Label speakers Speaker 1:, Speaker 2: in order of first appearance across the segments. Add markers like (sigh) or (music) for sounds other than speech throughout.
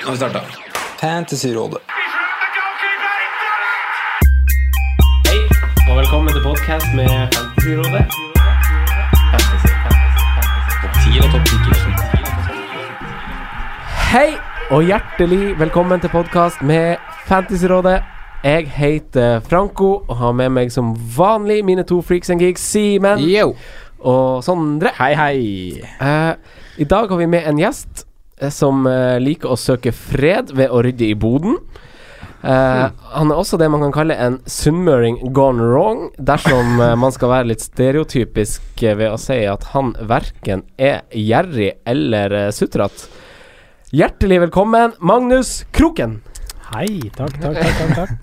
Speaker 1: Nå har vi starta.
Speaker 2: Fantasyrådet.
Speaker 3: Hei, og velkommen til podcast med Fantasyrådet. Hei, og hjertelig velkommen til podcast med Fantasyrådet. Jeg heter Franco og har med meg som vanlig mine to freaks and geeks, Simen
Speaker 1: Yo.
Speaker 3: og Sondre.
Speaker 1: Hei, hei.
Speaker 3: Eh, I dag har vi med en gjest eh, som eh, liker å søke fred ved å rydde i boden. Eh, han er også det man kan kalle en sunnmøring gone wrong, dersom eh, man skal være litt stereotypisk eh, ved å si at han verken er gjerrig eller uh, sutrete. Hjertelig velkommen, Magnus Kroken.
Speaker 4: Hei, takk, takk, takk, takk, takk.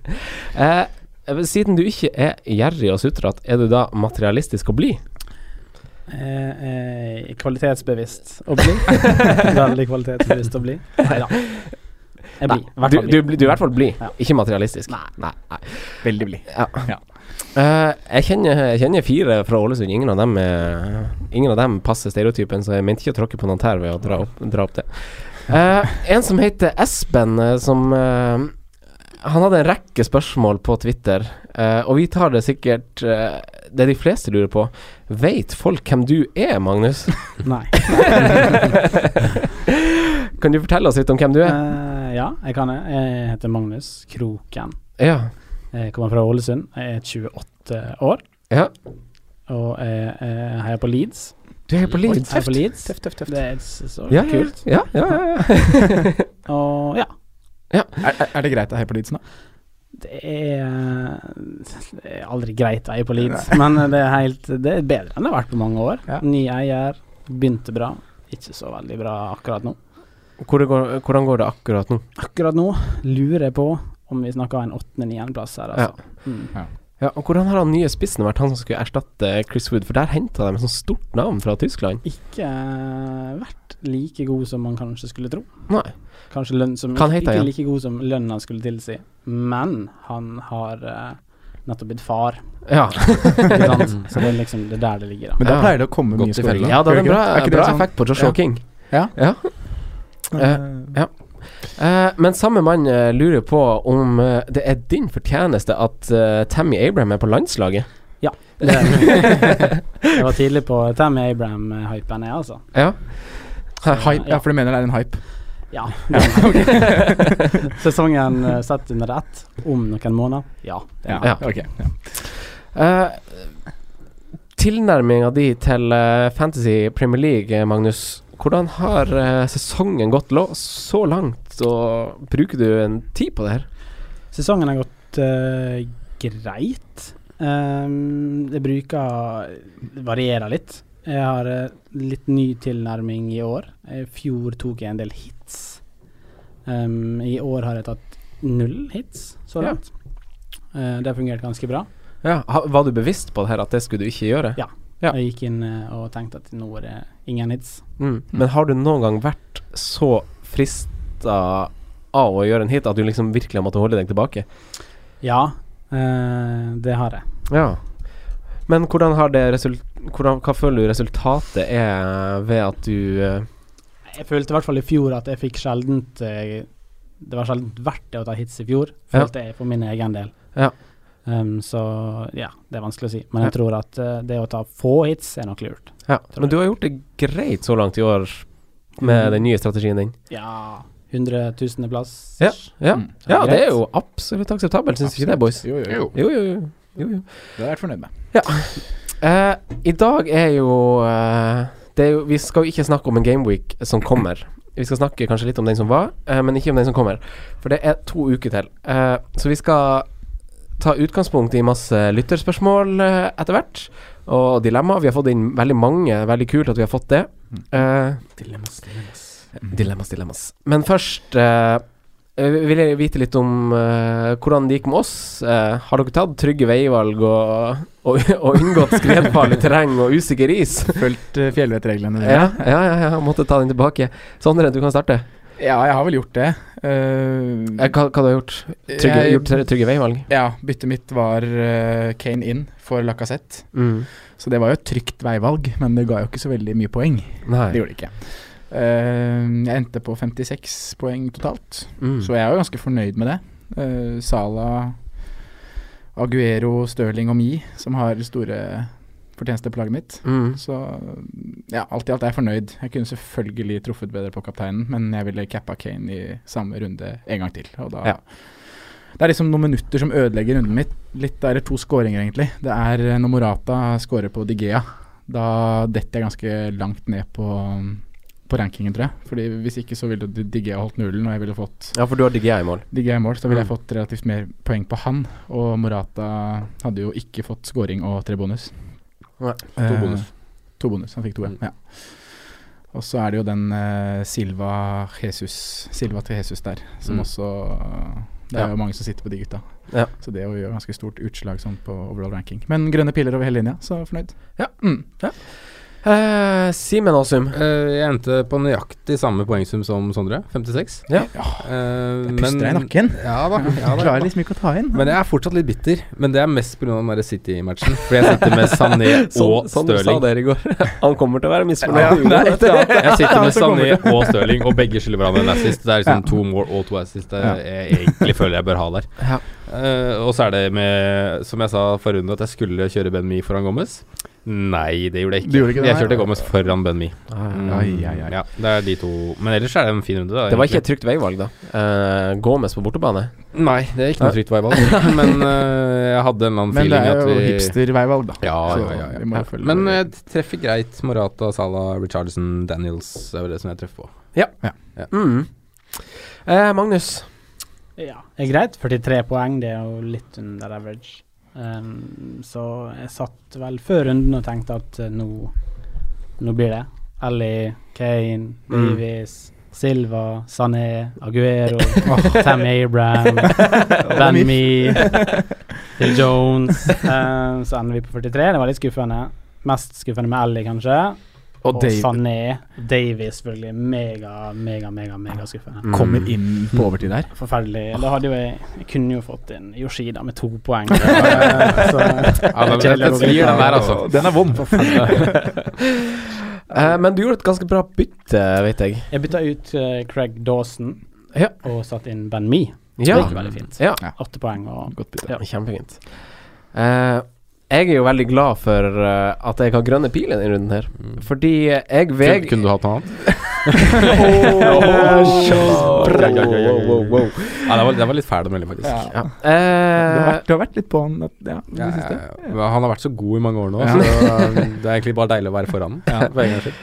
Speaker 3: (laughs) Eh, siden du ikke er gjerrig og sutrete, er du da materialistisk og blid?
Speaker 4: Eh, eh, kvalitetsbevisst å
Speaker 3: (laughs)
Speaker 4: bli. Veldig kvalitetsbevisst å bli. Nei da. Jeg blir. i
Speaker 3: Nei,
Speaker 4: hvert
Speaker 3: du,
Speaker 4: fall
Speaker 3: du,
Speaker 4: blir.
Speaker 3: blir- du er i hvert fall blid,
Speaker 4: Ja.
Speaker 3: ikke materialistisk. Nei, nei.
Speaker 1: Veldig blid.
Speaker 3: Ja.
Speaker 1: Ja.
Speaker 3: Eh, jeg, kjenner, jeg kjenner fire fra Ålesund. Ingen av dem, er, ingen av dem passer stereotypen, så jeg mente ikke å tråkke på noen tær ved å dra opp, dra opp det. Eh, en som heter Espen, eh, som eh, Han hadde en rekke spørsmål på Twitter, eh, og vi tar det sikkert eh, Det de fleste lurer på. Veit folk hvem du er,
Speaker 4: (laughs)
Speaker 3: Magnus? (laughs)
Speaker 4: Nei.
Speaker 3: kan du fortelle oss litt om hvem du er?
Speaker 4: Eh, ja, jeg kan det. Jeg heter Magnus Kroken.
Speaker 3: Ja.
Speaker 4: Jeg kommer fra Ålesund. Jeg er 28 år,
Speaker 3: ja.
Speaker 4: og jeg eh, heier på Leeds.
Speaker 3: Du er på Leeds.
Speaker 4: Heier på Leeds.
Speaker 1: Tøft, tøft, tøft.
Speaker 4: Det er så så
Speaker 3: Ja, ja,
Speaker 4: kult.
Speaker 3: ja, ja, ja.
Speaker 4: Og ja.
Speaker 1: Er, er- er det greit å heie på Leeds nå?
Speaker 4: Det er, det er aldri greit å eie på Leeds, men det er, helt, det er bedre enn det har vært på mange år.
Speaker 1: Ja.
Speaker 4: Ny eier, begynte bra. Ikke så veldig bra akkurat nå.
Speaker 3: Hvor det går, hvordan går det akkurat nå?
Speaker 4: Akkurat nå lurer jeg på om vi snakker en åttende-niendeplass her, altså. Mm.
Speaker 3: Ja, og Hvordan har han nye spissen vært, han som skulle erstatte Chris Wood? For der henta de et sånt stort navn fra Tyskland.
Speaker 4: Ikke eh, vært like god som man kanskje skulle tro.
Speaker 3: Nei.
Speaker 4: Kanskje lønn som
Speaker 3: Hva han heter
Speaker 4: Ikke
Speaker 3: igjen?
Speaker 4: like god som lønna skulle tilsi, men han har eh, nettopp blitt far,
Speaker 3: Ja,
Speaker 4: ikke sant? så det er liksom det er der det ligger, da.
Speaker 1: Men da
Speaker 3: Ja.
Speaker 1: pleier det å komme
Speaker 5: Godt i
Speaker 1: mye skåringer.
Speaker 5: følge.
Speaker 3: ja det
Speaker 1: Gjør
Speaker 3: er en
Speaker 1: ikke
Speaker 3: bra,
Speaker 1: Er ikke det
Speaker 3: bra
Speaker 1: sånn-
Speaker 3: effekt på Joshua
Speaker 1: Ja.
Speaker 3: King.
Speaker 1: Ja.
Speaker 3: ja. Eh, men samme mann eh, lurer på om eh, det er din fortjeneste at eh, Tammy Abraham er på landslaget.
Speaker 4: Det, jeg var tidlig på Tammy Abraham-hypen, jeg, altså.
Speaker 3: Ja.
Speaker 1: sånn Hype, ja, for du mener det er en hype?
Speaker 4: Ja. Sesongen eh, sett under ett om noen måneder. Ja.
Speaker 3: Ja.
Speaker 1: ok. Ja.
Speaker 3: Uh, Tilnærminga di til eh, Fantasy Premier League, eh, Magnus. Hvordan har eh, sesongen gått lo- så langt, og bruker du en tid på det her?
Speaker 4: Sesongen har gått eh, greit. Ehm, det bruker det varierer litt. Jeg har eh, litt ny tilnærming i år. I fjor tok jeg en del hits. Ehm, I år har jeg tatt null hits så
Speaker 3: Ja.
Speaker 4: langt. Eh, det har fungert ganske bra.
Speaker 3: Ja, ha- Var du bevisst på det her at det skulle du ikke gjøre?
Speaker 4: Ja.
Speaker 3: Ja.
Speaker 4: Jeg gikk inn eh, og tenkte at nå er det ingen hits.
Speaker 3: Mm. Men har du noen gang vært så frista av å gjøre en hit at du liksom virkelig har måttet holde deg tilbake?
Speaker 4: Ja, eh, det har jeg.
Speaker 3: Ja. Men hvordan har det result... Hvordan, hva føler du resultatet er ved at du eh,
Speaker 4: Jeg følte i hvert fall i fjor at jeg fikk sjeldent eh, Det var sjeldent verdt det å ta hits i fjor,
Speaker 3: Ja.
Speaker 4: følte jeg for min egen del.
Speaker 3: Ja.
Speaker 4: Um, så ja, det er vanskelig å si. Men jeg tror at eh, det å ta få hits er nok lurt.
Speaker 3: Ja, men du har gjort det greit så langt i år med den nye strategien din.
Speaker 4: Ja, hundretusendeplass.
Speaker 3: Ja. Ja,
Speaker 1: Mm.
Speaker 3: ja det er
Speaker 4: Greit.
Speaker 3: jo absolutt akseptabelt, syns du ikke det,
Speaker 1: Absolutt.
Speaker 3: boys?
Speaker 1: Jo, jo, jo.
Speaker 3: Jo, jo, jo. jo, jo.
Speaker 1: Det har jeg vært fornøyd med.
Speaker 3: Eh, I dag er jo, eh, det er jo Vi skal jo ikke snakke om en gameweek som kommer. Vi skal snakke kanskje litt om den som var, eh, men ikke om den som kommer. For det er to uker til. Eh, så vi skal ta utgangspunkt i masse lytterspørsmål eh, etter hvert. Og dilemmaer. Vi har fått inn veldig mange. Veldig kult at vi har fått det. Eh,
Speaker 4: Dilemmas, dilemmas.
Speaker 3: Dilemmas, dilemmas. Men først eh, eh, vil jeg vite litt om eh, hvordan det gikk med oss. Eh, har dere tatt trygge veivalg og, og, og unngått skredfarlig terreng og usikker is?
Speaker 1: (laughs) Fulgt eh, fjellvettreglene dine.
Speaker 3: ja, ja, ja, ja, måtte ta den tilbake. Sondre, du kan starte.
Speaker 1: Ja, jeg har vel gjort det. Eh,
Speaker 3: Eh, hva, hva du har du gjort? Trygge,
Speaker 1: jeg-
Speaker 3: gjort tre- trygge veivalg?
Speaker 1: Ja, byttet mitt var eh, Kane inn for Lacassette.
Speaker 3: Mm.
Speaker 1: Så det var jo et trygt veivalg, men det ga jo ikke så veldig mye poeng.
Speaker 3: Nei.
Speaker 1: Det gjorde det ikke. Eh, jeg endte på 56 poeng totalt,
Speaker 3: Mm.
Speaker 1: så jeg er jo ganske fornøyd med det. Eh, Sala, Aguero, Stirling og Mi, som har store fortjenester på laget mitt.
Speaker 3: Mm.
Speaker 1: Så ja, alt i alt er jeg fornøyd. Jeg kunne selvfølgelig truffet bedre på kapteinen, men jeg ville cappa Kane i samme runde en gang til. Og da
Speaker 3: Ja.
Speaker 1: Det er liksom noen minutter som ødelegger runden mitt. Litt, eller to skåringer, egentlig. Det er eh, når Morata scorer på Digea. Da detter jeg ganske langt ned på, på rankingen, tror jeg. Fordi Hvis ikke så ville Digea holdt nullen, og jeg ville fått
Speaker 3: Ja, for du har DGA i mål.
Speaker 1: Digea i mål, så ville jeg
Speaker 3: Mm.
Speaker 1: fått relativt mer poeng på han. Og Morata hadde jo ikke fått scoring og tre bonus.
Speaker 3: Nei,
Speaker 1: Eh,
Speaker 3: bonus.
Speaker 1: To bonus, han fikk to, ja.
Speaker 3: Mm.
Speaker 1: ja. Og så er det jo den eh, Silva, Jesus, Silva til Jesus der, som
Speaker 3: Mm.
Speaker 1: også eh, Det er
Speaker 3: Ja.
Speaker 1: jo mange som sitter på de gutta.
Speaker 3: Ja.
Speaker 1: Så det gjør ganske stort utslag sånn på overall ranking. Men grønne piler over hele linja, så fornøyd.
Speaker 3: Ja.
Speaker 1: Mm.
Speaker 3: Eh, Simen Aasum.
Speaker 2: Eh, jeg endte på nøyaktig samme poengsum som Sondre, 56.
Speaker 3: Ja.
Speaker 2: Eh,
Speaker 1: Jeg puster deg i nakken.
Speaker 2: Ja da. Ja, da.
Speaker 1: Klarer liksom ikke å ta inn.
Speaker 2: Men jeg er fortsatt litt bitter, men det er mest pga. den der City-matchen. For jeg sitter med Sané
Speaker 3: (laughs)
Speaker 2: (laughs) og
Speaker 3: som du sa
Speaker 2: Stirling.
Speaker 3: der i går. (laughs) Han kommer til å være
Speaker 2: Ja,
Speaker 3: misfornøyd.
Speaker 2: nei,
Speaker 3: (laughs) Jo, dette-
Speaker 2: Jeg sitter med
Speaker 1: Så kommer
Speaker 2: Sané og Stirling, og begge skylder hverandre en assist. Det er liksom to mål og to assist det
Speaker 1: Ja.
Speaker 2: jeg egentlig føler jeg bør ha der.
Speaker 3: Ja.
Speaker 2: Eh, og så er det med, som jeg sa forrige runde, at jeg skulle kjøre Ben Mi foran Gomez. Nei, det gjorde jeg ikke.
Speaker 1: Du gjorde ikke det,
Speaker 2: jeg
Speaker 1: nei.
Speaker 2: kjørte Gomez foran Ben Mi.
Speaker 3: Ah,
Speaker 2: Mm,
Speaker 3: ja.
Speaker 1: Ai, ai, ai.
Speaker 2: Ja, det er de to. Men ellers er det en fin runde, da.
Speaker 3: Det var
Speaker 2: egentlig.
Speaker 3: ikke et trygt veivalg, da. Eh, Gomez på bortebane.
Speaker 2: Nei, det er ikke noe trygt veivalg. (laughs) Men eh, jeg hadde en eller
Speaker 1: Men
Speaker 2: annen
Speaker 1: det
Speaker 2: feeling
Speaker 1: er
Speaker 2: at
Speaker 1: jo
Speaker 2: vi
Speaker 1: hipster-veivalg, da.
Speaker 2: Ja,
Speaker 1: Så
Speaker 2: ja, ja, ja.
Speaker 1: vi må jo følge
Speaker 2: Men jeg treffer greit Morata, Salah, Richardson, Daniels. Det er vel det som jeg treffer på.
Speaker 3: Mm. Eh, Magnus.
Speaker 4: Ja, det er greit. 43 poeng, det er jo litt under average. Ehm, så jeg satt vel før runden og tenkte at eh, nå, nå blir det. Ellie, Kane,
Speaker 3: Mm.
Speaker 4: Davies, Silva, Sané, Aguero, Tammy Abraham, Ben Me, Phil Jones. Ehm, så ender vi på 43. Det var litt skuffende. Mest skuffende med Ellie, kanskje.
Speaker 3: eh,
Speaker 4: Og,
Speaker 1: Og Dave
Speaker 4: Sané. Davies, selvfølgelig. Mega, mega, mega, mega skuffende.
Speaker 3: Mm.
Speaker 1: kommer inn på overtid der.
Speaker 4: Forferdelig. Da hadde jo jeg, jeg kunne jo fått inn Yoshida med to poeng.
Speaker 2: (laughs) Ja, men,
Speaker 4: Kjedelig å gå
Speaker 2: gir
Speaker 4: glipp av.
Speaker 2: den der, altså.
Speaker 1: Den er vom.
Speaker 3: Eh, men du gjorde et ganske bra bytte, vet jeg.
Speaker 4: Jeg bytta ut eh, Craig Dawson
Speaker 3: Ja.
Speaker 4: og satte inn Ben Me.
Speaker 3: Ja.
Speaker 4: Det gikk veldig fint.
Speaker 3: ja.
Speaker 4: Åtte poeng og
Speaker 1: Godt bytte.
Speaker 4: Ja.
Speaker 3: Kjempefint. Eh, jeg er jo veldig glad for eh, at jeg har grønne piler denne runden her. Fordi jeg veg... (laughs)
Speaker 2: Mm. Kunne, kunne du hatt noe annet? (laughs)
Speaker 3: Åh.
Speaker 2: Brr.
Speaker 3: Wow, wow, wow.
Speaker 2: Ja, det var, det var litt fæl å melde, faktisk.
Speaker 1: Ja.
Speaker 3: Ja.
Speaker 1: Du, har
Speaker 3: Eh,
Speaker 1: vært, du har vært litt på han at- ja, i
Speaker 2: Ja,
Speaker 1: det siste.
Speaker 2: ja, ja. Han har vært så god i mange år nå,
Speaker 1: Ja.
Speaker 2: så um, det er egentlig bare deilig å være foran.
Speaker 1: Ja.
Speaker 2: (laughs) For en gangs skyld.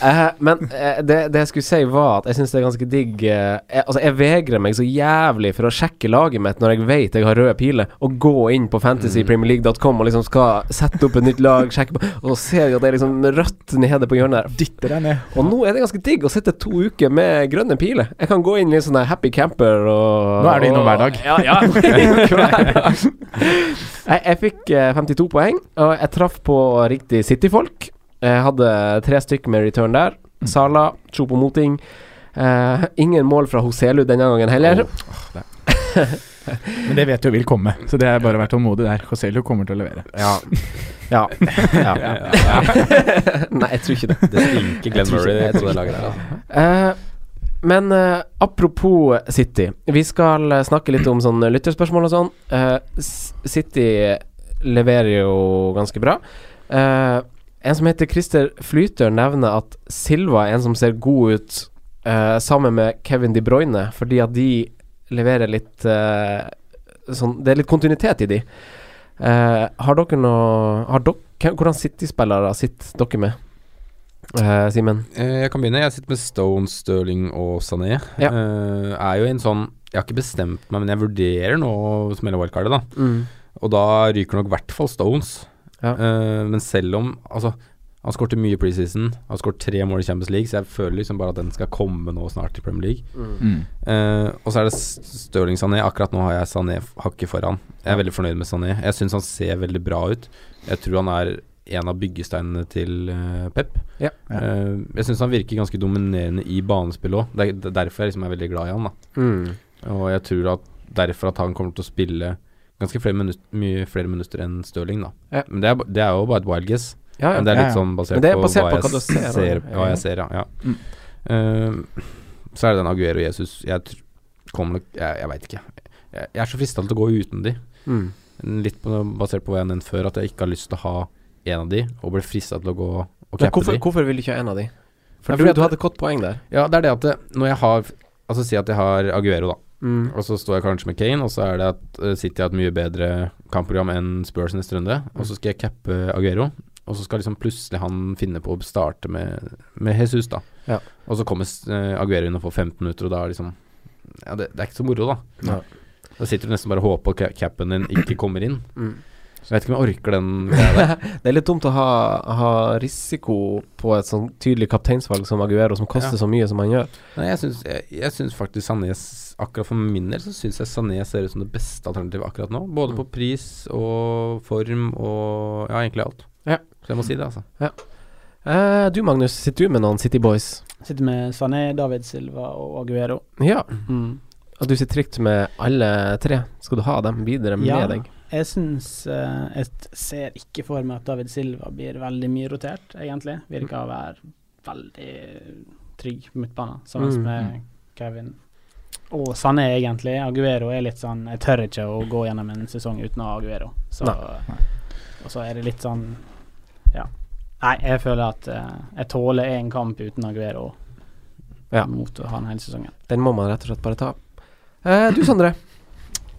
Speaker 3: eh, men eh, det, det jeg skulle si, var at jeg syns det er ganske digg eh, jeg, Altså, jeg vegrer meg så jævlig for å sjekke laget mitt når jeg vet jeg har røde piler, og gå inn på fantasypremierleague.com og liksom skal sette opp et nytt lag, sjekke på Og så ser jeg at det er liksom rødt nede på hjørnet der.
Speaker 1: Dytter deg ned.
Speaker 3: Og nå er det ganske digg å sitte to uker med grønne piler. Jeg kan gå inn i en sånn der happy camper og
Speaker 1: Nå er du innom
Speaker 3: og-
Speaker 1: hver dag.
Speaker 3: Ja, ja. Hver dag.
Speaker 1: (laughs)
Speaker 3: jeg, jeg fikk eh, 52 poeng, og jeg traff på riktig City-folk. Jeg hadde tre stykk med return der.
Speaker 1: Mm.
Speaker 3: Sala, Chopo Moting. Eh, ingen mål fra Hoselu denne gangen heller.
Speaker 1: Men det vet du vil komme, så det er bare å være tålmodig der. Joselio kommer til å levere.
Speaker 3: Ja. ja.
Speaker 2: Ja, ja, (laughs) ja.
Speaker 3: (laughs) Nei, jeg tror ikke det.
Speaker 2: Det stinker Glenn
Speaker 3: tror ikke-
Speaker 2: Murray
Speaker 3: jeg
Speaker 2: på
Speaker 3: tror
Speaker 2: det
Speaker 3: ikke
Speaker 2: laget der. Altså.
Speaker 3: Eh, men eh, apropos City. Vi skal eh, snakke litt om sånn lytterspørsmål og sånn. Eh, S- City leverer jo ganske bra. Eh, en som heter Christer Flyter, nevner at Silva er en som ser god ut eh, sammen med Kevin De Bruyne, fordi at de leverer litt eh, sånn Det er litt kontinuitet i de. Eh, har dere noe har dere, Hvordan City-spillere sitter dere med, Eh, Simen?
Speaker 2: Eh, Jeg kan begynne. Jeg sitter med Stone, Sterling og Sané.
Speaker 3: Ja.
Speaker 2: Eh, er jo en sånn Jeg har ikke bestemt meg, men jeg vurderer nå å smelle wildcardet, da.
Speaker 3: Mm.
Speaker 2: Og da ryker nok i hvert fall Stones.
Speaker 3: Ja.
Speaker 2: Eh, men selv om Altså, han skårte mye i preseason. Han skåret tre mål i Champions League, så jeg føler liksom bare at den skal komme nå snart i Premier League.
Speaker 1: Mm.
Speaker 2: Eh, og så er det S- Stirling Sané. Akkurat nå har jeg Sané f- hakket foran. Jeg er veldig fornøyd med Sané. Jeg syns han ser veldig bra ut. Jeg tror han er en av byggesteinene til eh, Pep.
Speaker 3: Ja.
Speaker 1: Ja.
Speaker 2: Eh, jeg syns han virker ganske dominerende i banespill òg. Det er det er derfor jeg liksom er veldig glad i han. da
Speaker 3: Mm.
Speaker 2: Og jeg tror at derfor at han kommer til å spille ganske flere minutter, mye flere minutter enn Stirling, da.
Speaker 3: Ja.
Speaker 2: Men det er, ba- det er jo bare et wild guess.
Speaker 3: Ja, ja.
Speaker 2: Men det er
Speaker 1: Ja,
Speaker 2: litt
Speaker 1: ja.
Speaker 2: sånn basert,
Speaker 3: Men det er basert på
Speaker 2: hva,
Speaker 3: hva du
Speaker 2: jeg
Speaker 3: ser,
Speaker 2: ser,
Speaker 3: da.
Speaker 2: hva jeg ser, ja. ja.
Speaker 1: Mm.
Speaker 2: Eh, så er det den Aguero og Jesus Jeg, tr- kommer nok Jeg, jeg veit ikke. Jeg, jeg er så frista til å gå uten de.
Speaker 3: Mm.
Speaker 2: Litt på, basert på hva jeg har nevnt før, at jeg ikke har lyst til å ha en av de, og blir frista til å gå og
Speaker 3: Men
Speaker 2: cappe
Speaker 3: hvorfor,
Speaker 2: de.
Speaker 3: hvorfor vil du ikke ha en av de? For
Speaker 2: Nei,
Speaker 3: du,
Speaker 2: fordi at-
Speaker 3: du hadde et godt poeng der.
Speaker 2: Ja, det er det at det, når jeg har Altså si at jeg har Aguero, da.
Speaker 3: Mm.
Speaker 2: Og så står jeg kanskje med Kane, og så er det at eh, City har et mye bedre kampprogram enn Spurs neste runde.
Speaker 3: Mm.
Speaker 2: Og så skal jeg cappe Aguero, og så skal liksom plutselig han finne på å starte med, med Jesus, da.
Speaker 3: Ja.
Speaker 2: Og så kommer eh, Aguero inn og får 15 minutter, og da er liksom Ja, det, det er ikke så moro, da.
Speaker 3: Nei.
Speaker 2: Da sitter du nesten bare og håper ca- cappen din ikke kommer inn.
Speaker 3: Mm.
Speaker 2: Jeg vet ikke om jeg orker den greia der.
Speaker 3: Det er litt dumt å ha, ha risiko på et sånn tydelig kapteinsvalg som Aguero, som koster
Speaker 2: Ja.
Speaker 3: så mye som han gjør.
Speaker 2: Nei, jeg syns, jeg, jeg syns faktisk Sané s- Akkurat for min del så syns jeg Sané ser ut som det beste alternativet akkurat nå. Både
Speaker 1: Mm.
Speaker 2: på pris og form og ja, egentlig alt.
Speaker 3: Ja.
Speaker 2: Så jeg må si det, altså.
Speaker 3: Eh, du, Magnus, sitter du med noen City Boys?
Speaker 4: Sitter med Sané, David Silva og Aguero.
Speaker 3: Ja. Og du sitter trygt med alle tre. Skal du ha dem videre med
Speaker 4: Ja.
Speaker 3: deg?
Speaker 4: Jeg syns eh, Jeg ser ikke for meg at David Silva blir veldig mye rotert, egentlig. Virker å være veldig trygg på midtbanen, sammen
Speaker 3: Mm,
Speaker 4: med Kevin. Og Sané, egentlig. Aguero er litt sånn Jeg tør ikke å gå gjennom en sesong uten å ha Aguero. Så, og så er det litt sånn Ja. Nei, jeg føler at eh, jeg tåler én kamp uten Aguero
Speaker 3: Ja.
Speaker 4: mot å ha den hele sesongen.
Speaker 3: Den må man rett og slett bare ta. Eh, du, Sondre.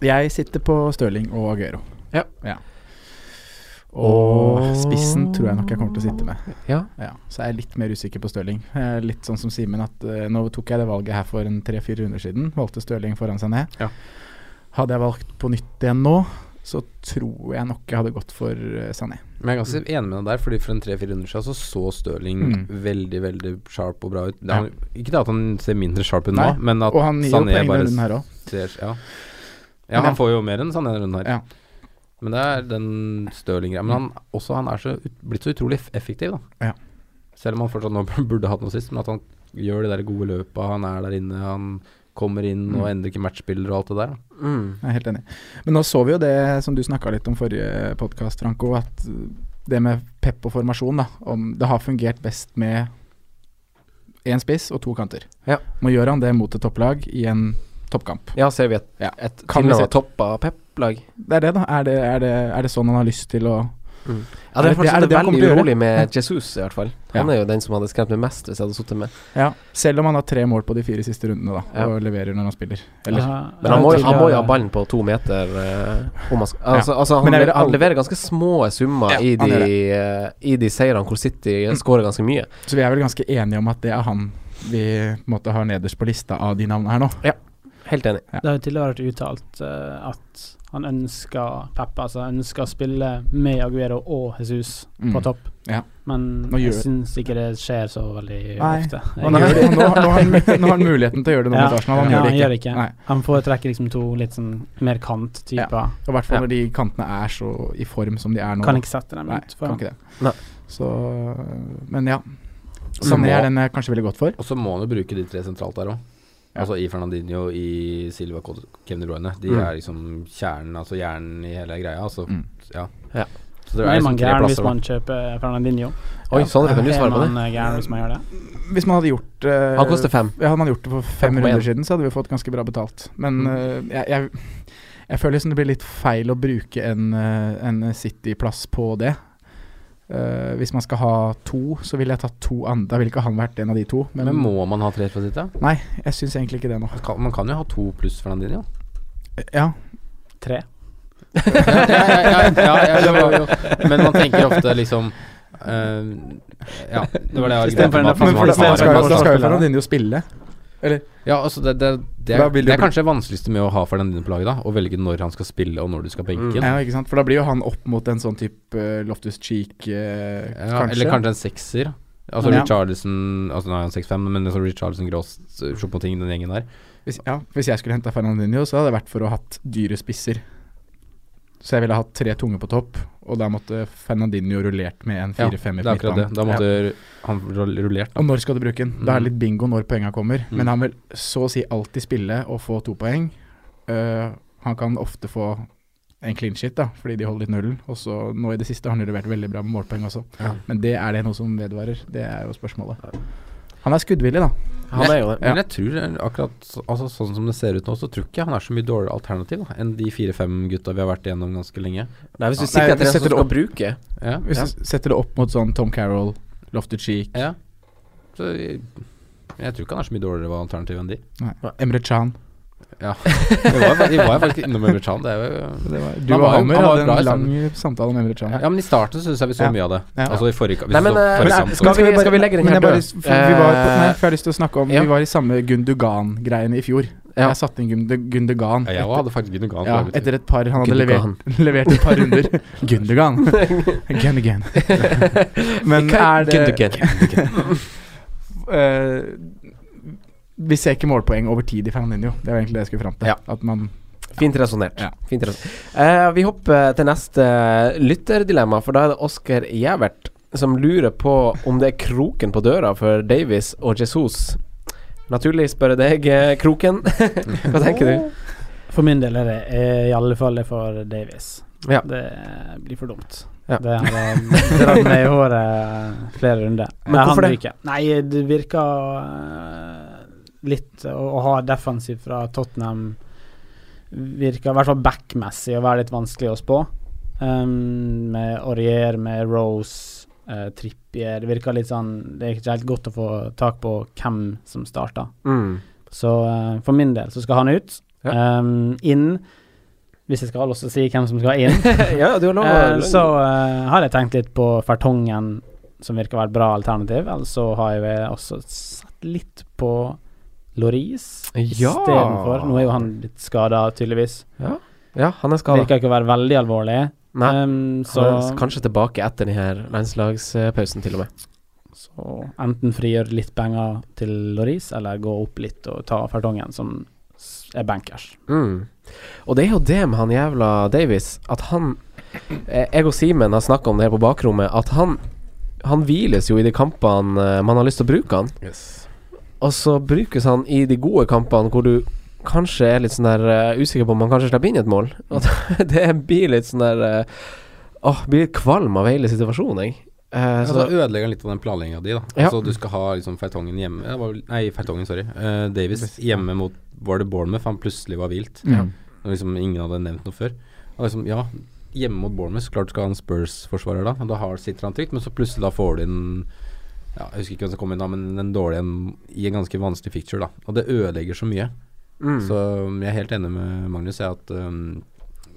Speaker 1: Jeg sitter på Stirling og Aguero.
Speaker 3: Ja.
Speaker 1: Og
Speaker 3: Og-
Speaker 1: spissen tror jeg nok jeg kommer til å sitte med.
Speaker 3: Ja.
Speaker 1: Ja, så jeg er litt mer usikker på Stirling. Jeg er Litt sånn som Simen, at eh, nå tok jeg det valget her for en tre-fire runder siden. Valgte Stirling foran seg ned.
Speaker 2: Ja.
Speaker 1: Hadde jeg valgt på nytt igjen nå, så tror jeg nok jeg hadde gått for eh, Sané.
Speaker 2: Men jeg er ganske enig med deg der, Fordi for en tre-fire runder siden så så Stirling
Speaker 1: Mm.
Speaker 2: veldig, veldig sharp og bra ut. Det
Speaker 1: Ja.
Speaker 2: er, han- Ikke det at han ser mindre sharp ut nå,
Speaker 1: Nei,
Speaker 2: men at
Speaker 1: Og han gir jo
Speaker 2: Sané
Speaker 1: poeng denne
Speaker 2: bare
Speaker 1: runden her òg.
Speaker 2: ser Ja,
Speaker 1: Men
Speaker 2: ja han
Speaker 1: jeg-
Speaker 2: får jo mer enn Sané denne runden her.
Speaker 1: Ja.
Speaker 2: Men det er den Stirling-greia. Men han, også han er så, ut- blitt så utrolig eff- effektiv, da.
Speaker 1: Ja.
Speaker 2: Selv om han fortsatt nå (laughs) burde hatt noe sist, men at han gjør de der gode løpa, han er der inne, han kommer inn og
Speaker 1: Mm.
Speaker 2: endrer ikke matchbilder og alt det der. da.
Speaker 3: (laughs) Mm.
Speaker 1: Jeg er helt enig. Men nå så vi jo det som du snakka litt om forrige podkast, Franco, at det med pep og formasjon, da, om det har fungert best med én spiss og to kanter.
Speaker 3: Ja.
Speaker 1: Nå gjør han det mot et topplag i en toppkamp.
Speaker 3: ja, ser vi et,
Speaker 1: Ja.
Speaker 3: et
Speaker 1: Kan vi
Speaker 3: tilnærmet
Speaker 1: se-
Speaker 3: toppa Pep-lag?
Speaker 1: Det er det, da. Er det, er det, er det sånn han har lyst til å
Speaker 3: Ja, det er
Speaker 1: det- er
Speaker 3: fortsatt
Speaker 1: det det han kommer
Speaker 3: veldig
Speaker 1: til å gjøre?
Speaker 3: urolig med Jesus, i hvert fall. Han
Speaker 1: Ja.
Speaker 3: er jo den som hadde skremt meg mest hvis jeg hadde sittet med.
Speaker 1: Ja. Selv om han har tre mål på de fire siste rundene, da,
Speaker 3: Ja.
Speaker 1: og leverer når han spiller. Eller
Speaker 4: Ja,
Speaker 3: Men han må, jo- han må jo ha
Speaker 4: tidligere-
Speaker 3: ballen på to meter. eh, om han skal, altså, altså han,
Speaker 1: Men jeg
Speaker 3: lever,
Speaker 1: vil
Speaker 3: han
Speaker 1: aldri-
Speaker 3: leverer ganske små summer i,
Speaker 1: han gjør Mm.
Speaker 3: de, eh, i de seirene hvor City skårer ganske mye.
Speaker 1: Så vi er vel ganske enige om at det er han vi på en måte har nederst på lista av de navnene her nå.
Speaker 3: Helt enig.
Speaker 1: Ja.
Speaker 4: Det har jo tidligere vært uttalt eh, at han ønsker Peppa, altså han ønsker å spille med Aguero og Jesus på
Speaker 1: Mm.
Speaker 4: topp.
Speaker 1: Ja.
Speaker 4: Men
Speaker 1: Nå
Speaker 4: jeg
Speaker 1: gjør-
Speaker 4: syns ikke det skjer så veldig
Speaker 1: Nei.
Speaker 4: ofte.
Speaker 1: Han gjør det, nå, nå, har han, nå har han muligheten til å gjøre det nå
Speaker 4: Ja.
Speaker 1: mot Arsenal, han
Speaker 4: Ja,
Speaker 1: gjør
Speaker 4: han
Speaker 1: det ikke.
Speaker 4: gjør det ikke.
Speaker 1: Nei.
Speaker 4: Han foretrekker liksom to litt sånn mer kant-typer.
Speaker 1: Og I hvert fall
Speaker 3: Ja.
Speaker 1: når de kantene er så i form som de er nå.
Speaker 4: Kan ikke sette dem
Speaker 1: Nei,
Speaker 4: ut
Speaker 1: kan
Speaker 4: for
Speaker 1: ikke det.
Speaker 3: Nei.
Speaker 1: Så Men ja.
Speaker 2: Så
Speaker 1: Sané
Speaker 2: må-
Speaker 1: er den jeg kanskje ville gått for.
Speaker 2: Og så må han jo bruke de tre sentralt der òg.
Speaker 1: Ja.
Speaker 2: Altså i Fernandinho, i Silva, Cod- Kevin De Bruyne. De
Speaker 3: Mm.
Speaker 2: er liksom kjernen, altså hjernen i hele greia. Altså,
Speaker 1: Mm.
Speaker 2: ja.
Speaker 3: Ja.
Speaker 2: Så det
Speaker 4: Nå
Speaker 2: er
Speaker 4: er
Speaker 2: liksom
Speaker 4: man
Speaker 2: tre
Speaker 4: gæren hvis
Speaker 2: plasser, da.
Speaker 4: man kjøper Fernandinho.
Speaker 3: Oi,
Speaker 1: Ja.
Speaker 3: Sondre, kan du
Speaker 4: Er
Speaker 3: svare på det?
Speaker 4: man eh, gæren hvis man gjør det?
Speaker 1: Hvis man hadde gjort eh,
Speaker 3: Han koster fem.
Speaker 1: ja, Hadde man gjort det for fem
Speaker 3: 5,1.
Speaker 1: runder siden, så hadde vi fått ganske bra betalt. Men eh, jeg, jeg, jeg føler liksom det blir litt feil å bruke en, eh, en City-plass på det. Eh, hvis man skal ha to, så ville jeg tatt to andre. Da ville ikke han vært en av de to. Men,
Speaker 2: Men må man ha tre for å sitte?
Speaker 1: nei, jeg syns egentlig ikke det nå.
Speaker 2: Man kan, man kan jo ha to pluss Fernandinho.
Speaker 1: Ja,
Speaker 4: Tre?
Speaker 2: ja, ja, ja, ja, jo, jo, jo. Men man tenker ofte liksom eh, Ja, det var det jeg
Speaker 4: Istedenfor en
Speaker 2: argumentet
Speaker 4: Men
Speaker 1: Men for
Speaker 4: for
Speaker 1: det,
Speaker 4: det-
Speaker 1: man skal jo-
Speaker 4: man
Speaker 1: man skal jo
Speaker 4: spille, da.
Speaker 1: Fernandinho spille.
Speaker 2: Ja, altså det, det, det,
Speaker 1: Da
Speaker 2: er,
Speaker 1: vil
Speaker 2: det
Speaker 1: det
Speaker 2: er
Speaker 1: bli-
Speaker 2: kanskje det vanskeligste med å ha Fernandinho på laget, da. Å velge når han skal spille og når du skal benke.
Speaker 3: Mm.
Speaker 2: ham.
Speaker 1: Ja, ikke sant? For da blir jo han opp mot en sånn type eh, Loftus Cheek, eh,
Speaker 2: Ja,
Speaker 1: kanskje.
Speaker 2: Eller kanskje en sekser. Altså
Speaker 1: Ja.
Speaker 2: Richarlison Altså nå er han 6-5, men liksom Richarlison Gross, Choupo-ting, den gjengen der.
Speaker 1: Hvis, ja, hvis jeg skulle henta Fernandinho, så hadde det vært for å ha hatt dyre spisser. Så jeg ville hatt tre tunge på topp, og da måtte Fernandinho rullert med en
Speaker 2: Ja,
Speaker 1: fire-femmer
Speaker 2: det er akkurat det. Da måtte han rull- rullert,
Speaker 1: Og
Speaker 2: da.
Speaker 1: når skal du bruke den? Da er det litt bingo når poenga kommer.
Speaker 2: Mm.
Speaker 1: Men han vil så å si alltid spille og få to poeng. Eh, han kan ofte få en clean shit, da, fordi de holder litt nullen. Og så nå i det siste har han jo levert veldig bra med målpoeng også.
Speaker 2: Ja.
Speaker 1: Men det er det noe som vedvarer? Det er jo spørsmålet. Han er skuddvillig, da.
Speaker 3: Han er jo det.
Speaker 1: Ja.
Speaker 2: Men jeg tror akkurat så- altså, sånn som det ser ut nå, så tror ikke jeg han er så mye dårligere alternativ da, enn de fire-fem gutta vi har vært igjennom ganske lenge.
Speaker 3: Nei, hvis du
Speaker 1: Ja.
Speaker 3: sitter
Speaker 1: Nei,
Speaker 3: etter
Speaker 1: vi
Speaker 3: en som
Speaker 1: setter det
Speaker 3: skal
Speaker 1: opp.
Speaker 3: bruke
Speaker 2: Ja.
Speaker 1: Hvis
Speaker 3: Ja.
Speaker 1: du setter det opp mot sånn Tom Carroll, Lofted Cheek,
Speaker 2: ja. Så jeg, jeg tror ikke han er så mye dårligere alternativ enn de.
Speaker 1: Emre Chan
Speaker 2: (laughs) Vi var, jo fa- vi var jo faktisk innom Everchan. Det er jo
Speaker 1: Du
Speaker 2: Han
Speaker 1: og
Speaker 2: var- han
Speaker 1: Hammer
Speaker 2: var
Speaker 1: hadde
Speaker 2: bra i
Speaker 1: en lang samtale om Emre Chan.
Speaker 2: Ja, men i starten syns jeg vi så
Speaker 1: Ja.
Speaker 2: mye av det.
Speaker 1: Ja.
Speaker 2: Altså i forrige hvis
Speaker 3: Nei,
Speaker 2: vi
Speaker 3: men,
Speaker 2: så
Speaker 3: eh,
Speaker 2: forrige
Speaker 3: men,
Speaker 2: kamp, så-
Speaker 3: skal vi- skal vi legge den
Speaker 1: Men
Speaker 3: her
Speaker 1: jeg bare,
Speaker 3: død?
Speaker 1: for vi var på,
Speaker 3: Eh,
Speaker 1: nei, for jeg har lyst til å snakke om
Speaker 3: ja.
Speaker 1: Vi var i samme Gundugan-greiene i fjor.
Speaker 3: Ja.
Speaker 1: Jeg satte inn Gunde- Gundugan
Speaker 2: ja, jeg også hadde faktisk Gundogan.
Speaker 1: ja,
Speaker 2: på laget.
Speaker 1: etter et par Han hadde
Speaker 3: Gundogan.
Speaker 1: levert, levert et par
Speaker 2: (laughs)
Speaker 1: runder. Gundugan. Gundugan. (laughs) Men er det eh, Vi ser ikke målpoeng over tid i Fernandinho. Det var egentlig det jeg skulle fram til.
Speaker 3: Ja.
Speaker 1: At man
Speaker 3: Fint resonnert.
Speaker 1: Ja.
Speaker 3: Fint resonnert. Eh, vi hopper til neste lytterdilemma, for da er det Oskar Gjævert som lurer på om det er kroken på døra for Davies og Jesus. Naturlig spørre deg, eh, Kroken. (laughs) Hva tenker du?
Speaker 4: For min del er det eh, i alle fall det for Davies.
Speaker 3: Ja.
Speaker 4: Det eh, blir for dumt.
Speaker 3: Ja.
Speaker 4: Det har eh, dratt meg i håret eh, flere runder.
Speaker 3: (laughs) Men hvorfor
Speaker 4: han
Speaker 3: det?
Speaker 4: ryker. Nei, det virker eh, litt å, å ha defensiv fra Tottenham Virker i hvert fall backmessig å være litt vanskelig å spå. Um, med Aurier, med Rose, eh, Trippier Det virker litt sånn Det er ikke helt godt å få tak på hvem som starter.
Speaker 3: Mm.
Speaker 4: Så eh, for min del så skal han ut.
Speaker 3: Ja.
Speaker 4: Ehm, inn Hvis jeg skal også si hvem som
Speaker 3: (laughs)
Speaker 4: skal inn.
Speaker 3: ja, du har lov
Speaker 4: Eh,
Speaker 3: å
Speaker 4: så eh, har jeg tenkt litt på Fertongen, som virker å være et bra alternativ. Ellers så har jeg vel også sett litt på Loris
Speaker 3: Ja.
Speaker 4: istedenfor. Nå er jo han litt skada, tydeligvis.
Speaker 3: Ja, han er skada.
Speaker 4: Virker ikke å være veldig alvorlig.
Speaker 3: Nei.
Speaker 4: Ehm,
Speaker 3: Så
Speaker 4: så,
Speaker 3: kanskje tilbake etter denne landslagspausen, til og med.
Speaker 4: så enten frigjøre litt penger til Loris, eller gå opp litt og ta Fertongen, som s- er bankers.
Speaker 3: Mm. Og det er jo det med han jævla Davies, at han eh, Jeg og Simen har snakka om det her på bakrommet, at han Han hviles jo i de kampene eh, man har lyst til å bruke han,
Speaker 2: Yes.
Speaker 3: og så brukes han i de gode kampene hvor du kanskje er litt sånn der eh, usikker på om han kanskje slipper inn et mål. (laughs) Og det blir litt sånn der eh, Åh, blir litt kvalm av hele situasjonen, jeg. Eh,
Speaker 2: Ja,
Speaker 3: så,
Speaker 2: så ødelegger han litt av den planlegginga di, da.
Speaker 3: Ja.
Speaker 2: Altså, du skal ha liksom Feitongen hjemme ja, det var vel- Nei, Feitongen, sorry. Eh, Davis hjemme mot Var det Bournemouth han plutselig var vilt?
Speaker 1: Ja.
Speaker 2: Og liksom Ingen hadde nevnt noe før. Og liksom, ja, hjemme mot Bournemouth, så klart skal han Spurs-forsvarer da. Og da har, sitter han trygt, men så plutselig da får du inn ja, Jeg husker ikke hvem som kom inn da, men en dårlig en i en ganske vanskelig picture, da. Og det ødelegger så mye.
Speaker 3: mm.
Speaker 2: Så um, jeg er helt enig med Magnus i at um,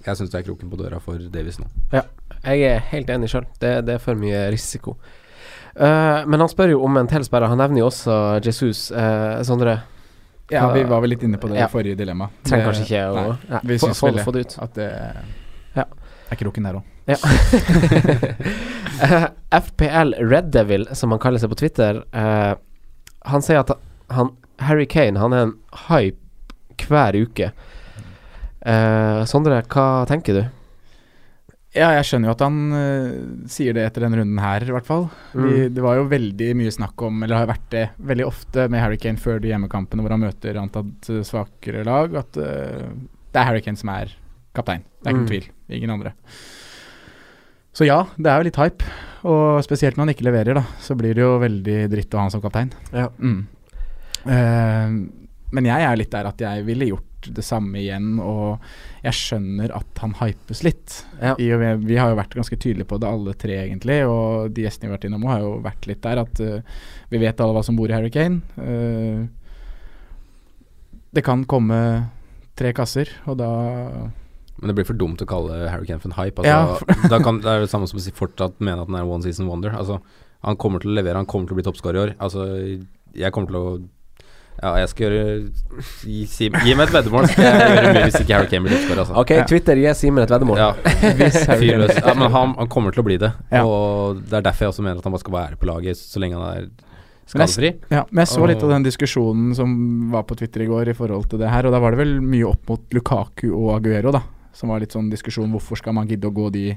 Speaker 2: jeg syns det er kroken på døra for Davis nå.
Speaker 3: Jeg er helt enig sjøl. Det, det er for mye risiko. Eh, men han spør jo om en til sperre. Han nevner jo også Jesus. eh, Sondre,
Speaker 1: Ja, vi var vel litt inne på det
Speaker 3: Ja.
Speaker 1: i forrige dilemma.
Speaker 3: trenger
Speaker 1: Det-
Speaker 3: kanskje ikke å
Speaker 1: nei.
Speaker 3: Nei,
Speaker 1: Vi
Speaker 3: få,
Speaker 1: syns
Speaker 3: få,
Speaker 1: vel det.
Speaker 3: få det ut.
Speaker 1: At det
Speaker 3: Ja.
Speaker 1: er kroken der òg.
Speaker 3: Ja. (laughs) Eh, FPL Red Devil, som han kaller seg på Twitter, eh, han sier at han, Harry Kane han er en hype hver uke. Eh, Sondre, hva tenker du?
Speaker 1: Ja, jeg skjønner jo at han øh, sier det etter denne runden her, i hvert fall. Vi, det var jo veldig mye snakk om, eller har vært det veldig ofte med Harry Kane før de hjemmekampene hvor han møter antatt øh, svakere lag, at øh, det er Harry Kane som er kaptein. Det er
Speaker 3: Mm.
Speaker 1: ikke noen tvil. Ingen andre. Så ja, det er jo litt hype. Og spesielt når han ikke leverer, da, så blir det jo veldig dritt å ha han som kaptein.
Speaker 3: Ja.
Speaker 1: Mm. Eh, men jeg er litt der at jeg ville gjort det samme igjen, og jeg skjønner at han hypes litt.
Speaker 3: Ja.
Speaker 1: I og med, vi har jo vært ganske tydelige på det, alle tre egentlig, og de gjestene vi har vært innom har jo vært litt der at eh, vi vet alle hva som bor i Harry Kane. Eh, det kan komme tre kasser, og da
Speaker 2: Men det blir for dumt å kalle Harry Kane for en hype. (laughs)
Speaker 1: Ja,
Speaker 2: Altså, da kan, det er det samme som å si fortsatt mene at han er one season wonder. Altså, han kommer til å levere, han kommer til å bli toppskårer i år. Altså, jeg kommer til å Ja, jeg skal gjøre Gi, si, gi meg et veddemål, så skal jeg gjøre mye hvis ikke Harry Kane blir toppskårer, altså.
Speaker 3: Ok, Twitter gir Simen et veddemål.
Speaker 2: Ja,
Speaker 1: (laughs) Hvis Harry
Speaker 2: fyr
Speaker 1: Kane
Speaker 2: løs. Ja, men han, han kommer til å bli det.
Speaker 1: Ja.
Speaker 2: Og det er derfor jeg også mener at han bare skal være på laget så lenge han er
Speaker 1: Men jeg-
Speaker 2: skadefri.
Speaker 1: Ja, men jeg så litt av
Speaker 2: Og-
Speaker 1: den diskusjonen som var på Twitter i går i forhold til det her, og da var det vel mye opp mot Lukaku og Aguero, da, som var litt sånn diskusjon hvorfor skal man gidde å gå de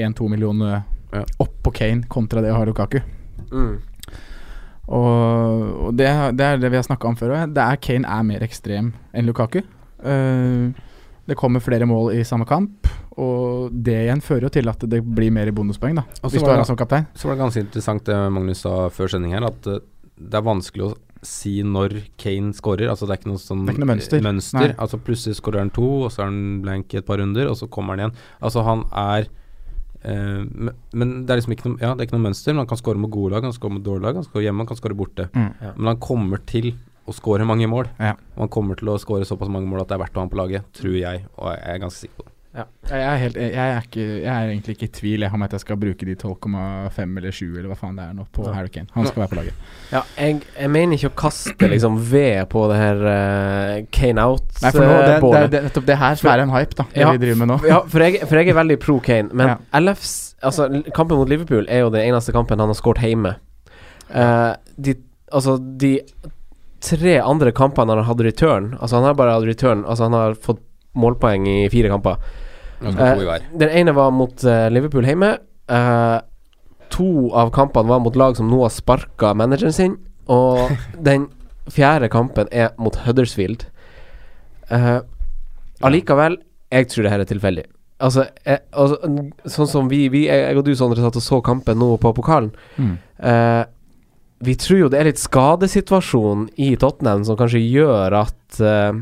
Speaker 1: 1-2 millionene
Speaker 2: Ja.
Speaker 1: opp på Kane kontra det å ha Lukaku.
Speaker 3: Mm.
Speaker 1: Og, og det, det er det vi har snakka om før òg. Kane er mer ekstrem enn Lukaku. Eh, det kommer flere mål i samme kamp, og det igjen fører jo til at det blir mer bonuspoeng, da.
Speaker 2: Og så
Speaker 1: Hvis du
Speaker 2: var
Speaker 1: har
Speaker 2: det-
Speaker 1: han som kaptein.
Speaker 2: Så var det ganske interessant det Magnus sa før sending her, at eh, det er vanskelig å si når Kane scorer. Altså det er ikke noe sånn
Speaker 1: Det er ikke noe mønster. Nei.
Speaker 2: Altså plutselig scorer han to, og så er han blank i et par runder, og så kommer han igjen. Altså han er eh, men- Men det er liksom ikke noe Ja, det er ikke noe mønster, men han kan score med gode lag, han kan score med dårlige lag, han kan score hjemme, han kan score borte.
Speaker 1: Mm.
Speaker 3: Ja.
Speaker 2: Men han kommer til å score mange mål.
Speaker 1: Ja.
Speaker 2: Og han kommer til å score såpass mange mål at det er verdt å ha ham på laget, tror jeg, og jeg er ganske sikker på det.
Speaker 1: Jeg er, helt, jeg, er ikke, jeg er egentlig ikke i tvil jeg, om at jeg skal bruke de 12,5 eller 7 eller hva faen det er nå på
Speaker 3: Ja.
Speaker 1: Harry Kane. Han skal være på laget.
Speaker 3: Ja, jeg, jeg mener ikke å kaste
Speaker 1: (clears throat)
Speaker 3: liksom ved på det her eh, Kane
Speaker 1: Nei, for nå, det, det,
Speaker 3: out-bålet.
Speaker 1: det, nettopp det her som er en hype, da. Det
Speaker 3: Ja.
Speaker 1: vi driver med nå.
Speaker 3: Ja, for jeg, for jeg er veldig pro Kane, men
Speaker 1: Ja.
Speaker 3: LFs Altså, l- kampen mot Liverpool er jo den eneste kampen han har skåret hjemme. Eh, de, altså, de tre andre kampene han har hatt return Altså, han har bare hatt return Altså, han har fått målpoeng i fire kamper.
Speaker 2: Han skal ha to i
Speaker 3: Eh,
Speaker 2: hver.
Speaker 3: Den ene var mot eh, Liverpool hjemme. Eh, to av kampene var mot lag som nå har sparka manageren sin. Og den fjerde kampen er mot Huddersfield. Eh, allikevel, jeg tror det her er tilfeldig. Altså, jeg, altså, n- sånn som vi, vi jeg, jeg og du, Sondre, satt og så kampen nå på pokalen.
Speaker 1: Mm.
Speaker 3: Eh, vi tror jo det er litt skadesituasjonen i Tottenham som kanskje gjør at eh,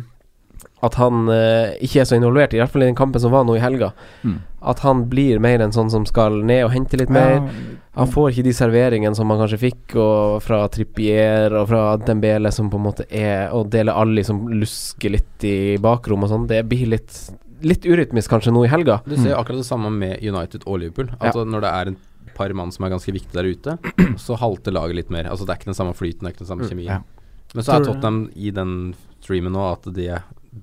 Speaker 3: At han eh, ikke er så involvert, i hvert fall i den kampen som var nå i helga.
Speaker 1: Mm.
Speaker 3: At han blir mer en sånn som skal ned og hente litt mer. Han får ikke de serveringene som han kanskje fikk og fra Trippier og fra Dembele, som på en måte er Og Dele Alli som lusker litt i bakrom og sånn. Det blir litt Litt urytmisk kanskje nå i helga.
Speaker 2: Du ser jo akkurat det samme med United og Liverpool. Altså Når det er en par mann som er ganske viktige der (clears throat) ute, så halter laget litt mer. Altså Det er ikke den samme flyten, det er ikke den samme
Speaker 3: Mm,
Speaker 2: kjemien.
Speaker 1: ja.
Speaker 2: Men så er
Speaker 4: Tror du-
Speaker 2: Tottenham i den streamen nå at de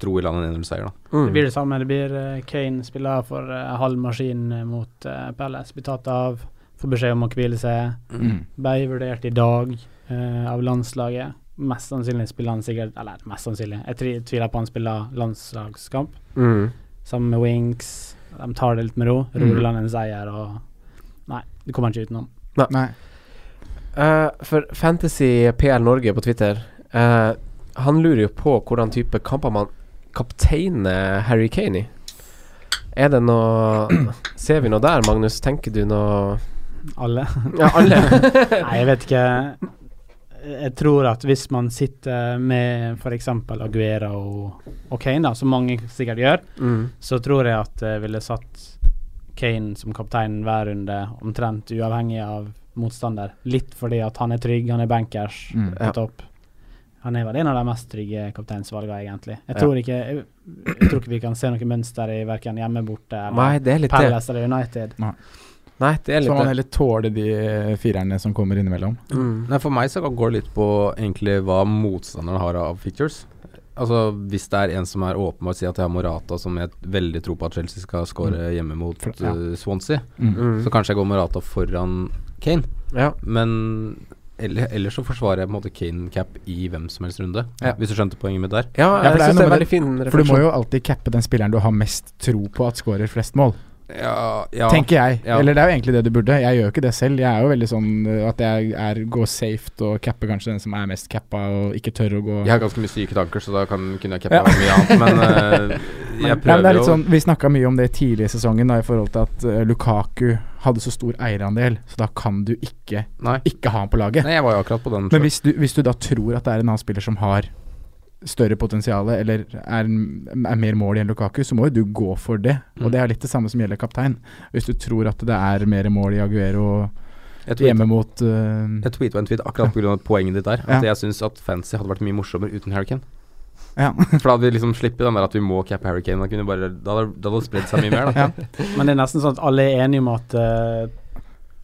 Speaker 2: dro i land en 1-0-seier, da.
Speaker 3: Mm.
Speaker 4: Det blir det samme. Det blir eh, Kane spiller for eh, halv maskin eh, mot eh, Palace. Blir tatt av, får beskjed om å hvile seg.
Speaker 1: Mm.
Speaker 4: Ble vurdert i dag eh, av landslaget. Mest sannsynlig spiller han sikkert Eller mest sannsynlig, jeg tri- tviler på han spiller landslagskamp.
Speaker 3: Mm.
Speaker 4: Sammen med Winks. De tar det litt med ro. Ruller en seier og Nei, du kommer ikke utenom.
Speaker 1: Nei.
Speaker 3: Eh, for Fantasy PL Norge på Twitter eh, Han lurer jo på hvordan type kamper man kapteiner Harry Kane i. Er det noe Ser vi noe der, Magnus? Tenker du noe
Speaker 4: Alle.
Speaker 3: Ja, alle.
Speaker 4: Nei, jeg vet ikke. Jeg tror at hvis man sitter med f.eks. Aguera og, og Kane, da, som mange sikkert gjør,
Speaker 3: mm.
Speaker 4: så tror jeg at jeg ville satt Kane som kaptein hver runde, omtrent uavhengig av motstander. Litt fordi at han er trygg, han er bankers
Speaker 1: Mm.
Speaker 3: Ja.
Speaker 4: på topp. Han er vel en av de mest trygge kapteinsvalgene, egentlig. Jeg
Speaker 3: Ja.
Speaker 4: tror, ikke, jeg, jeg tror ikke vi kan se noe mønster i verken hjemme borte
Speaker 3: Nei,
Speaker 4: eller
Speaker 3: det er litt det.
Speaker 4: Palace eller United.
Speaker 3: Nei, det er
Speaker 1: Så må man
Speaker 3: litt det.
Speaker 1: heller tåle de eh, firerne som kommer innimellom.
Speaker 3: Mm.
Speaker 2: Nei, for meg så går det litt på egentlig hva motstanderen har av pictures. Altså Hvis det er en som er åpenbart sier at jeg har Morata, som jeg veldig tror på at Chelsea skal score hjemme mot
Speaker 1: For- ja.
Speaker 2: eh, Swansea,
Speaker 1: Mm.
Speaker 3: Mm.
Speaker 2: så kanskje jeg går Morata foran Kane.
Speaker 3: Ja.
Speaker 2: Men eller, ellers så forsvarer jeg på en måte Kane cap i hvem som helst runde.
Speaker 1: Ja.
Speaker 2: Hvis du skjønte poenget mitt der.
Speaker 3: Ja, jeg
Speaker 1: Ja, for det er
Speaker 3: syns det er
Speaker 1: noe med
Speaker 3: veldig fin
Speaker 1: For du må
Speaker 3: refleksjon.
Speaker 1: jo alltid cappe den spilleren du har mest tro på at scorer flest mål,
Speaker 2: Ja, ja.
Speaker 1: tenker jeg.
Speaker 2: Ja.
Speaker 1: Eller det er jo egentlig det du burde. Jeg gjør jo ikke det selv. Jeg er jo veldig sånn eh, at jeg er, går safe og capper kanskje den som er mest cappa og ikke tør å gå
Speaker 2: Jeg har ganske mye syke tanker, så da kan, kunne jeg cappa
Speaker 1: Ja.
Speaker 2: mye annet.
Speaker 1: (laughs)
Speaker 2: Men eh, jeg
Speaker 1: Nei, men det
Speaker 2: prøver
Speaker 1: er
Speaker 2: jo
Speaker 1: litt sånn, Vi snakka mye om det tidlig i sesongen da, i forhold til at eh, Lukaku hadde så stor eierandel, så da kan du ikke
Speaker 2: Nei.
Speaker 1: ikke ha han på laget.
Speaker 2: Nei, jeg var jo akkurat på den.
Speaker 1: Men
Speaker 2: selv.
Speaker 1: hvis du, hvis du da tror at det er en annen spiller som har større potensial, eller er, er mer mål enn Lukaku, så må jo du gå for det.
Speaker 2: Mm.
Speaker 1: Og det er litt det samme som gjelder kaptein. Hvis du tror at det er mer mål i Aguero
Speaker 2: jeg tweet-
Speaker 1: hjemme mot øh,
Speaker 2: jeg tweeta en tweet akkurat pga. poenget ditt der. At jeg syns at fancy hadde vært mye morsommere uten Hurricane.
Speaker 1: Ja.
Speaker 2: (laughs) For da hadde vi liksom sluppet den der at vi må cappe Hurricane. Da, kunne vi bare, da hadde da hadde det spredd seg mye mer. Da.
Speaker 4: Men det er nesten sånn at alle er enige om at eh,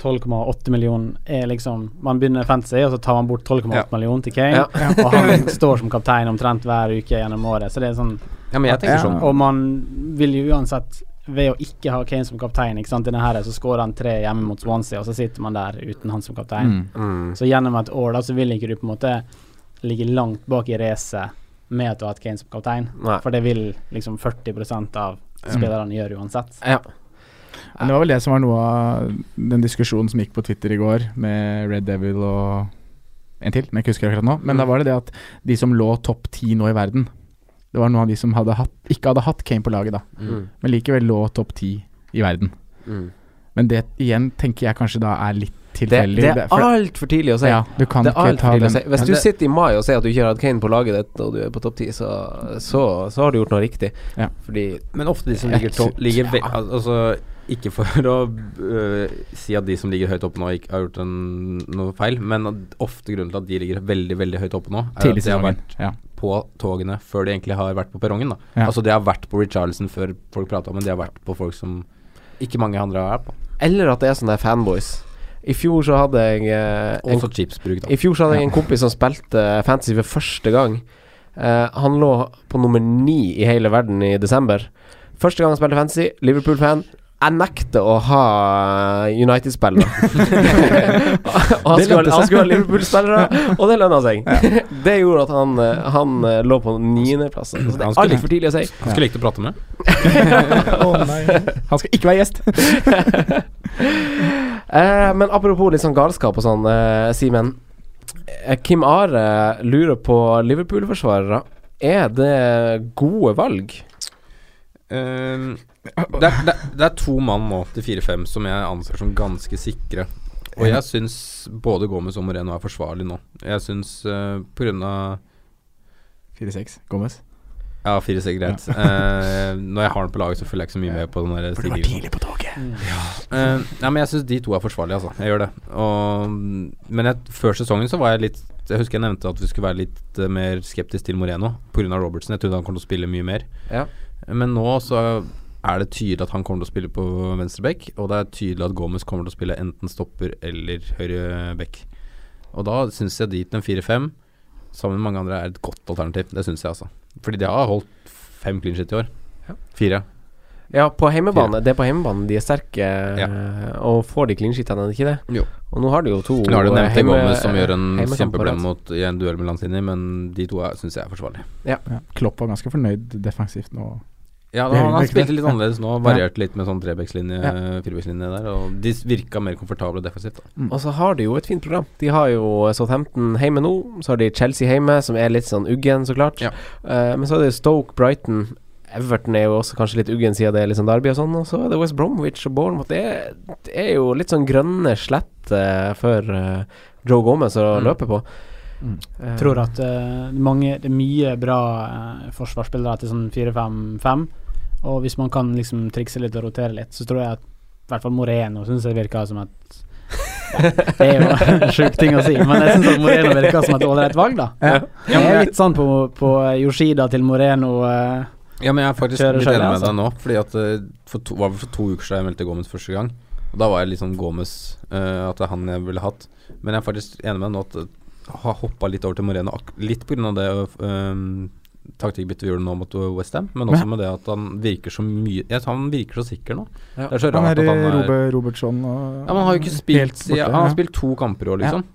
Speaker 4: 12,8 millioner er liksom Man begynner fantasy, og så tar man bort 12,8
Speaker 2: Ja.
Speaker 4: millioner til Kane.
Speaker 3: Ja.
Speaker 4: Og han står som kaptein omtrent hver uke gjennom året. Så det er sånn
Speaker 2: Ja, men jeg tenker
Speaker 1: Ja.
Speaker 2: sånn.
Speaker 4: liksom. Og man vil jo uansett ved å ikke ha Kane som kaptein, ikke sant, denne her, så skårer han tre hjemme mot Swansea, og så sitter man der uten han som kaptein.
Speaker 1: Mm.
Speaker 3: Mm.
Speaker 4: Så gjennom et år da, så vil ikke du på en måte ligge langt bak i racet med at du har hatt Kane som kaptein.
Speaker 3: Nei.
Speaker 4: For det vil liksom 40 av spillerne gjøre uansett.
Speaker 3: Ja.
Speaker 1: Men det var vel det som var noe av den diskusjonen som gikk på Twitter i går, med Red Devil og en til, men jeg ikke husker akkurat nå. Men da var det det at de som lå topp ti nå i verden, det var noen av de som hadde hatt, ikke hadde hatt Kane på laget da,
Speaker 3: Mm.
Speaker 1: men likevel lå topp ti i verden.
Speaker 3: Mm.
Speaker 1: Men det igjen tenker jeg kanskje da er litt
Speaker 3: Det,
Speaker 1: tilfeldig.
Speaker 3: det
Speaker 1: Det-
Speaker 3: er
Speaker 1: for-
Speaker 3: altfor tidlig å si.
Speaker 1: ja, du kan
Speaker 3: Det er
Speaker 1: ikke
Speaker 3: alt
Speaker 1: ta
Speaker 3: for tidlig
Speaker 1: den.
Speaker 3: å si. Hvis
Speaker 2: Men
Speaker 3: du
Speaker 2: det-
Speaker 3: sitter i mai og sier at du ikke har hatt Kane på laget ditt, og du er på topp ti, så, så, så har du gjort noe riktig.
Speaker 1: Ja.
Speaker 3: Fordi
Speaker 2: Men ofte de som ligger topp ligger ve al- Altså ikke for å øh, si at de som ligger høyt oppe nå, ikke har gjort en, noe feil, men at ofte grunnen til at de ligger veldig veldig høyt oppe nå, er
Speaker 1: Tidlig
Speaker 2: at de har
Speaker 1: sesongen. (laughs)
Speaker 2: vært
Speaker 1: Ja.
Speaker 2: på togene før de egentlig har vært på perrongen. da
Speaker 1: Ja.
Speaker 2: Altså de har vært på Richarlison før folk prata om det, de har vært på folk som ikke mange andre er på.
Speaker 3: Eller at det er sånne der fanboys. I fjor så hadde jeg eh, en,
Speaker 2: Også chipsbruk, da.
Speaker 3: I fjor så hadde jeg en kompis som spilte fantasy for første gang. Eh, han lå på nummer ni i hele verden i desember. Første gang han spilte fantasy, Liverpool-fan. Jeg nekter å ha
Speaker 1: (laughs)
Speaker 3: United-spillere. Og han
Speaker 1: Det
Speaker 3: skulle
Speaker 1: lønte
Speaker 3: ha- han
Speaker 1: seg.
Speaker 3: skulle ha Liverpool-spillere, og det lønna seg. det gjorde at han, eh, han eh, lå på niendeplass. Altså, det
Speaker 2: Han
Speaker 3: er
Speaker 2: skulle-
Speaker 3: altfor tidlig å si.
Speaker 2: Han skulle likt å prate med.
Speaker 1: Han skal ikke være gjest! (laughs)
Speaker 3: Eh, men apropos litt sånn galskap og sånn, eh, Simen. Eh, Kim Are eh, lurer på Liverpool-forsvarere. Er det gode valg?
Speaker 2: Ehm, det, er, det, er- det er to mann nå til 4-5 som jeg anser som ganske sikre. Og jeg syns både Gomez og Moreno er forsvarlig nå. Jeg syns uh, på grunn av
Speaker 1: 4-6. Gomez.
Speaker 2: Ja, 4-6 er greit. Eh, når jeg har den på laget, så følger jeg ikke så mye med på den der
Speaker 1: Burde vært
Speaker 2: stigningen.
Speaker 1: tidlig på toget.
Speaker 2: Eh, nei, men jeg syns de to er forsvarlige, altså. Jeg gjør det. Og, men jeg, før sesongen så var jeg litt Jeg husker jeg nevnte at vi skulle være litt eh, mer skeptisk til Moreno pga. Robertsen. Jeg trodde han kom til å spille mye mer.
Speaker 3: Ja.
Speaker 2: Men nå så er det tydelig at han kommer til å spille på venstreback, og det er tydelig at Gomez kommer til å spille enten stopper eller høyreback. Og da syns jeg dit en 4-5 sammen med mange andre er et godt alternativ. Det syns jeg, altså. Fordi de har holdt fem clean shit i år.
Speaker 3: Ja.
Speaker 2: Fire.
Speaker 3: Ja, på hjemmebane. Det er på hjemmebane de er sterke, eh, og får de clean sheetene, er det ikke det?
Speaker 2: Jo.
Speaker 3: Og nå har de jo to
Speaker 2: Nå har du
Speaker 3: eh,
Speaker 2: nevnt
Speaker 3: hjemme-
Speaker 2: Gomez som gjør en
Speaker 3: hjemmekamper,
Speaker 2: kjempeblem
Speaker 3: altså.
Speaker 2: mot i en duell med Lanzini, men de to syns jeg er forsvarlig.
Speaker 1: Ja. Klopp var ganske fornøyd defensivt nå.
Speaker 2: Ja,
Speaker 1: Det er
Speaker 2: han,
Speaker 1: jo
Speaker 2: han
Speaker 1: ikke det.
Speaker 2: spilte litt
Speaker 1: Ja.
Speaker 2: annerledes nå, varierte litt med sånn trebekslinje,
Speaker 1: Ja.
Speaker 2: firebekslinje der, og de s- virka mer komfortable defensivt. da.
Speaker 3: Og så har de jo et fint program. De har jo eh, Southampton hjemme nå, så har de Chelsea hjemme, som er litt sånn uggen, så klart.
Speaker 2: Ja.
Speaker 3: Eh, men så er det Stoke, Brighton Everton er jo også kanskje litt uggen siden det er litt sånn Derby og sånn, og så er det West Bromwich og Bournemouth. Det er, det er jo litt sånn grønne slett eh, for eh, Joe Gomez å
Speaker 2: Mm.
Speaker 3: løpe på.
Speaker 1: Mm.
Speaker 3: Eh,
Speaker 4: Tror at eh, mange, det er mye bra eh, forsvarsspillere til sånn 4-5-5. Og hvis man kan liksom trikse litt og rotere litt, så tror jeg at i hvert fall Moreno syns jeg virker som et ja, Det er jo en (laughs) sjuk ting å si, men jeg syns at Moreno virker som et ålreit valg, da.
Speaker 1: Ja.
Speaker 4: Jeg er litt sånn på, på Yoshida til Moreno. eh,
Speaker 2: Ja, men jeg er faktisk
Speaker 4: Kjører
Speaker 2: litt
Speaker 4: selv,
Speaker 2: enig med
Speaker 4: altså.
Speaker 2: deg nå, fordi at eh, for to, var vel for to uker siden jeg meldte Gomez første gang. Og da var jeg litt sånn Gomez, eh, at det er han jeg ville hatt. Men jeg er faktisk enig med deg nå at jeg har hoppa litt over til Moreno, ak litt pga. det um, taktikkbyttet vi gjorde nå mot Westham, men også med det at han virker så mye Jeg tror Han virker så sikker nå.
Speaker 3: Ja.
Speaker 2: Det er så
Speaker 1: Han
Speaker 2: rart
Speaker 1: er
Speaker 2: at han er
Speaker 1: Robe, Robertson og
Speaker 2: ja, men han har jo ikke
Speaker 1: helt
Speaker 2: spilt
Speaker 1: borte,
Speaker 2: ja, Han har
Speaker 1: ja.
Speaker 2: spilt to kamper i år, liksom.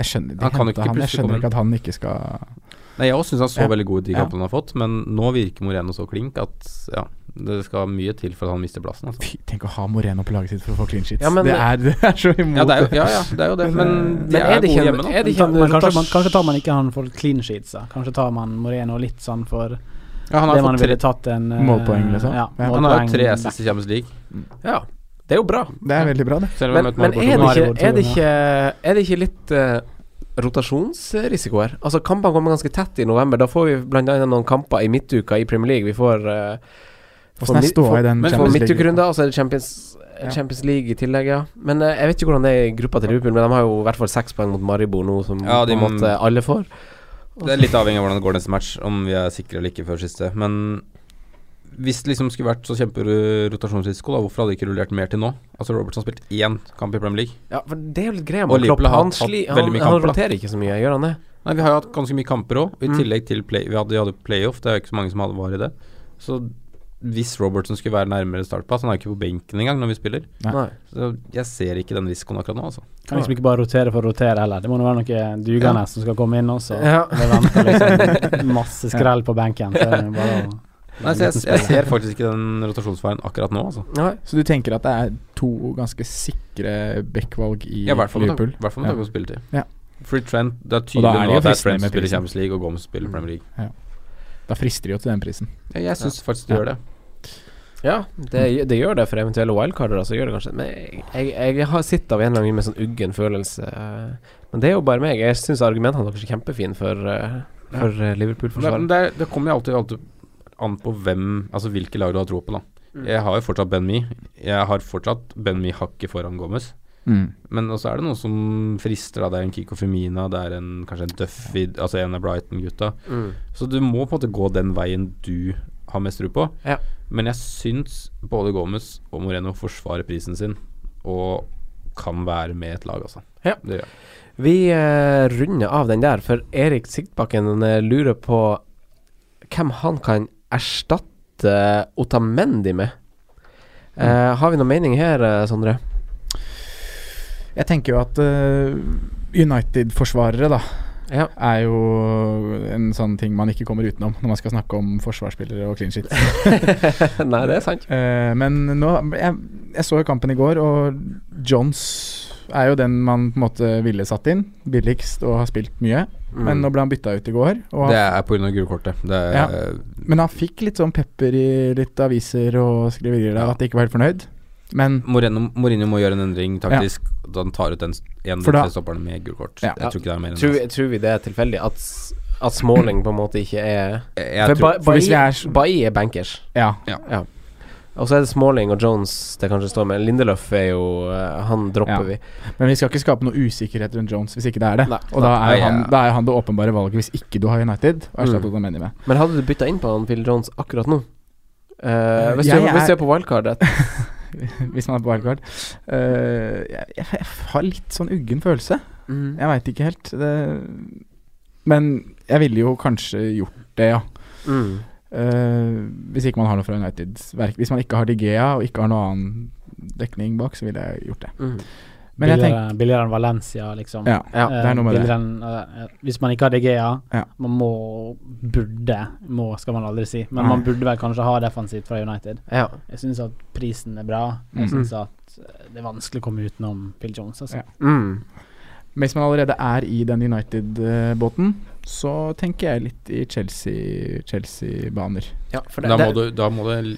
Speaker 1: Jeg skjønner, de
Speaker 2: Han kan jo
Speaker 1: hentet
Speaker 2: ikke
Speaker 1: han, jeg
Speaker 2: plutselig komme
Speaker 1: skjønner
Speaker 2: inn.
Speaker 1: ikke at han ikke skal
Speaker 2: Nei, Jeg òg syns han så
Speaker 1: Ja.
Speaker 2: veldig god ut i de
Speaker 1: Ja.
Speaker 2: kampene han har fått, men nå virker Moreno så klink at ja, det skal mye til for at han mister plassen. Altså.
Speaker 1: Fy, tenk å ha Moreno på laget sitt for å få clean sheets.
Speaker 3: Ja, men-
Speaker 1: det, er, det er så imot.
Speaker 2: Ja, det er jo, ja, ja, det, er jo det. Men de
Speaker 3: Men
Speaker 2: er,
Speaker 3: er det
Speaker 2: gode
Speaker 3: ikke-
Speaker 2: hjemme, da.
Speaker 3: er det ikke
Speaker 4: ta- men kanskje,
Speaker 3: rotasj-
Speaker 4: man, kanskje tar man ikke han for clean sheets, da. Kanskje tar man Moreno litt sånn for
Speaker 2: Ja, han, har
Speaker 4: det man
Speaker 2: fått tre,
Speaker 4: ville tatt en eh,
Speaker 1: Målpoeng, liksom.
Speaker 4: Ja,
Speaker 1: Ja.
Speaker 2: han har jo
Speaker 4: målpoeng.
Speaker 2: tre SS i Champions League.
Speaker 3: Ja, det er jo bra.
Speaker 1: Det er veldig bra, det.
Speaker 2: Selv om
Speaker 3: Men,
Speaker 2: jeg møtte
Speaker 3: men
Speaker 2: Marco
Speaker 3: er, det
Speaker 2: Torre.
Speaker 3: ikke,
Speaker 4: Maribor to
Speaker 3: er, det
Speaker 4: ganger.
Speaker 3: ikke, er det ikke litt eh, rotasjonsrisiko her? Altså Kampene kommer ganske tett i november. Da får vi bl.a. noen kamper i midtuka i Premier League. Vi får, eh,
Speaker 1: Åssen er
Speaker 3: mid-
Speaker 1: ståa i den
Speaker 2: men
Speaker 3: får
Speaker 1: Champions League?
Speaker 3: midtukerunder, og så er det Champions,
Speaker 1: Ja.
Speaker 3: Champions League i tillegg, ja. Men eh, jeg vet ikke hvordan det er i gruppa til Liverpool, men de har jo i hvert fall seks poeng mot Maribor nå, som
Speaker 2: Ja, de
Speaker 3: på en
Speaker 2: må-
Speaker 3: måte alle får.
Speaker 2: Det er litt avhengig av hvordan det går neste match, om vi er sikre eller ikke før siste. Men hvis det liksom skulle vært så kjemperotasjonsrisiko, da, hvorfor hadde de ikke rullert mer til nå? Altså Robertson har spilt én kamp i Premier League.
Speaker 3: Ja, for Det er jo litt greia
Speaker 2: Og
Speaker 3: med
Speaker 2: Liverpool
Speaker 3: Klopp.
Speaker 2: har
Speaker 3: Han,
Speaker 2: hatt
Speaker 3: sli,
Speaker 2: veldig
Speaker 3: han,
Speaker 2: mye
Speaker 3: han
Speaker 2: kamper, da.
Speaker 3: roterer ikke så mye, gjør han det?
Speaker 2: Nei, vi har jo hatt ganske mye kamper òg, i
Speaker 3: Mm.
Speaker 2: tillegg til play Vi hadde, de hadde playoff, det er jo ikke så mange som hadde var i det. Så hvis Robertson skulle være nærmere startpass Han er jo ikke på benken engang når vi spiller.
Speaker 1: Nei.
Speaker 3: Nei.
Speaker 2: Så jeg ser ikke den risikoen akkurat nå, altså.
Speaker 4: Kan liksom ikke bare rotere for å rotere heller. Det må nå være noe dugende som skal komme inn også.
Speaker 3: Ja.
Speaker 4: Det venter liksom
Speaker 1: (laughs)
Speaker 4: masse skrell på benken. Så det er bare
Speaker 2: (laughs)
Speaker 4: å
Speaker 2: Nei, så jeg, jeg ser faktisk ikke den rotasjonsveien akkurat nå, altså.
Speaker 3: Nei.
Speaker 1: Så du tenker at det er to ganske sikre backvalg i
Speaker 2: Ja, i hvert fall med
Speaker 1: Liverpool?
Speaker 2: tanke- i hvert fall med tanke på spilletid.
Speaker 1: Ja.
Speaker 2: Free Trent Det er
Speaker 1: Og da
Speaker 2: tydelig
Speaker 1: er de
Speaker 2: nå
Speaker 1: jo
Speaker 2: at det er
Speaker 1: fristende
Speaker 2: Trent som
Speaker 1: med
Speaker 2: spiller
Speaker 1: prisen.
Speaker 2: Champions League, og Gomez spiller Premier League.
Speaker 1: Da frister de jo til den prisen.
Speaker 2: Ja, jeg syns faktisk de
Speaker 1: Ja.
Speaker 2: gjør det.
Speaker 3: Ja, det, det gjør det for eventuelle wildcarder. Altså, gjør det kanskje Men jeg, jeg, jeg har sitter av en eller annen grunn med sånn uggen følelse. eh, Men det er jo bare meg. Jeg syns argumentene deres er kjempefine for, eh, for eh,
Speaker 2: Det, men
Speaker 3: Liverpool-forsvaret.
Speaker 2: det, det kommer jo alltid, alltid an på hvem Altså hvilke lag du har tro på, da. Jeg har jo fortsatt Ben Me. Jeg har fortsatt Ben Me hakket foran Gomez.
Speaker 1: Mm.
Speaker 2: Men også er det noen som frister. Da. Det er en Kiko Femina, det er en, kanskje en Duffy, altså en av Brighton-gutta.
Speaker 3: Mm.
Speaker 2: Så du må på en måte gå den veien du har mest tro på.
Speaker 3: Ja.
Speaker 2: Men jeg syns både Gomez og Moreno forsvarer prisen sin, og kan være med i et lag, altså.
Speaker 3: Ja.
Speaker 2: Det gjør jeg.
Speaker 3: Vi eh, runder av den der, for Erik Sigtbakken eh, lurer på hvem han kan erstatte Otamendi med. Eh, har vi noen mening her, eh, Sondre?
Speaker 1: Jeg tenker jo at eh, United-forsvarere da
Speaker 3: Ja.
Speaker 1: er jo en sånn ting man ikke kommer utenom når man skal snakke om forsvarsspillere og clean shit.
Speaker 3: Nei, det er sant.
Speaker 1: Eh, men nå jeg, jeg så jo kampen i går, og Johns er jo den man på en måte ville satt inn. Billigst og har spilt mye. Men
Speaker 3: Mm.
Speaker 1: nå ble han bytta ut i går. Og
Speaker 2: Mm. Det
Speaker 1: han,
Speaker 2: er pga. gullkortet. Det er
Speaker 1: Ja. men han fikk litt sånn pepper i litt aviser og skriverier der at de ikke var helt fornøyd. Men
Speaker 2: Moreno, Mourinho må gjøre en endring taktisk. Da han tar ut den én
Speaker 1: For da-
Speaker 2: stopperen med gulkort.
Speaker 1: Ja.
Speaker 2: Jeg tror ikke det er mer enn
Speaker 3: Tror,
Speaker 2: det.
Speaker 3: vi- tror vi det er tilfeldig at, s- at Smalling på en måte ikke er
Speaker 2: Jeg,
Speaker 3: For,
Speaker 2: jeg tror,
Speaker 3: ba,
Speaker 1: for hvis vi er
Speaker 3: Bailly
Speaker 1: s-
Speaker 3: Bailly er bankers.
Speaker 1: ja.
Speaker 3: Og så er det Smalling og Jones det kanskje står med. Lindelöf er jo eh, Han dropper
Speaker 1: Ja.
Speaker 3: vi.
Speaker 1: Men vi skal ikke skape noe usikkerhet rundt Jones hvis ikke det er det.
Speaker 3: Nei.
Speaker 1: og da er,
Speaker 2: Nei,
Speaker 1: han,
Speaker 2: ja.
Speaker 1: da er han det åpenbare valget hvis ikke du har United. Og erstatter
Speaker 3: Mm.
Speaker 1: Otamendi med. (laughs)
Speaker 3: Men hadde du bytta inn på han Phil Jones akkurat nå? Eh, hvis,
Speaker 1: jeg
Speaker 3: du, hvis du
Speaker 1: er-
Speaker 3: er på
Speaker 1: (laughs)
Speaker 3: wildcardet
Speaker 1: hvis man er på wildcard. Eh, jeg, jeg, jeg har litt sånn uggen følelse.
Speaker 3: mm.
Speaker 1: Jeg veit ikke helt. Det, men jeg ville jo kanskje gjort det, ja.
Speaker 3: Mm.
Speaker 1: Eh, hvis ikke man har noe fra United. Verk- Hvis man ikke har Digea og ikke har noe annen dekning bak, så ville jeg gjort det.
Speaker 3: Mm.
Speaker 1: Men jeg tenker
Speaker 4: billigere, billigere enn Valencia, liksom.
Speaker 1: Ja,
Speaker 3: Ja,
Speaker 1: det er noe med
Speaker 4: Eh,
Speaker 1: det.
Speaker 4: billigere Enn, eh, hvis man ikke har DGA,
Speaker 1: Ja.
Speaker 4: man må Burde, må skal man aldri si, men
Speaker 1: Nei.
Speaker 4: man burde vel kanskje ha defensivt fra United.
Speaker 3: Ja.
Speaker 4: Jeg syns at prisen er bra.
Speaker 1: Mm.
Speaker 4: Jeg syns at eh, det er vanskelig å komme utenom Phil Jones, altså.
Speaker 1: Ja.
Speaker 3: Mm.
Speaker 1: Men hvis man allerede er i den United-båten, så tenker jeg litt i Chelsea- Chelsea-baner.
Speaker 3: ja for det,
Speaker 2: da,
Speaker 3: det,
Speaker 2: må du, da må du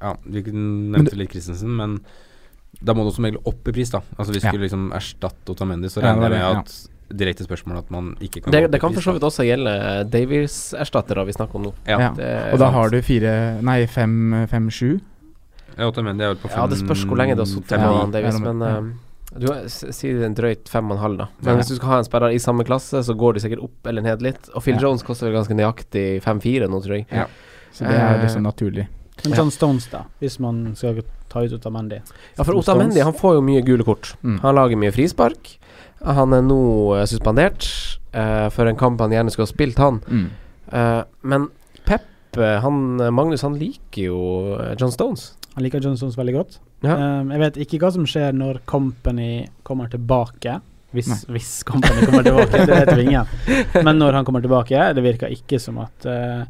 Speaker 2: Ja, vi
Speaker 1: Men
Speaker 2: nevnte litt Christensen, men da må du også megle opp i pris, da. Altså Hvis du
Speaker 1: Ja.
Speaker 2: skulle liksom erstatte Otamendi, så
Speaker 1: Ja, det var
Speaker 2: regner jeg
Speaker 1: det,
Speaker 2: med at Direkte spørsmål at man ikke kan
Speaker 3: det,
Speaker 2: gå opp i
Speaker 3: det kan
Speaker 2: pris,
Speaker 3: for så
Speaker 2: da.
Speaker 3: vidt også gjelde Davies-erstattere vi snakker om nå.
Speaker 2: Ja.
Speaker 1: Ja.
Speaker 3: Det er
Speaker 1: Og da
Speaker 3: sant.
Speaker 1: har du fire Nei, fem, fem sju.
Speaker 2: Ja, Otamendi er vel på fem
Speaker 3: Ja, det spørs hvor lenge det har sittet
Speaker 2: fem,
Speaker 1: Ja.
Speaker 3: med
Speaker 2: ni.
Speaker 3: han Davies,
Speaker 1: Ja,
Speaker 3: men
Speaker 1: ja.
Speaker 3: um, du s- sier en drøyt fem og en halv, da. Men
Speaker 1: Ja.
Speaker 3: hvis du skal ha en spiller i samme klasse, så går de sikkert opp eller ned litt. Og Phil
Speaker 1: Ja.
Speaker 3: Jones koster vel ganske nøyaktig fem-fire nå, tror jeg.
Speaker 1: Ja. Så det er
Speaker 3: Eh,
Speaker 1: liksom naturlig.
Speaker 4: Men
Speaker 3: Ja.
Speaker 4: John Stones, da, hvis man skal ta ut Otamendi.
Speaker 3: Ja, for
Speaker 4: Som
Speaker 3: Otamendi
Speaker 4: Stones.
Speaker 3: han får jo mye gule kort.
Speaker 1: Mm.
Speaker 3: Han lager mye frispark. Han er nå eh, suspendert eh, for en kamp han gjerne skulle ha spilt, han.
Speaker 1: Mm.
Speaker 3: Eh, men Pep, eh, han eh, Magnus, han liker jo eh, John Stones.
Speaker 4: Jeg liker John Stones veldig godt.
Speaker 3: Ja.
Speaker 4: Um, jeg vet ikke hva som skjer når Company kommer tilbake. Hvis, hvis Company kommer tilbake, det vet vi ingen. Men når han kommer tilbake, det virker ikke som at eh,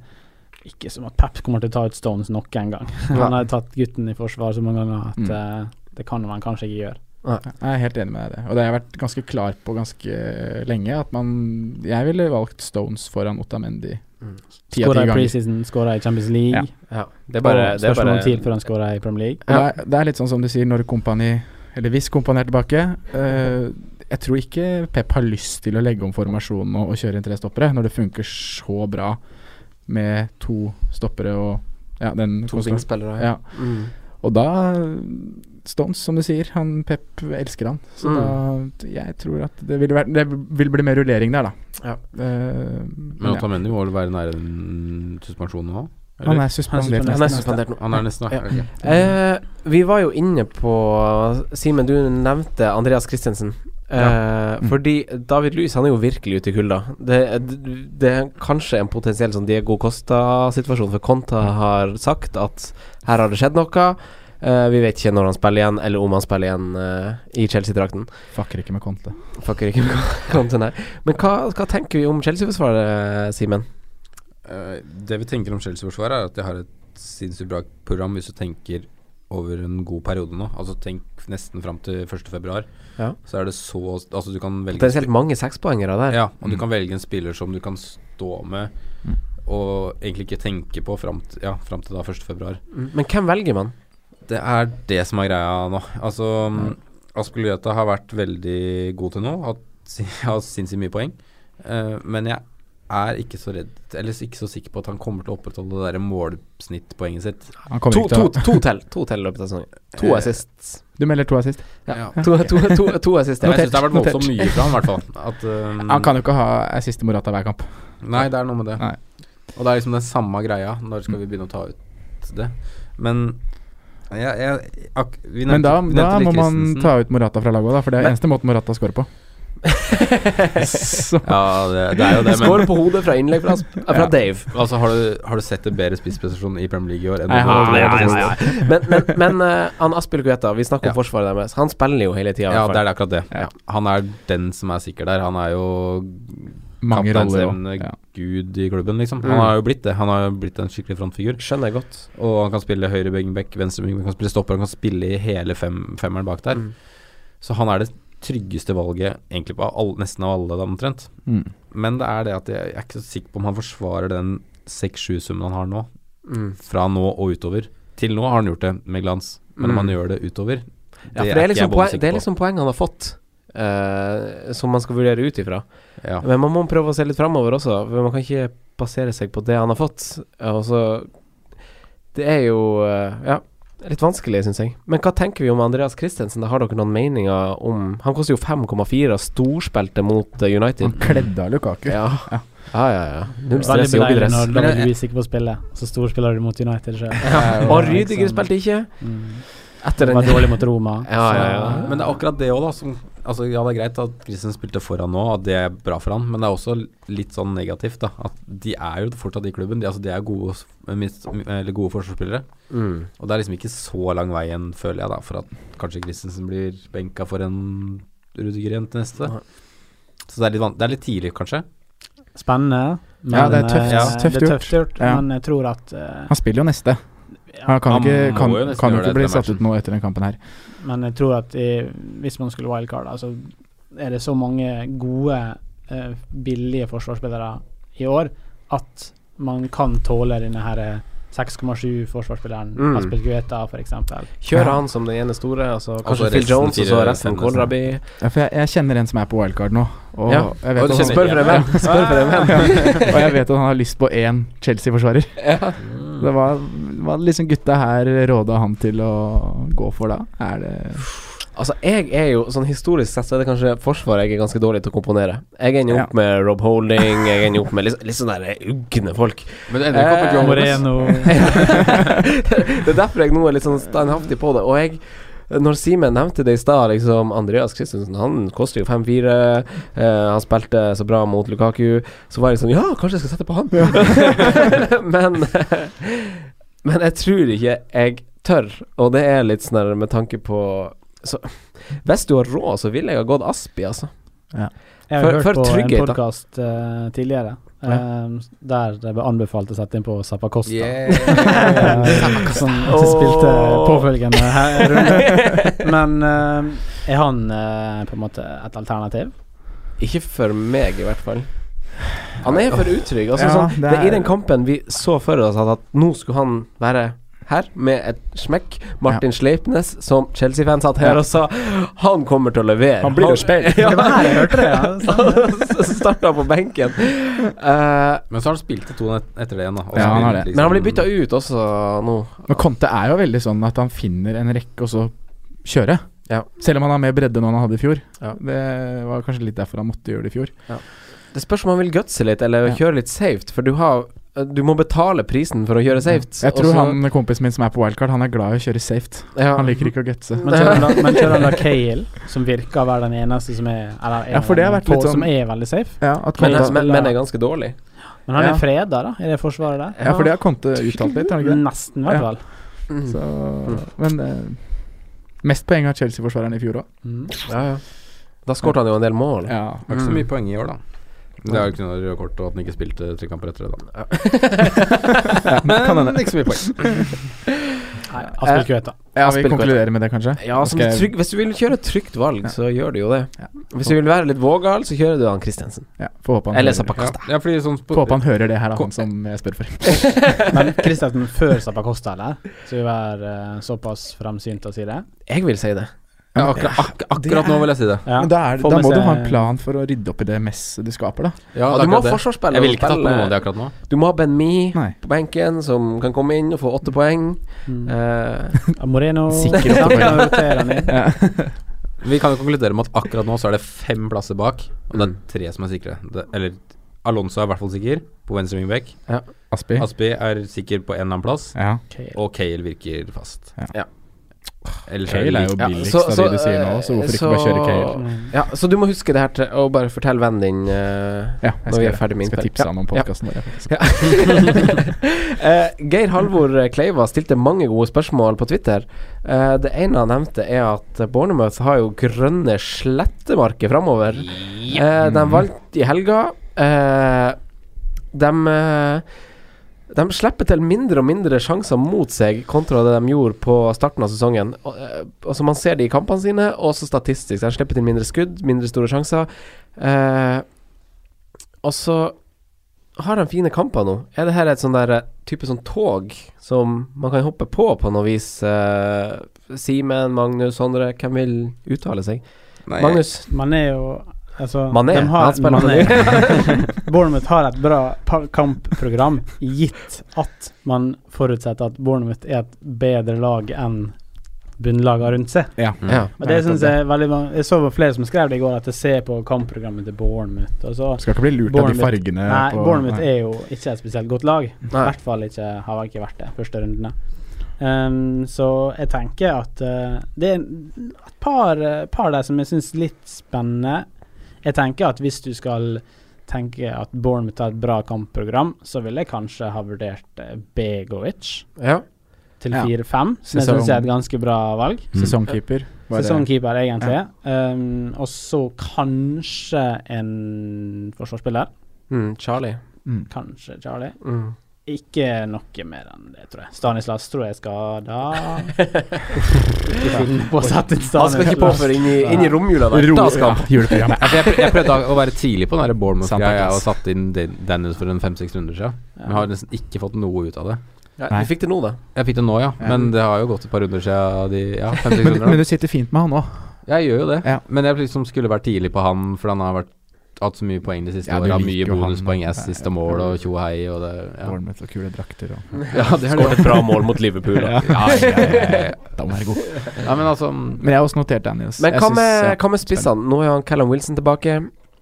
Speaker 4: Ikke som at Pep kommer til å ta ut Stones nok en gang.
Speaker 3: Nei.
Speaker 4: Han har tatt gutten i forsvar så mange ganger at
Speaker 1: Mm.
Speaker 4: eh, det kan man kanskje ikke gjøre.
Speaker 1: Jeg er helt enig med deg i det. Og det har jeg vært ganske klar på ganske eh, lenge. At man Jeg ville valgt Stones foran Otamendi.
Speaker 3: Mm.
Speaker 1: Ti av
Speaker 4: Skåra
Speaker 1: ti
Speaker 4: i
Speaker 1: ganger.
Speaker 4: preseason, skåra i Champions League.
Speaker 1: Ja.
Speaker 3: Ja, det er bare,
Speaker 4: og
Speaker 3: det er
Speaker 4: spørsmål
Speaker 3: bare
Speaker 4: om tid før han skåra i Premier League.
Speaker 1: Og Det, er, det er litt sånn som du sier, når kompani Eller hvis kompani er tilbake eh, Jeg tror ikke Pep har lyst til å legge om formasjonen og, og kjøre inn tre stoppere, når det funker så bra med to stoppere og ja, den
Speaker 3: to vingspillere.
Speaker 1: Ja.
Speaker 3: Mm.
Speaker 1: Og da Stones, som du sier. Han Pep elsker han. Så
Speaker 3: Mm.
Speaker 1: da Jeg tror at det vil, være, det vil bli mer rullering der, da.
Speaker 3: Ja.
Speaker 1: Eh, men
Speaker 2: Men
Speaker 1: ja.
Speaker 2: Otamendi må vel være nære den suspensjonen nå? eller?
Speaker 1: Han er
Speaker 4: Han
Speaker 1: suspendert.
Speaker 4: er
Speaker 3: Han er
Speaker 1: nesten.
Speaker 3: suspendert nå.
Speaker 2: Han er nesten, da.
Speaker 3: Ja.
Speaker 2: Ok.
Speaker 3: Eh, vi var jo inne på Simen, du nevnte Andreas Christensen. Eh,
Speaker 1: Mm.
Speaker 3: Fordi David Lewis han er jo virkelig ute i kulda. Det, det, det er kanskje en potensiell sånn Diego Costa-situasjon, for Conta
Speaker 1: Mm.
Speaker 3: har sagt at her har det skjedd noe. Eh, vi vet ikke når han spiller igjen, eller om han spiller igjen eh, i Chelsea-drakten.
Speaker 1: Fucker ikke med Conte.
Speaker 3: Fucker ikke med (laughs) Conte, nei. Men hva, hva tenker vi om Chelsea-forsvaret, Simen?
Speaker 2: Eh, det vi tenker om Chelsea-forsvaret, er at de har et sinnssykt bra program hvis du tenker over en god periode nå. Altså tenk nesten fram til 1. februar.
Speaker 3: Ja.
Speaker 2: Så er det så Altså du kan velge
Speaker 3: Potensielt mange sekspoengere der.
Speaker 2: Ja, og du
Speaker 1: Mm.
Speaker 2: kan velge en spiller som du kan stå med.
Speaker 1: Mm.
Speaker 2: Og og egentlig ikke tenke på fram til, ja, fram til da 1.2.
Speaker 3: Men hvem velger man?
Speaker 2: Det er det som er greia nå. Altså, Aspel Greta har vært veldig god til nå, hatt sin- (laughs) har sinnssykt mye poeng. Eh, men jeg er ikke så redd, eller ikke så sikker på at han kommer til å opprettholde det der målsnittpoenget sitt.
Speaker 1: Han kommer
Speaker 3: To,
Speaker 1: ikke til
Speaker 3: to,
Speaker 1: å
Speaker 3: to til To til i løpet av sesongen. To
Speaker 2: Eh,
Speaker 3: assist.
Speaker 1: Du melder to assist.
Speaker 3: Ja. To, to, to, to assist.
Speaker 2: Men
Speaker 3: Ja.
Speaker 2: jeg syns det har vært
Speaker 1: Notert.
Speaker 2: voldsomt mye fra han, i hvert fall. At, eh,
Speaker 1: Han kan jo ikke ha assist til Morata hver kamp.
Speaker 2: Nei, det er noe med det.
Speaker 1: Nei.
Speaker 2: Og det er liksom den samme greia. Når skal vi begynne å ta ut det? Men jeg, jeg, ak, vi
Speaker 1: Men
Speaker 2: nevnte,
Speaker 1: da,
Speaker 2: vi
Speaker 1: da
Speaker 2: nevnte
Speaker 1: må
Speaker 2: litt
Speaker 1: man
Speaker 2: Christensen.
Speaker 1: ta ut Morata fra laget òg, for det er eneste måten Morata scorer
Speaker 2: (laughs)
Speaker 1: på. Så
Speaker 2: Ja, det, (laughs) det er jo (laughs) det,
Speaker 3: Skår
Speaker 2: men
Speaker 3: på hodet fra innlegg fra,
Speaker 2: (laughs)
Speaker 3: Asp- fra
Speaker 1: Ja.
Speaker 3: Dave.
Speaker 2: altså, har, du, har du sett en bedre spissprestasjon i Premier League i år? enn
Speaker 1: Nei,
Speaker 2: det du
Speaker 1: han-
Speaker 2: har
Speaker 1: nei,
Speaker 2: gjort?
Speaker 1: nei,
Speaker 3: Men, men,
Speaker 2: (laughs)
Speaker 3: men eh, han Aspil Guetta, vi snakker om
Speaker 2: Ja.
Speaker 3: forsvaret deres. Han spiller jo hele tida.
Speaker 2: Ja, det er akkurat det.
Speaker 1: Ja.
Speaker 2: Han er den som er sikker der. Han er jo
Speaker 1: mange roller òg.
Speaker 2: kapteinsevne
Speaker 1: Ja.
Speaker 2: gud i klubben, liksom.
Speaker 3: Mm.
Speaker 2: Han har jo blitt det. Han har jo blitt en skikkelig frontfigur.
Speaker 3: Skjønner jeg godt.
Speaker 2: Og han kan spille høyre wingback, venstre wingback, han kan spille stopper, han kan spille i hele fem, femmeren bak der.
Speaker 3: Mm.
Speaker 2: Så han er det tryggeste valget egentlig på all, nesten av alle, da, omtrent.
Speaker 1: Mm.
Speaker 2: Men det er det at jeg, jeg er ikke så sikker på om han forsvarer den 6-7-summen han har nå.
Speaker 3: Mm.
Speaker 2: Fra nå og utover. Til nå har han gjort det med glans, men om
Speaker 3: Mm.
Speaker 2: han gjør det utover
Speaker 3: Ja, for det er
Speaker 2: er ikke jeg
Speaker 3: liksom,
Speaker 2: både
Speaker 3: poeng,
Speaker 2: sikker
Speaker 3: det er
Speaker 2: på.
Speaker 3: liksom poeng han har fått, eh, som man skal vurdere ut ifra.
Speaker 2: ja.
Speaker 3: Men man må prøve å se litt framover også, for man kan ikke basere seg på det han har fått. Og så Det er jo eh, ja, litt vanskelig, syns jeg. Men hva tenker vi om Andreas Christensen? Da har dere noen meninger om Han koster jo 5,4 og storspilte mot eh,
Speaker 1: Han
Speaker 3: United.
Speaker 1: kledde av Lukaku.
Speaker 3: Ja. ja, ja, ja. Null
Speaker 4: Mm. Veldig
Speaker 3: stress i
Speaker 4: beleilig
Speaker 3: joggedress.
Speaker 4: når
Speaker 2: Men
Speaker 4: da
Speaker 2: jeg-
Speaker 4: er du usikker på å spille, så storspiller du mot United sjøl.
Speaker 3: (laughs) Og Rydiger spilte ikke.
Speaker 4: Mm.
Speaker 3: Etter
Speaker 4: Var
Speaker 3: den
Speaker 4: dårlig mot Roma.
Speaker 3: Ja,
Speaker 4: så-
Speaker 3: ja, ja.
Speaker 2: Men det er akkurat det òg, da. Som, altså, ja, det er greit at Christensen spilte foran nå, at det er bra for han, men det er også litt sånn negativt, da. At de er jo fortsatt i klubben. De, altså, de er gode, s- mis- eller gode forsvarsspillere.
Speaker 3: (laughs) mm.
Speaker 2: Og det er liksom ikke så lang vei igjen, føler jeg, da, for at kanskje Christensen blir benka for en Rudiger igjen til neste.
Speaker 3: Nei.
Speaker 2: Så det er litt, van det er litt tidlig, kanskje.
Speaker 4: Spennende.
Speaker 1: Ja, det er
Speaker 4: men,
Speaker 1: tøft-
Speaker 4: eh,
Speaker 1: tøft
Speaker 4: det er
Speaker 1: gjort.
Speaker 4: tøft gjort.
Speaker 1: Ja.
Speaker 4: Men jeg tror at eh,
Speaker 1: Han spiller jo neste. Han kan
Speaker 2: Han
Speaker 1: ikke,
Speaker 2: må
Speaker 1: kan,
Speaker 2: jo nesten
Speaker 1: kan
Speaker 2: gjøre
Speaker 1: jo ikke
Speaker 2: det
Speaker 1: bli
Speaker 2: etter
Speaker 1: satt
Speaker 2: matchen.
Speaker 1: ut nå etter den kampen her.
Speaker 4: Men jeg tror at i, hvis man skulle wildcard, da, så er det så mange gode, eh, billige forsvarsspillere i år at man kan tåle denne her eh, 6,7 forsvarsspilleren.
Speaker 3: Mm.
Speaker 4: Mm. Aspel Gueta, for eksempel.
Speaker 3: Kjører
Speaker 1: Ja.
Speaker 3: han som den ene store, altså
Speaker 2: Og så
Speaker 3: kanskje Phil
Speaker 2: resten
Speaker 3: Jones, og så
Speaker 2: fire-
Speaker 3: resten
Speaker 2: fem,
Speaker 3: Kålrabi.
Speaker 1: Ja, for jeg, jeg kjenner en som er på wildcard nå. Og,
Speaker 3: Ja.
Speaker 1: jeg, vet
Speaker 2: Og du
Speaker 1: at han, (laughs)
Speaker 2: kjenner-
Speaker 3: Spør for en
Speaker 2: (laughs)
Speaker 3: venn! Spør for en venn.
Speaker 1: og jeg vet at han har lyst på én Chelsea-forsvarer.
Speaker 3: Mm.
Speaker 1: Det var, var liksom gutta her råda han til å gå for da. Er det
Speaker 3: Altså, jeg er jo sånn historisk sett så er det kanskje Forsvaret jeg er ganske dårlig til å komponere. Jeg ender jo opp med Rob Holding, jeg ender jo opp med litt, litt sånne der ugne folk. Eh,
Speaker 2: Men det
Speaker 3: ender ikke opp med John
Speaker 4: Moreno
Speaker 3: (laughs) det er derfor jeg nå er litt sånn standhaftig på det. Og jeg når Simen nevnte det i stad, liksom Andreas Christensen, han koster jo 5-4. eh, han spilte så bra mot Lukaku. Så var jeg sånn Ja, kanskje jeg skal sette på han? (laughs) men Men jeg tror ikke jeg tør, og det er litt sånn der med tanke på så, Hvis du har råd, så ville jeg ha gått Aspi, altså.
Speaker 4: Jeg har
Speaker 3: For-
Speaker 4: hørt
Speaker 3: for
Speaker 4: på
Speaker 3: trygghet, da.
Speaker 4: en podkast tidligere eh, der det ble anbefalt å sette inn på Zappacosta. Eh, som som spilte
Speaker 3: Åh.
Speaker 4: påfølgende her
Speaker 1: (laughs)
Speaker 4: runde. Men eh, er han eh, på en måte et alternativ?
Speaker 3: Ikke for meg, i hvert fall. Han er for utrygg. Altså,
Speaker 1: Ja,
Speaker 3: sånn,
Speaker 1: det
Speaker 3: det
Speaker 1: er-
Speaker 3: I den kampen vi så for oss at, at nå skulle han være her med et smekk. Martin Sleipnes, som Chelsea-fan, satt her
Speaker 1: Ja.
Speaker 3: og sa han kommer til å levere.
Speaker 1: Han blir jo
Speaker 3: (laughs)
Speaker 1: spilt.
Speaker 3: (laughs) Ja.
Speaker 4: Det var her jeg hørte det, ja.
Speaker 3: Så starta han på benken. Eh,
Speaker 2: (laughs) Men så har han spilt i to net- etter det igjen, da. og
Speaker 1: Ja,
Speaker 2: så
Speaker 1: han har
Speaker 2: blir
Speaker 1: det.
Speaker 2: liksom-
Speaker 3: men han blir bytta ut også nå.
Speaker 1: Men Conte er jo veldig sånn at han finner en rekke og så kjøre.
Speaker 3: Ja.
Speaker 1: Selv om han har mer bredde nå enn han hadde i fjor.
Speaker 3: Ja.
Speaker 1: Det var kanskje litt derfor han måtte gjøre det i fjor.
Speaker 3: Det spørs om han vil gutse litt eller
Speaker 1: Ja.
Speaker 3: kjøre litt safe, for du har Du må betale prisen for å kjøre safe.
Speaker 1: Jeg tror
Speaker 3: og så-
Speaker 1: han kompisen min som er på wildcard, han er glad i å kjøre safe.
Speaker 3: ja.
Speaker 1: Han liker ikke å gutse.
Speaker 4: Men kjører han da- Men kjører han da Cale, som virker å være den eneste som er Eller en
Speaker 1: Ja, for det har
Speaker 4: av
Speaker 1: vært
Speaker 4: de få
Speaker 1: litt sånn-
Speaker 4: som er veldig safe.
Speaker 1: Ja, at
Speaker 3: men,
Speaker 1: Conte,
Speaker 4: Conte-
Speaker 3: men, men er ganske dårlig.
Speaker 4: Men han
Speaker 1: Ja.
Speaker 4: er freda, da, i det forsvaret der.
Speaker 1: ja, for det har Conte uttalt litt, har han ikke det?
Speaker 4: Nesten, i hvert
Speaker 1: Ja.
Speaker 4: fall.
Speaker 3: Mm.
Speaker 1: Så, men eh, mest poeng har Chelsea-forsvareren i fjor òg.
Speaker 4: Mm.
Speaker 3: Ja, ja. Da skåret han jo en del mål.
Speaker 1: Ja.
Speaker 2: Det er ikke så
Speaker 3: Mm.
Speaker 2: mye poeng i år, da. Det er jo ikke noe røde kort, og at han ikke (laughs) spilte tre kamper etter det, da.
Speaker 1: kan hende.
Speaker 2: ikke så mye poeng.
Speaker 4: Nei, har
Speaker 1: Eh.
Speaker 4: spilt Kveta.
Speaker 1: Ja, vi
Speaker 3: Aspelkveld.
Speaker 1: konkluderer med det, kanskje?
Speaker 3: Ja, som
Speaker 1: Skal
Speaker 3: et
Speaker 1: jeg-
Speaker 3: trygg, Hvis du vil kjøre et trygt valg,
Speaker 1: Ja.
Speaker 3: så gjør du jo det.
Speaker 1: Ja.
Speaker 3: Hvis du vil være litt vågal, så kjører du han Christensen.
Speaker 1: Ja, Får håpe han,
Speaker 3: Eller
Speaker 1: hører-
Speaker 2: Ja,
Speaker 3: Zappacosta.
Speaker 2: ja, fordi sånn
Speaker 1: får håpe han hører det her, da, han som jeg spør for.
Speaker 4: Men Christensen før Zappacosta, eller? Så vi er eh, såpass fremsynt å si det.
Speaker 3: Jeg vil si det.
Speaker 2: ja, akkurat, ak
Speaker 1: Det
Speaker 2: akkurat nå vil jeg si det.
Speaker 4: Ja.
Speaker 1: Men da, er,
Speaker 4: Får
Speaker 1: da
Speaker 4: med
Speaker 1: må du
Speaker 4: seg-
Speaker 1: ha en plan for å rydde opp i det messet du skaper, da.
Speaker 2: Ja,
Speaker 3: Ja,
Speaker 2: det er
Speaker 3: du må
Speaker 2: akkurat
Speaker 3: ha
Speaker 2: det.
Speaker 3: forsvarsspiller.
Speaker 2: Jeg ville ikke
Speaker 3: og
Speaker 2: tatt på
Speaker 3: spille-
Speaker 2: noen av de akkurat nå.
Speaker 3: Du må ha Ben Mi
Speaker 1: Nei.
Speaker 3: på benken, som kan komme inn og få åtte poeng.
Speaker 4: Mm.
Speaker 3: Eh,
Speaker 1: (laughs)
Speaker 4: Ja, Moreno
Speaker 1: Sikker
Speaker 4: Ja,
Speaker 1: oppover.
Speaker 4: kan rotere han inn.
Speaker 2: Vi kan jo konkludere med at akkurat nå så er det fem plasser bak, og det er tre som er sikre. Det, eller Alonso er i hvert fall sikker på venstre wingback.
Speaker 1: Aspi.
Speaker 2: Aspi er sikker på en eller annen plass,
Speaker 1: Ja. (laughs)
Speaker 4: Ok.
Speaker 2: og Kale virker fast.
Speaker 1: Ja.
Speaker 3: Ja.
Speaker 2: Ellers er
Speaker 1: Kale er
Speaker 2: det
Speaker 1: jo
Speaker 2: likt.
Speaker 3: Ja,
Speaker 1: billigst
Speaker 3: så-
Speaker 1: av
Speaker 3: så,
Speaker 1: de du sier nå, så hvorfor ikke
Speaker 3: eh,
Speaker 1: bare kjøre Kale?
Speaker 4: Mm.
Speaker 3: Ja, så du må huske det her til å bare fortelle vennen din eh,
Speaker 1: Ja, jeg
Speaker 3: når vi
Speaker 1: skal,
Speaker 3: er ferdig med
Speaker 1: skal
Speaker 3: innspill.
Speaker 1: tipse han om
Speaker 3: Ja.
Speaker 1: podkasten vår. faktisk.
Speaker 3: Ja. Eh, Geir Halvor Kleiva stilte mange gode spørsmål på Twitter. Eh, det ene han nevnte, er at Bornermouth har jo grønne slettemarker framover. Eh, de valgte i helga. Eh, de eh, de slipper til mindre og mindre sjanser mot seg kontra det de gjorde på starten av sesongen. Og, eh, og så Man ser det i kampene sine, også statistisk. De slipper til mindre skudd, mindre store sjanser. Eh, og så har de fine kamper nå. Er det her et sånn der eh, type sånn tog som man kan hoppe på på noe vis? Eh, Simen, Magnus, Sondre, hvem vil uttale seg?
Speaker 2: Nei,
Speaker 3: Magnus?
Speaker 4: Man er jo Altså,
Speaker 3: Mané,
Speaker 4: de har,
Speaker 3: han spiller
Speaker 4: Mané. (laughs) Bournemouth har et bra pa- kampprogram, gitt at man forutsetter at Bournemouth er et bedre lag enn bunnlagene rundt seg.
Speaker 2: Mm.
Speaker 3: Ja.
Speaker 4: Og det synes jeg er veldig man- Jeg så flere som skrev det i går, at jeg ser på kampprogrammet til Bournemouth. Og så,
Speaker 1: Skal ikke bli lurt av de
Speaker 4: Bournemouth-
Speaker 1: fargene
Speaker 4: nei,
Speaker 1: på
Speaker 4: Bournemouth
Speaker 1: Nei.
Speaker 4: er jo ikke et spesielt godt lag. I
Speaker 3: Nei.
Speaker 4: hvert fall ikke, har ikke vært det første rundene. Ehm, så jeg tenker at eh, det er et par, eh, par der som jeg syns er litt spennende. Jeg tenker at hvis du skal tenke at Bournemouth har et bra kampprogram, så ville jeg kanskje ha vurdert eh, Begovic
Speaker 3: Ja.
Speaker 4: til
Speaker 1: Ja.
Speaker 4: 4-5. Det
Speaker 1: Sesong-
Speaker 4: syns jeg er et ganske bra valg.
Speaker 1: Mm. Sesongkeeper. var
Speaker 4: Mm.
Speaker 1: det-
Speaker 4: Sesongkeeper, egentlig. Ehm, og så kanskje en forsvarsspiller.
Speaker 3: Mm, Charlie.
Speaker 1: Mm.
Speaker 4: Kanskje Charlie.
Speaker 3: Mm.
Speaker 4: Ikke noe mer enn det, tror jeg. Stanislas tror jeg skal da
Speaker 3: (laughs)
Speaker 4: Ikke finne (laughs) på å sette inn
Speaker 3: Han skal ikke
Speaker 4: Stanislas.
Speaker 3: påføre inn i, inn i romjula der.
Speaker 1: Ro-
Speaker 3: Da skal
Speaker 1: ja,
Speaker 3: han på.
Speaker 1: juleprogram.
Speaker 2: Ja, for jeg, prø- jeg prøvde å være tidlig på den der
Speaker 1: (laughs)
Speaker 2: Bournemouth-greia
Speaker 1: Sant,
Speaker 2: og satte inn Dan- Daniels for en fem-seks runder siden. Men jeg har nesten ikke fått noe ut av det.
Speaker 3: Ja,
Speaker 1: Nei.
Speaker 3: du fikk det nå, da.
Speaker 2: Jeg fikk det nå, ja, men det har jo gått et par runder siden de Ja, fem-seks
Speaker 1: Men,
Speaker 2: runder. da.
Speaker 1: men du sitter fint med han nå.
Speaker 2: Jeg gjør jo det,
Speaker 1: Ja.
Speaker 2: men jeg liksom skulle vært tidlig på han, for han har vært, hatt så mye poeng de siste
Speaker 1: Ja, du
Speaker 2: åra. Mye
Speaker 1: liker jo han.
Speaker 2: bonuspoeng, assist og mål og tjo og hei og det Ja,
Speaker 1: Bournemouth og kule drakter og
Speaker 2: ja det er
Speaker 3: Skåret
Speaker 2: det.
Speaker 3: et bra mål mot Liverpool.
Speaker 1: (laughs)
Speaker 3: Da.
Speaker 2: Ja, ja, ja, ja.
Speaker 1: Da må være god.
Speaker 2: ja, men altså
Speaker 1: Men jeg har også notert Daniels.
Speaker 3: Men
Speaker 1: Jeg
Speaker 3: hva
Speaker 1: synes
Speaker 3: med,
Speaker 1: at
Speaker 3: hva med spissene? Nå er han Callum Wilson tilbake.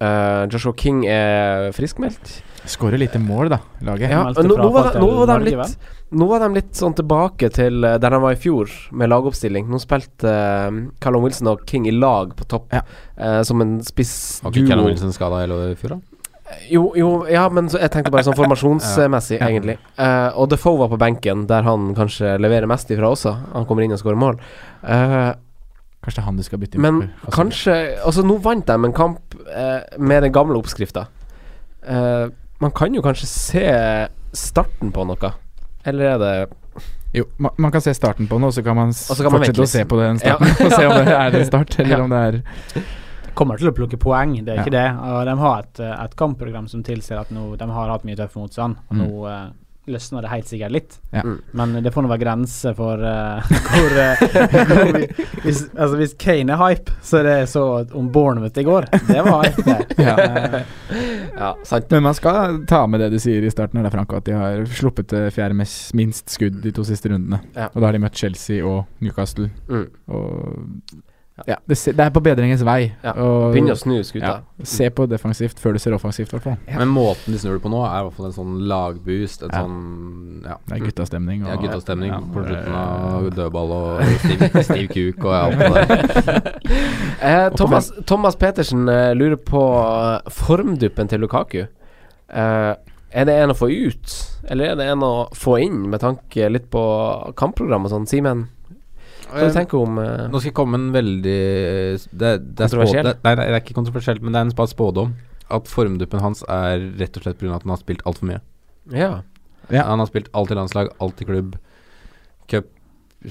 Speaker 3: Eh, Joshua King er friskmeldt.
Speaker 1: Skårer lite mål, da, laget.
Speaker 3: Ja,
Speaker 4: meldte
Speaker 3: og nå,
Speaker 4: fra
Speaker 3: nå, var
Speaker 4: Falk
Speaker 3: de,
Speaker 4: til
Speaker 3: nå, var de
Speaker 4: Norge,
Speaker 3: litt, nå var de litt sånn tilbake til eh, der de var i fjor, med lagoppstilling. Nå spilte eh, Callum Wilson og King i lag på topp,
Speaker 1: Ja.
Speaker 3: eh, som en
Speaker 2: Har ikke Callum
Speaker 3: spissduo.
Speaker 2: Wilson skada hele fjor, da?
Speaker 3: Jo, jo, ja, men så, jeg tenkte bare
Speaker 2: (laughs)
Speaker 3: sånn formasjonsmessig,
Speaker 1: Ja.
Speaker 3: egentlig. Eh, og Defoe var på benken, der han kanskje leverer mest ifra også. Han kommer inn og skårer mål. Eh,
Speaker 1: Kanskje det er han du skal bytte inn
Speaker 3: Men
Speaker 1: for. Altså,
Speaker 3: kanskje Altså, nå vant de en kamp eh, med den gamle oppskrifta. Eh, man kan jo kanskje se starten på noe. Eller er det
Speaker 1: Altså, Jo, man, man kan se starten på den, og så kan man, s-
Speaker 3: Og så kan man
Speaker 1: fortsette
Speaker 3: vente
Speaker 1: å se
Speaker 3: litt.
Speaker 1: på den starten. og se om det er
Speaker 3: (laughs)
Speaker 1: en start, eller om det er
Speaker 4: Kommer til å plukke poeng, det er ikke det. Og de har et, eh, et kampprogram som tilsier at nå, de har hatt mye tøff motstand, og nå eh, løsner det helt sikkert litt.
Speaker 1: Ja.
Speaker 3: Mm.
Speaker 4: Men det får nå være grenser for eh, (laughs) hvor, eh, hvor vi, hvis, altså hvis Kane er hype, så er det så om Bournemouth i går. Det var hype, det.
Speaker 1: Ja.
Speaker 4: Eh,
Speaker 3: Ja, sant.
Speaker 1: Men man skal ta med det du sier i starten, her, da, Franco, at de har sluppet til fjerde mest, minst skudd de to siste rundene.
Speaker 3: Ja.
Speaker 1: Og da har de møtt Chelsea og Newcastle.
Speaker 3: Mm.
Speaker 1: Og
Speaker 3: Ja.
Speaker 1: det, se, det er på bedringens vei.
Speaker 3: Ja.
Speaker 1: Og
Speaker 3: Begynn å snu skuta. (laughs)
Speaker 1: ja, se på defensivt før du ser offensivt, i hvert fall.
Speaker 2: Men måten de snur det på nå, er i hvert fall en sånn lagboost, en
Speaker 1: Ja.
Speaker 2: sånn Ja.
Speaker 1: Det er guttastemning.
Speaker 2: Ja, guttastemning
Speaker 1: Ja,
Speaker 2: på
Speaker 1: det-
Speaker 2: slutten av dødball og stiv, stiv kuk og alt det der.
Speaker 3: Eh, Thomas, Thomas Petersen eh, lurer på eh, formduppen til Lukaku. Eh, er det en å få ut, eller er det en å få inn, med tanke litt på kampprogram og sånn? Simen, hva du tenker du om eh,
Speaker 2: Nå skal jeg komme en veldig Det, det er
Speaker 3: Kontroversiell?
Speaker 2: spå- det- Nei, det er ikke kontroversielt, men det er en spa- spådom. At formduppen hans er rett og slett pga. at han har spilt altfor mye.
Speaker 3: Ja.
Speaker 1: Ja.
Speaker 2: Han har spilt alt i landslag, alt i klubb, cup,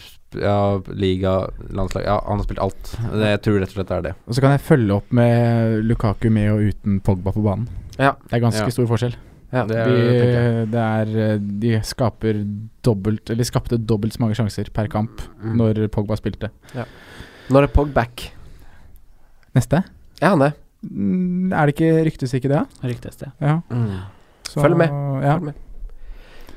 Speaker 2: sp- ja, liga, landslag Ja, han har spilt alt. Det, jeg tror rett og slett det er det.
Speaker 1: Og så kan jeg følge opp med Lukaku med og uten Pogba på banen.
Speaker 3: Ja.
Speaker 1: Det er ganske
Speaker 2: Ja.
Speaker 1: stor forskjell.
Speaker 2: Ja, det,
Speaker 1: De,
Speaker 2: tenker jeg.
Speaker 1: det er, eh, de skaper dobbelt Eller skapte dobbelt så mange sjanser per kamp
Speaker 2: Mm.
Speaker 1: når Pogba spilte.
Speaker 3: Når er Pogback?
Speaker 1: Neste?
Speaker 3: Er han det?
Speaker 1: Mm, Er det ikke ryktesikkert, det? da?
Speaker 4: Ryktes det.
Speaker 1: Ja. Så-
Speaker 3: Følg med.
Speaker 1: Ja.
Speaker 3: Følg med.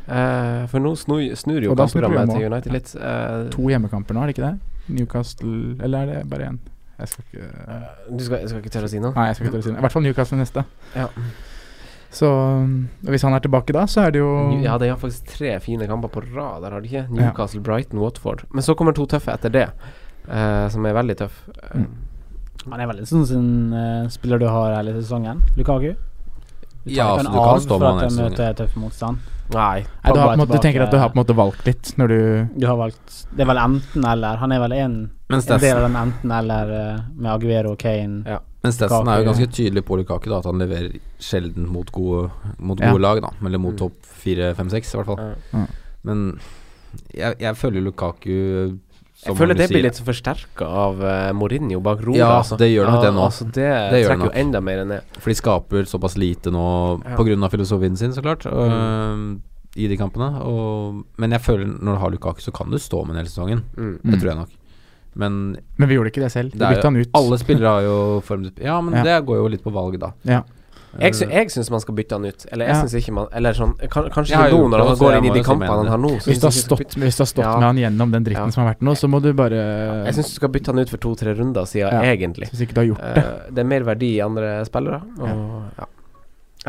Speaker 3: Eh, for nå snur, snur jo
Speaker 1: Og da snur
Speaker 3: kampprogrammet
Speaker 1: programmet
Speaker 3: til United litt. Eh,
Speaker 1: To hjemmekamper nå, er det ikke det? Newcastle Eller er det bare én? Jeg skal ikke
Speaker 3: du skal, jeg skal ikke tørre å si noe?
Speaker 1: Nei, jeg skal ikke tørre å si det. I hvert fall Newcastle neste.
Speaker 3: Ja.
Speaker 1: Så mm, og Hvis han er tilbake da, så er det jo
Speaker 3: Ja, de har faktisk tre fine kamper på rad, der har de ikke? Newcastle, Brighton, Watford. Men så kommer to tøffe etter det, eh, som er veldig tøff. Eh,
Speaker 1: Mm.
Speaker 4: Han er veldig sånn som eh, spiller du har hele sesongen. Lukaku. Du tar ikke
Speaker 2: Ja, så
Speaker 4: han
Speaker 2: du kan
Speaker 4: av
Speaker 2: stå
Speaker 4: for
Speaker 2: med han
Speaker 4: at
Speaker 2: hele
Speaker 4: de
Speaker 2: sesongen.
Speaker 4: møter tøff motstand.
Speaker 3: Nei.
Speaker 1: Nei, du, har på en
Speaker 4: Pogba er
Speaker 1: måte, tenker at du har på en
Speaker 4: tilbake.
Speaker 1: måte valgt litt når du
Speaker 4: Du har valgt Det er vel enten eller. Han er vel en,
Speaker 2: Men
Speaker 4: en del av
Speaker 2: Stetson,
Speaker 4: den enten eller eh, med Aguero og Kane.
Speaker 2: men Stetson er jo
Speaker 4: Lukaku,
Speaker 2: ganske tydelig på Lukaku, da, at han leverer sjelden mot gode, mot
Speaker 1: Ja.
Speaker 2: gode lag, da. Eller mot
Speaker 3: Mm.
Speaker 2: topp fire, fem, seks, i hvert fall.
Speaker 3: Eh,
Speaker 2: Men jeg, jeg føler Lukaku
Speaker 3: jeg føler
Speaker 2: du
Speaker 3: det
Speaker 2: sier,
Speaker 3: blir litt forsterka av eh, Mourinho bak roret.
Speaker 2: Ja,
Speaker 3: altså.
Speaker 2: det gjør nok det nå.
Speaker 3: Altså, det
Speaker 2: Det gjør
Speaker 3: trekker
Speaker 2: nok.
Speaker 3: jo enda mer ned.
Speaker 2: For de skaper såpass lite nå
Speaker 3: Ja. Mm.
Speaker 2: På grunn av filosofien sin, så klart. og, eh, I de kampene. Og, men jeg føler når du har Lukaku, så kan du stå med den hele sesongen.
Speaker 3: Mm.
Speaker 2: Det
Speaker 1: Mm.
Speaker 2: tror jeg nok. Men
Speaker 1: Men vi gjorde ikke det selv. Vi
Speaker 2: Det er jo
Speaker 1: bytta han ut.
Speaker 2: alle spillere har jo form Ja, men
Speaker 1: Ja.
Speaker 2: det går jo litt på valg, da.
Speaker 1: Ja.
Speaker 3: Jeg, sy jeg syns man skal bytte han ut. Eller jeg
Speaker 1: Ja.
Speaker 3: synes ikke man Eller sånn kan, Kanskje
Speaker 2: Jeg har
Speaker 3: ikke nå,
Speaker 2: gjort
Speaker 3: når
Speaker 2: det,
Speaker 3: han
Speaker 2: så
Speaker 3: går
Speaker 2: jeg
Speaker 3: inn i
Speaker 2: må
Speaker 3: de
Speaker 2: jo si
Speaker 3: kampene
Speaker 2: meg
Speaker 3: han har nå. synes
Speaker 1: Hvis du har
Speaker 3: jeg ikke skal
Speaker 1: stått, hvis du har stått
Speaker 3: Ja.
Speaker 1: med han gjennom den dritten
Speaker 3: Ja.
Speaker 1: som har vært nå, så må du bare
Speaker 3: bytte- Jeg syns du skal bytte han ut for to-tre runder siden,
Speaker 1: Ja.
Speaker 3: egentlig.
Speaker 1: Hvis ikke du har gjort det.
Speaker 3: Eh, det er mer verdi i andre spillere. Og, ja.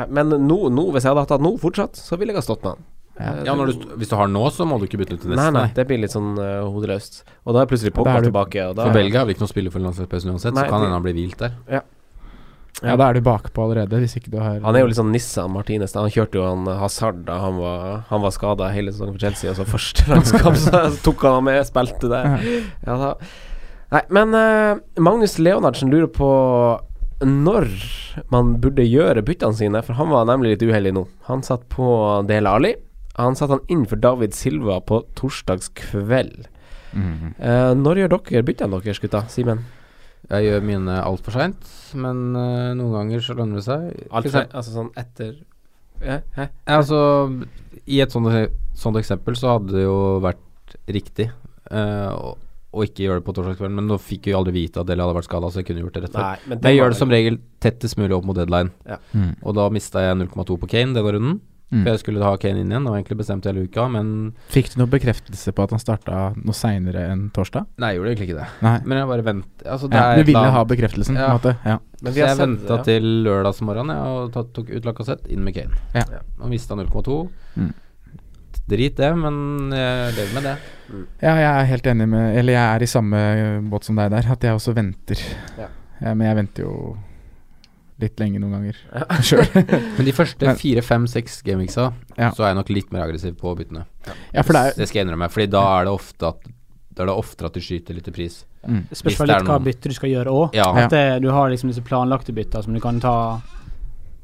Speaker 3: Eh, Men nå, nå, hvis jeg hadde hatt han nå fortsatt, så ville jeg ha stått med han. Eh,
Speaker 2: Ja, når du, st- hvis du har nå, så må du ikke bytte ut til neste.
Speaker 3: Nei, nei, det blir litt sånn eh, hodeløst. Og da er plutselig
Speaker 1: Ja, da
Speaker 3: Pogba
Speaker 1: er du-
Speaker 3: tilbake, og da
Speaker 2: For Belgia har vi ikke noe spiller for landslagspausen uansett,
Speaker 3: Nei,
Speaker 2: så kan
Speaker 3: det-
Speaker 2: hende han blir hvilt der.
Speaker 1: Ja, da er du bakpå allerede, hvis ikke du har
Speaker 3: Han er jo litt sånn nisse av Martinez. da. Han kjørte jo han eh, Hazard da han var, han var skada hele sesongen for Chelsea, og så første (laughs) landskamp så tok han han med, spilte der. Ja, da. Nei, men eh, Magnus Leonardsen lurer på når man burde gjøre byttene sine, for han var nemlig litt uheldig nå. Han satt på Del Ali. Han satte han inn for David Silva på torsdagskveld.
Speaker 1: Mhm.
Speaker 3: Eh, når gjør dere byttene deres, gutta? Simen?
Speaker 2: Jeg gjør mine altfor seint, men eh, noen ganger så lønner det seg. For
Speaker 3: Alt,
Speaker 2: eksempel-
Speaker 3: altså sånn etter ja, hæ?
Speaker 2: Ja, altså, I et sånt, sånt eksempel så hadde det jo vært riktig eh, å, å ikke gjøre det på torsdagskvelden, men nå fikk vi jo aldri vite at Deli hadde vært skada, så jeg kunne gjort det rett før.
Speaker 3: Nei, men
Speaker 2: Men jeg
Speaker 3: var
Speaker 2: gjør det som regel tettest mulig opp mot deadline,
Speaker 1: Mm.
Speaker 2: og da mista jeg 0,2 på Kane denne runden.
Speaker 1: Mm.
Speaker 2: For jeg skulle ha Kane inn igjen, og egentlig bestemt hele uka, men
Speaker 1: Fikk du noen bekreftelse på at han starta noe seinere enn torsdag?
Speaker 2: Nei, jeg gjorde egentlig ikke det.
Speaker 1: Nei.
Speaker 2: Men jeg bare venter Altså, det
Speaker 1: Ja,
Speaker 2: er
Speaker 1: du
Speaker 2: et
Speaker 1: ville
Speaker 2: eller
Speaker 1: ha
Speaker 2: annet.
Speaker 1: bekreftelsen, på
Speaker 2: Ja.
Speaker 1: en måte? Ja.
Speaker 3: Men
Speaker 2: Så jeg
Speaker 3: sett det,
Speaker 2: venta til lørdagsmorgen ja, og tatt, tok ut Lacassette, inn med Kane.
Speaker 1: Ja.
Speaker 2: Og mista 0,2.
Speaker 1: Mm.
Speaker 2: Drit det, men jeg lever med det.
Speaker 1: ja, jeg er helt enig med Eller jeg er i samme båt som deg der, at jeg også venter.
Speaker 3: Ja.
Speaker 1: Ja, men jeg venter jo litt lenge noen ganger sjøl.
Speaker 2: Men de første
Speaker 1: Men-
Speaker 2: fire, fem, seks gameweeksa,
Speaker 1: Ja.
Speaker 2: så er jeg nok litt mer aggressiv på byttene.
Speaker 1: ja, for det er
Speaker 2: Det skal jeg innrømme, Fordi da er det ofte at Da er det oftere at de skyter litt i pris.
Speaker 1: mm.
Speaker 4: Det spørs
Speaker 2: Hvis
Speaker 4: vel
Speaker 2: det er
Speaker 4: litt hva
Speaker 2: noen-
Speaker 4: bytte du skal gjøre òg.
Speaker 2: Ja,
Speaker 1: Ja.
Speaker 4: At eh, du har liksom disse planlagte bytta som du kan ta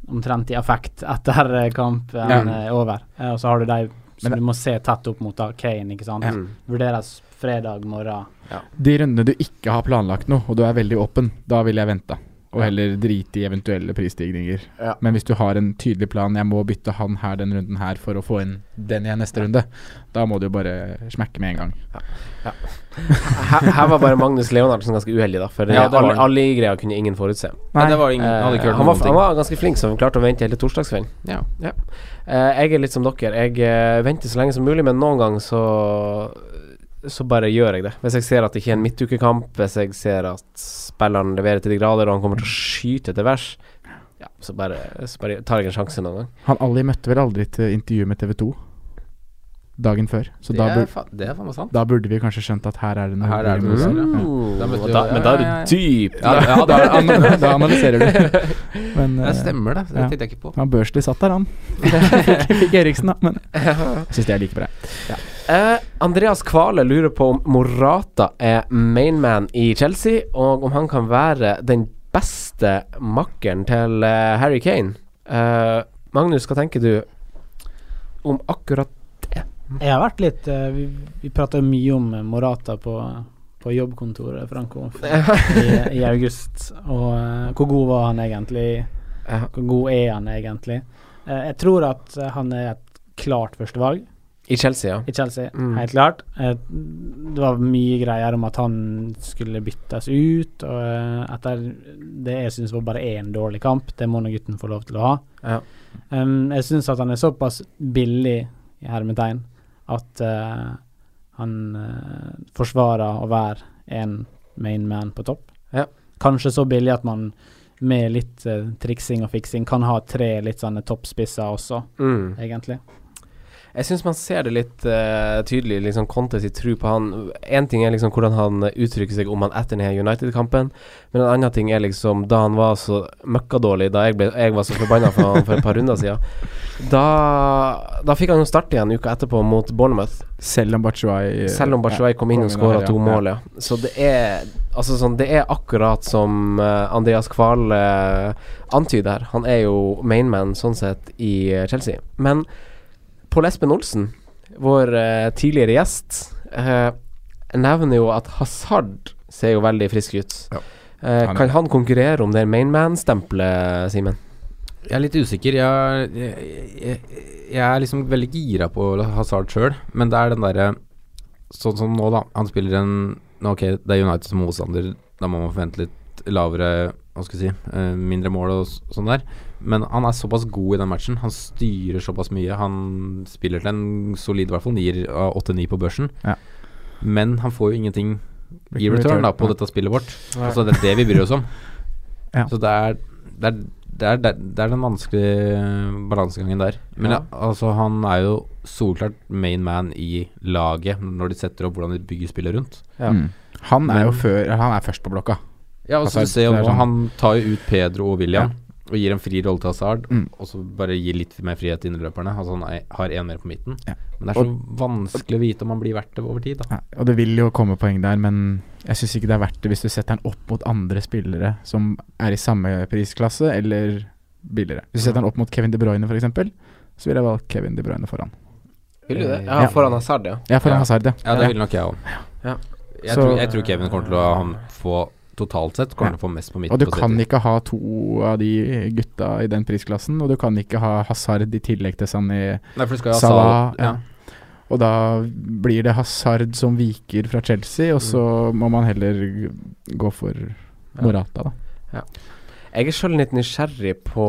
Speaker 4: omtrent i affekt etter eh, kampen
Speaker 1: Ja.
Speaker 4: eh, er over. Eh, Og så har du de som
Speaker 1: Men det-
Speaker 4: du må se tett opp mot da, Kane, ikke sant.
Speaker 3: Mm.
Speaker 4: Vurderes fredag morgen.
Speaker 1: De rundene du ikke har planlagt noe, og du er veldig åpen, da vil jeg vente. Og heller drite i eventuelle prisstigninger.
Speaker 3: Ja.
Speaker 1: Men hvis du har en tydelig plan Jeg må bytte han her den runden her for å få inn den igjen neste runde, da må du jo bare smekke med en gang.
Speaker 3: her, her var bare Magnus Leonardsen ganske uheldig, da. For
Speaker 2: Ja, det var
Speaker 3: alle,
Speaker 2: han.
Speaker 3: alle greia kunne ingen forutse.
Speaker 2: Nei, det var ingen, jeg hadde
Speaker 3: Eh,
Speaker 2: ikke hørt
Speaker 3: han, var,
Speaker 2: noen
Speaker 3: han
Speaker 2: ting.
Speaker 3: var ganske flink, så han klarte å vente hele torsdagskvelden.
Speaker 2: Ja.
Speaker 3: Eh, jeg er litt som dere. Jeg eh, venter så lenge som mulig, men noen ganger så så bare gjør jeg det. Hvis jeg ser at det ikke er en midtukekamp, hvis jeg ser at spilleren leverer til de grader og han kommer til å skyte etter vers, ja, så, bare, så bare tar jeg en sjanse noen gang.
Speaker 1: Han Ali møtte vel aldri til intervju med TV 2 dagen før, så
Speaker 2: Det
Speaker 1: da,
Speaker 2: er
Speaker 1: bur
Speaker 2: fa- det er faen meg sant.
Speaker 1: da burde vi kanskje skjønt at her er det noe
Speaker 2: Her er det
Speaker 1: mulig å
Speaker 2: noe
Speaker 1: gjøre.
Speaker 2: Mm. Da
Speaker 3: Mm,
Speaker 2: møtte
Speaker 3: og
Speaker 2: vi-
Speaker 3: da, men da er
Speaker 2: ja, ja, ja.
Speaker 3: du dyp.
Speaker 2: Ja, ja,
Speaker 1: Ja, (laughs) da, an da analyserer du. Men
Speaker 2: Det
Speaker 1: eh,
Speaker 2: stemmer, det. Det
Speaker 1: ja.
Speaker 2: tenkte jeg ikke på.
Speaker 1: han Børsli satt
Speaker 2: (laughs)
Speaker 1: der, han. Fikk- Fikk Eriksen, da. Men jeg syns det er like bra.
Speaker 3: Eh, Andreas Kvale lurer på om Morata er mainman i Chelsea, og om han kan være den beste makkeren til eh, Harry Kane. Eh, Magnus, hva tenker du om akkurat det?
Speaker 4: Jeg har vært litt eh, Vi, vi prata mye om eh, Morata på, på jobbkontoret, Franco, i, i august. Og eh, hvor god var han egentlig?
Speaker 3: Ja.
Speaker 4: Hvor god er han egentlig? Eh, jeg tror at eh, han er et klart førstevalg
Speaker 3: I Chelsea, ja.
Speaker 4: i Chelsea,
Speaker 3: Mm.
Speaker 4: helt klart. Eh, det var mye greier om at han skulle byttes ut, og eh, etter det jeg syns var bare én dårlig kamp, det må nå gutten få lov til å ha.
Speaker 3: Ja.
Speaker 4: Um, jeg syns at han er såpass billig, i hermetegn, at eh, han eh, forsvarer å være en main man på topp.
Speaker 3: Ja.
Speaker 4: Kanskje så billig at man med litt eh, triksing og fiksing kan ha tre litt sånne toppspisser også,
Speaker 3: Mm.
Speaker 4: egentlig.
Speaker 3: Jeg syns man ser det litt eh, tydelig, liksom Conte sin tro på han. Én ting er liksom hvordan han uttrykker seg om han etter denne United-kampen, men en annen ting er liksom da han var så møkkadårlig, da jeg, ble, jeg var så forbanna for han for et par runder siden. Da, da fikk han jo starte igjen uka etterpå mot Bournemouth,
Speaker 1: Selv om eh, Bachuay
Speaker 3: selv om Bachelet kom inn og skåra to mål, ja. Så det er altså sånn Det er akkurat som eh, Andreas Kvale antyder her. Han er jo mainman sånn sett i eh, Chelsea. Men Pål Espen Olsen, vår eh, tidligere gjest, eh, nevner jo at Hazard ser jo veldig frisk ut.
Speaker 2: Ja.
Speaker 3: Eh,
Speaker 1: Han er-
Speaker 3: kan han konkurrere om det mainman-stempelet, Simen?
Speaker 2: Jeg er litt usikker. Jeg, jeg, jeg, jeg er liksom veldig gira på Hazard sjøl, men det er den derre Sånn som nå, da. Han spiller en nå, Ok, det er United som motstander, da må man forvente litt lavere Hva skal jeg si eh, Mindre mål og s- sånn der. Men han er såpass god i den matchen. Han styrer såpass mye. Han spiller til en solid i hvert fall nier av 8-9 på børsen.
Speaker 1: Ja.
Speaker 2: Men han får jo ingenting i
Speaker 1: Ikke
Speaker 2: return
Speaker 1: return,
Speaker 2: da på
Speaker 1: ja.
Speaker 2: dette spillet vårt. Altså Det er det vi bryr oss om.
Speaker 1: (laughs) Ja.
Speaker 2: Så det er, det, er, det, er, det er- det er den vanskelige eh, balansegangen der. Men
Speaker 3: Ja.
Speaker 2: ja, altså han er jo solklart main man i laget når de setter opp hvordan de bygger spillet rundt.
Speaker 3: Ja.
Speaker 1: Mm. Han er jo
Speaker 2: Men-
Speaker 1: før eller Han er først på blokka.
Speaker 2: Ja, Altså, og så
Speaker 1: Hazard,
Speaker 2: du ser
Speaker 1: det
Speaker 2: jo
Speaker 1: er
Speaker 2: nå,
Speaker 1: sånn.
Speaker 2: Han tar jo ut Pedro og William og gir en fri rolle til Hazard.
Speaker 1: Mm.
Speaker 2: Og så bare gir litt mer frihet til innløperne. Altså han er, har én mer på midten.
Speaker 1: Ja.
Speaker 2: Men det er så vanskelig å vite om han blir verdt det over tid. da
Speaker 1: Ja, og det vil jo komme poeng der, men jeg syns ikke det er verdt det hvis du setter den opp mot andre spillere som er i samme prisklasse eller billigere. Hvis du setter den opp mot Kevin De Bruyne f.eks., så ville jeg valgt Kevin De Bruyne foran.
Speaker 3: Vil du det?
Speaker 2: Ja,
Speaker 3: Ja, foran Hazard, ja.
Speaker 1: Ja, foran
Speaker 2: Ja.
Speaker 1: Hazard, ja.
Speaker 2: Ja, det vil nok jeg òg.
Speaker 3: Ja.
Speaker 2: Jeg,
Speaker 1: Så-
Speaker 2: tror- jeg tror Kevin kommer til å han, få Totalt sett kommer han til å få mest på midten.
Speaker 1: Og du
Speaker 2: på
Speaker 1: kan
Speaker 2: City.
Speaker 1: ikke ha to av de gutta i den prisklassen, og du kan ikke ha Hazard i tillegg til Sané.
Speaker 2: Nei, for du skal jo ha
Speaker 1: Salah,
Speaker 2: Salah.
Speaker 1: ja.
Speaker 2: Ja.
Speaker 1: Og da blir det Hazard som viker fra Chelsea, og
Speaker 2: Mm.
Speaker 1: så må man heller gå for Morata, da.
Speaker 3: Jeg er sjøl litt nysgjerrig på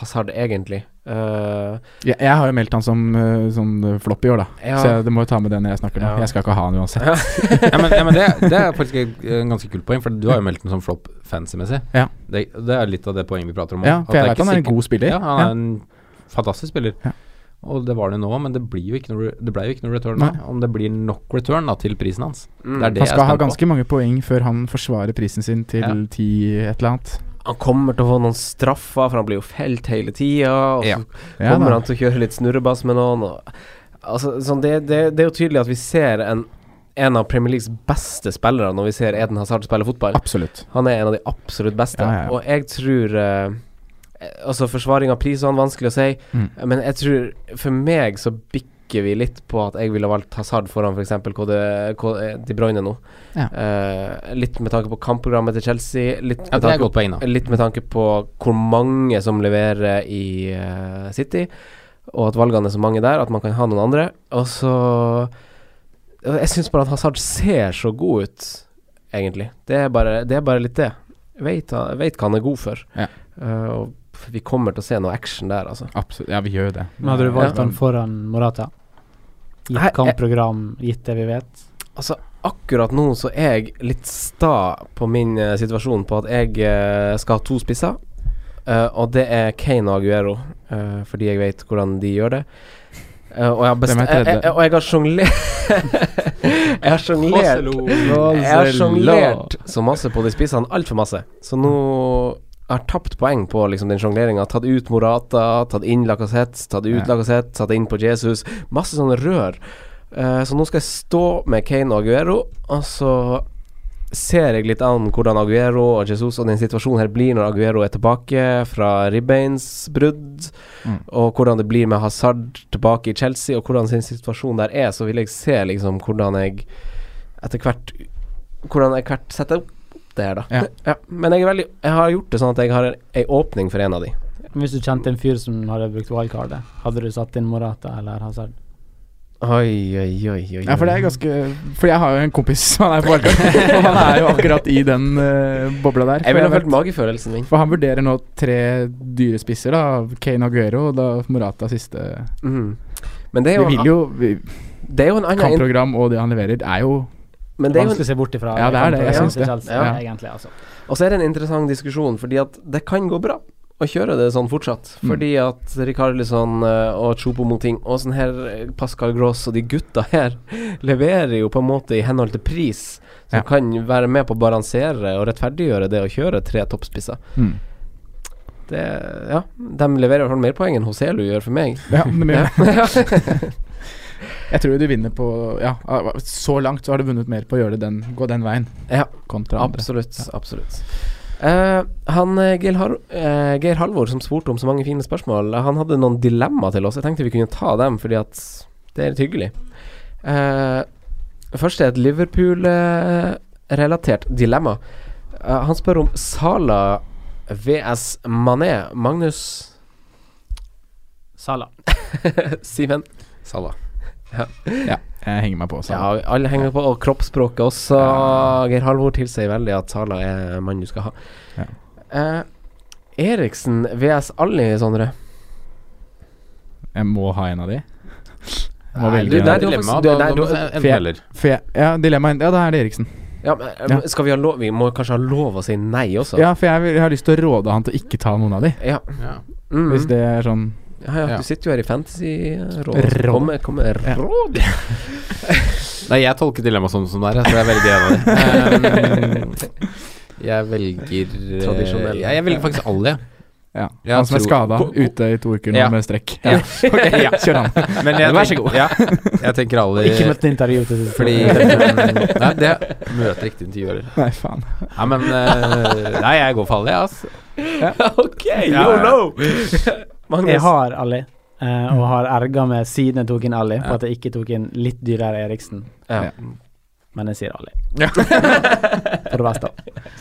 Speaker 3: Hazard, egentlig. Eh,
Speaker 1: Jeg, jeg har jo meldt han som eh, sånn flopp i år, da.
Speaker 3: Ja.
Speaker 1: Så jeg, du må jo ta med det når jeg snakker nå.
Speaker 3: Ja.
Speaker 1: Jeg skal ikke ha han uansett.
Speaker 2: ja, men, ja, men det, det er faktisk et eh, ganske kult poeng, for du har jo meldt den som flopp fancy-messig.
Speaker 1: Ja.
Speaker 2: Det, det er litt av det poenget vi prater om.
Speaker 1: Ja,
Speaker 2: også,
Speaker 1: for jeg
Speaker 2: at det
Speaker 1: vet han er en
Speaker 2: ikke
Speaker 1: god
Speaker 2: sikkert-
Speaker 1: spiller.
Speaker 2: Ja, han er en fantastisk spiller.
Speaker 1: Ja.
Speaker 2: Og det var det jo nå, men det, blir jo ikke noe, re- det ble jo ikke noe return.
Speaker 1: Nei.
Speaker 2: da. Om det blir nok return da, til prisen hans.
Speaker 3: mm.
Speaker 2: Det er
Speaker 1: Han
Speaker 2: det jeg
Speaker 1: skal
Speaker 2: er
Speaker 1: ha
Speaker 2: spent på.
Speaker 1: ganske mange poeng før han forsvarer prisen sin til
Speaker 2: Ja.
Speaker 1: 10 et eller annet.
Speaker 3: Han kommer til å få noen straffer, for han blir jo felt hele tida. Og så
Speaker 2: Ja.
Speaker 1: Ja,
Speaker 3: kommer
Speaker 1: da.
Speaker 3: han til å kjøre litt snurrebass med noen. Og, altså, sånn, det, det, det er jo tydelig at vi ser en, en av Premier Leagues beste spillere når vi ser Eden Hazard spille fotball.
Speaker 1: Absolutt.
Speaker 3: Han er en av de absolutt beste.
Speaker 1: Ja, ja, ja.
Speaker 3: Og jeg tror eh, Altså, forsvaring av prisene, vanskelig å si.
Speaker 1: Mm.
Speaker 3: Men jeg tror For meg så bikker vi litt på at jeg ville valgt Hazard foran f.eks. KD, KD De Bruyne nå.
Speaker 1: Ja.
Speaker 3: Eh, litt med tanke på kampprogrammet til Chelsea. Litt med
Speaker 2: Ja, det er
Speaker 3: tanke
Speaker 2: et godt poeng, da.
Speaker 3: Litt med tanke på hvor mange som leverer i eh, City, og at valgene er så mange der, at man kan ha noen andre. Og så Jeg syns bare at Hazard ser så god ut, egentlig. Det er bare, det er bare litt det. Vet, han- vet hva han er god for.
Speaker 1: Ja.
Speaker 3: Eh, og vi kommer til å se noe action der, altså.
Speaker 1: Absolutt. Ja, vi gjør jo det.
Speaker 4: Men hadde du valgt
Speaker 1: Ja.
Speaker 4: han foran Morata?
Speaker 3: Nei, jeg-
Speaker 4: Gitt kampprogram, gitt det vi vet?
Speaker 3: Altså, akkurat nå så er jeg litt sta på min eh, situasjon på at jeg eh, skal ha to spisser. Eh, og det er Kane og Aguero, eh, fordi jeg vet hvordan de gjør det. Eh, og jeg har best-
Speaker 1: Hvem er tredje?
Speaker 3: jeg- jeg- Og jeg har sjonglert (laughs) Jeg har sjonglert Jeg har sjonglert så masse på de spissene, altfor masse. Så nå har jeg tapt poeng på liksom, den sjongleringa. Tatt ut Morata, tatt inn Lacassette, tatt ut
Speaker 1: Ja.
Speaker 3: Lacassette, satt inn på Jesus. Masse sånne rør. Eh, så nå skal jeg stå med Kane og Aguero, og så ser jeg litt an hvordan Aguero og Jesus og den situasjonen her blir når Aguero er tilbake fra ribbeinsbrudd,
Speaker 1: Mm.
Speaker 3: og hvordan det blir med Hazard tilbake i Chelsea, og hvordan sin situasjon der er, så vil jeg se liksom hvordan jeg etter hvert Hvordan jeg hvert setter opp det her, da. (laughs)
Speaker 1: Ja.
Speaker 3: Men jeg, er veldig, jeg har gjort det sånn at jeg har en- ei åpning for en av de.
Speaker 4: Men Hvis du kjente en fyr som hadde brukt wildcardet, hadde du satt inn Morata eller Hazard?
Speaker 3: Oi, oi, oi, oi.
Speaker 1: Ja, for det er ganske For jeg har jo en kompis som er på valgkamp, (laughs) og han er jo akkurat i den eh, bobla der.
Speaker 3: Jeg
Speaker 1: For
Speaker 3: ville ha
Speaker 1: jeg
Speaker 3: følt magefølelsen min.
Speaker 1: vet- For han vurderer nå tre dyre spisser, da. Kane Aguero og da Morata siste. Mm.
Speaker 3: Mhm. Men det er
Speaker 1: Vi
Speaker 3: jo,
Speaker 1: vil jo vi,
Speaker 3: det er jo en annen in-
Speaker 1: Kampprogram og det han leverer, er jo
Speaker 3: Men det er jo en-
Speaker 4: Vanskelig å se bort ifra.
Speaker 1: Ja, det er det, jeg
Speaker 4: kampen
Speaker 1: syns
Speaker 4: til
Speaker 1: det.
Speaker 4: Chelsea,
Speaker 1: Ja.
Speaker 4: Egentlig, altså.
Speaker 3: Og så er det en interessant diskusjon, fordi at det kan gå bra å kjøre det sånn fortsatt.
Speaker 1: Mm.
Speaker 3: Fordi at Rikarlisson eh, og Chopomoting og sånn her eh, Pascal Gross og de gutta her (laughs) leverer jo på en måte i henhold til pris, som
Speaker 1: Ja.
Speaker 3: kan være med på å balansere og rettferdiggjøre det å kjøre tre toppspisser.
Speaker 1: mm.
Speaker 3: Det, ja, de leverer i hvert fall mer poeng enn Hoselu gjør for
Speaker 1: (laughs)
Speaker 3: meg.
Speaker 1: Ja, men vi-
Speaker 3: Ja. (laughs)
Speaker 1: Jeg tror du vinner på Ja, så langt så har du vunnet mer på å gjøre det den, gå den veien
Speaker 3: Ja.
Speaker 1: kontra andre.
Speaker 3: Absolutt. absolutt Eh, han, eh, Geir, Har eh, Geir Halvor, som spurte om så mange fine spørsmål, eh, han hadde noen dilemma til oss. Jeg tenkte vi kunne ta dem, fordi at det er litt hyggelig. Eh, først er et Liverpool-relatert dilemma. Eh, han spør om Sala VS Mané. Magnus (laughs)
Speaker 4: Salah.
Speaker 3: Simen?
Speaker 2: Salah.
Speaker 1: Jeg henger meg på. Så.
Speaker 3: Ja, alle henger på, og kroppsspråket også.
Speaker 1: Ja.
Speaker 3: Geir Halvor tilsier veldig at Sala er mannen du skal ha.
Speaker 1: Ja.
Speaker 3: Eh, Eriksen VS Alli, Sondre.
Speaker 1: Jeg må ha en av de. Jeg Må
Speaker 3: Nei,
Speaker 1: velge
Speaker 3: du-
Speaker 1: en
Speaker 3: nei,
Speaker 1: av de.
Speaker 3: du-
Speaker 2: Dilemma,
Speaker 3: det-
Speaker 2: da-
Speaker 3: nei,
Speaker 2: da
Speaker 3: du-
Speaker 2: må
Speaker 1: for
Speaker 2: jeg- enten
Speaker 1: jeg-
Speaker 2: eller.
Speaker 1: For jeg, ja, dilemmaet Ja, da er det Eriksen.
Speaker 3: Ja, men, eh,
Speaker 1: Ja.
Speaker 3: Skal vi ha lov Vi må kanskje ha lov å si nei også?
Speaker 1: Ja, for jeg, vil- jeg har lyst til å råde han til å ikke ta noen av de.
Speaker 3: Ja.
Speaker 2: Ja.
Speaker 3: Mm.
Speaker 1: Hvis det er sånn
Speaker 3: ja, ja,
Speaker 2: Ja.
Speaker 3: Du sitter jo her i Fantasy-rådet.
Speaker 1: Råd.
Speaker 3: Kom med kom med
Speaker 1: Ja.
Speaker 3: råd.
Speaker 2: Nei, jeg tolker dilemmaet sånn som det er, så jeg velger en (laughs) av dem. Ehm, Jeg velger eh,
Speaker 3: Tradisjonell.
Speaker 2: Ja, jeg velger faktisk alle, jeg. (laughs)
Speaker 1: ja,
Speaker 2: Ja,
Speaker 1: Han som er
Speaker 2: tror-
Speaker 1: skada
Speaker 2: Ko- ko-
Speaker 1: ute i to uker nå
Speaker 2: Ja.
Speaker 1: med strekk.
Speaker 2: Ja.
Speaker 1: Ok,
Speaker 2: (laughs)
Speaker 1: ja, Kjør han.
Speaker 2: Men jeg,
Speaker 1: Vær så
Speaker 2: tenker- Ja, jeg tenker alle
Speaker 4: Ikke møtt intervju til
Speaker 2: Eh, Fordi (laughs) Nei, det møter riktig intervjuer.
Speaker 1: Nei, faen.
Speaker 2: Nei, men eh, Nei, jeg går for alle, jeg, altså.
Speaker 3: ok,
Speaker 2: Ja.
Speaker 3: yolo! (laughs) Magnus.
Speaker 4: (laughs) Jeg har Ali, eh, og har erga meg siden jeg tok inn Ali, på at jeg ikke tok inn litt dyrere Eriksen.
Speaker 3: Ja.
Speaker 4: Men jeg sier Ali.
Speaker 2: Ja.
Speaker 4: For det verste.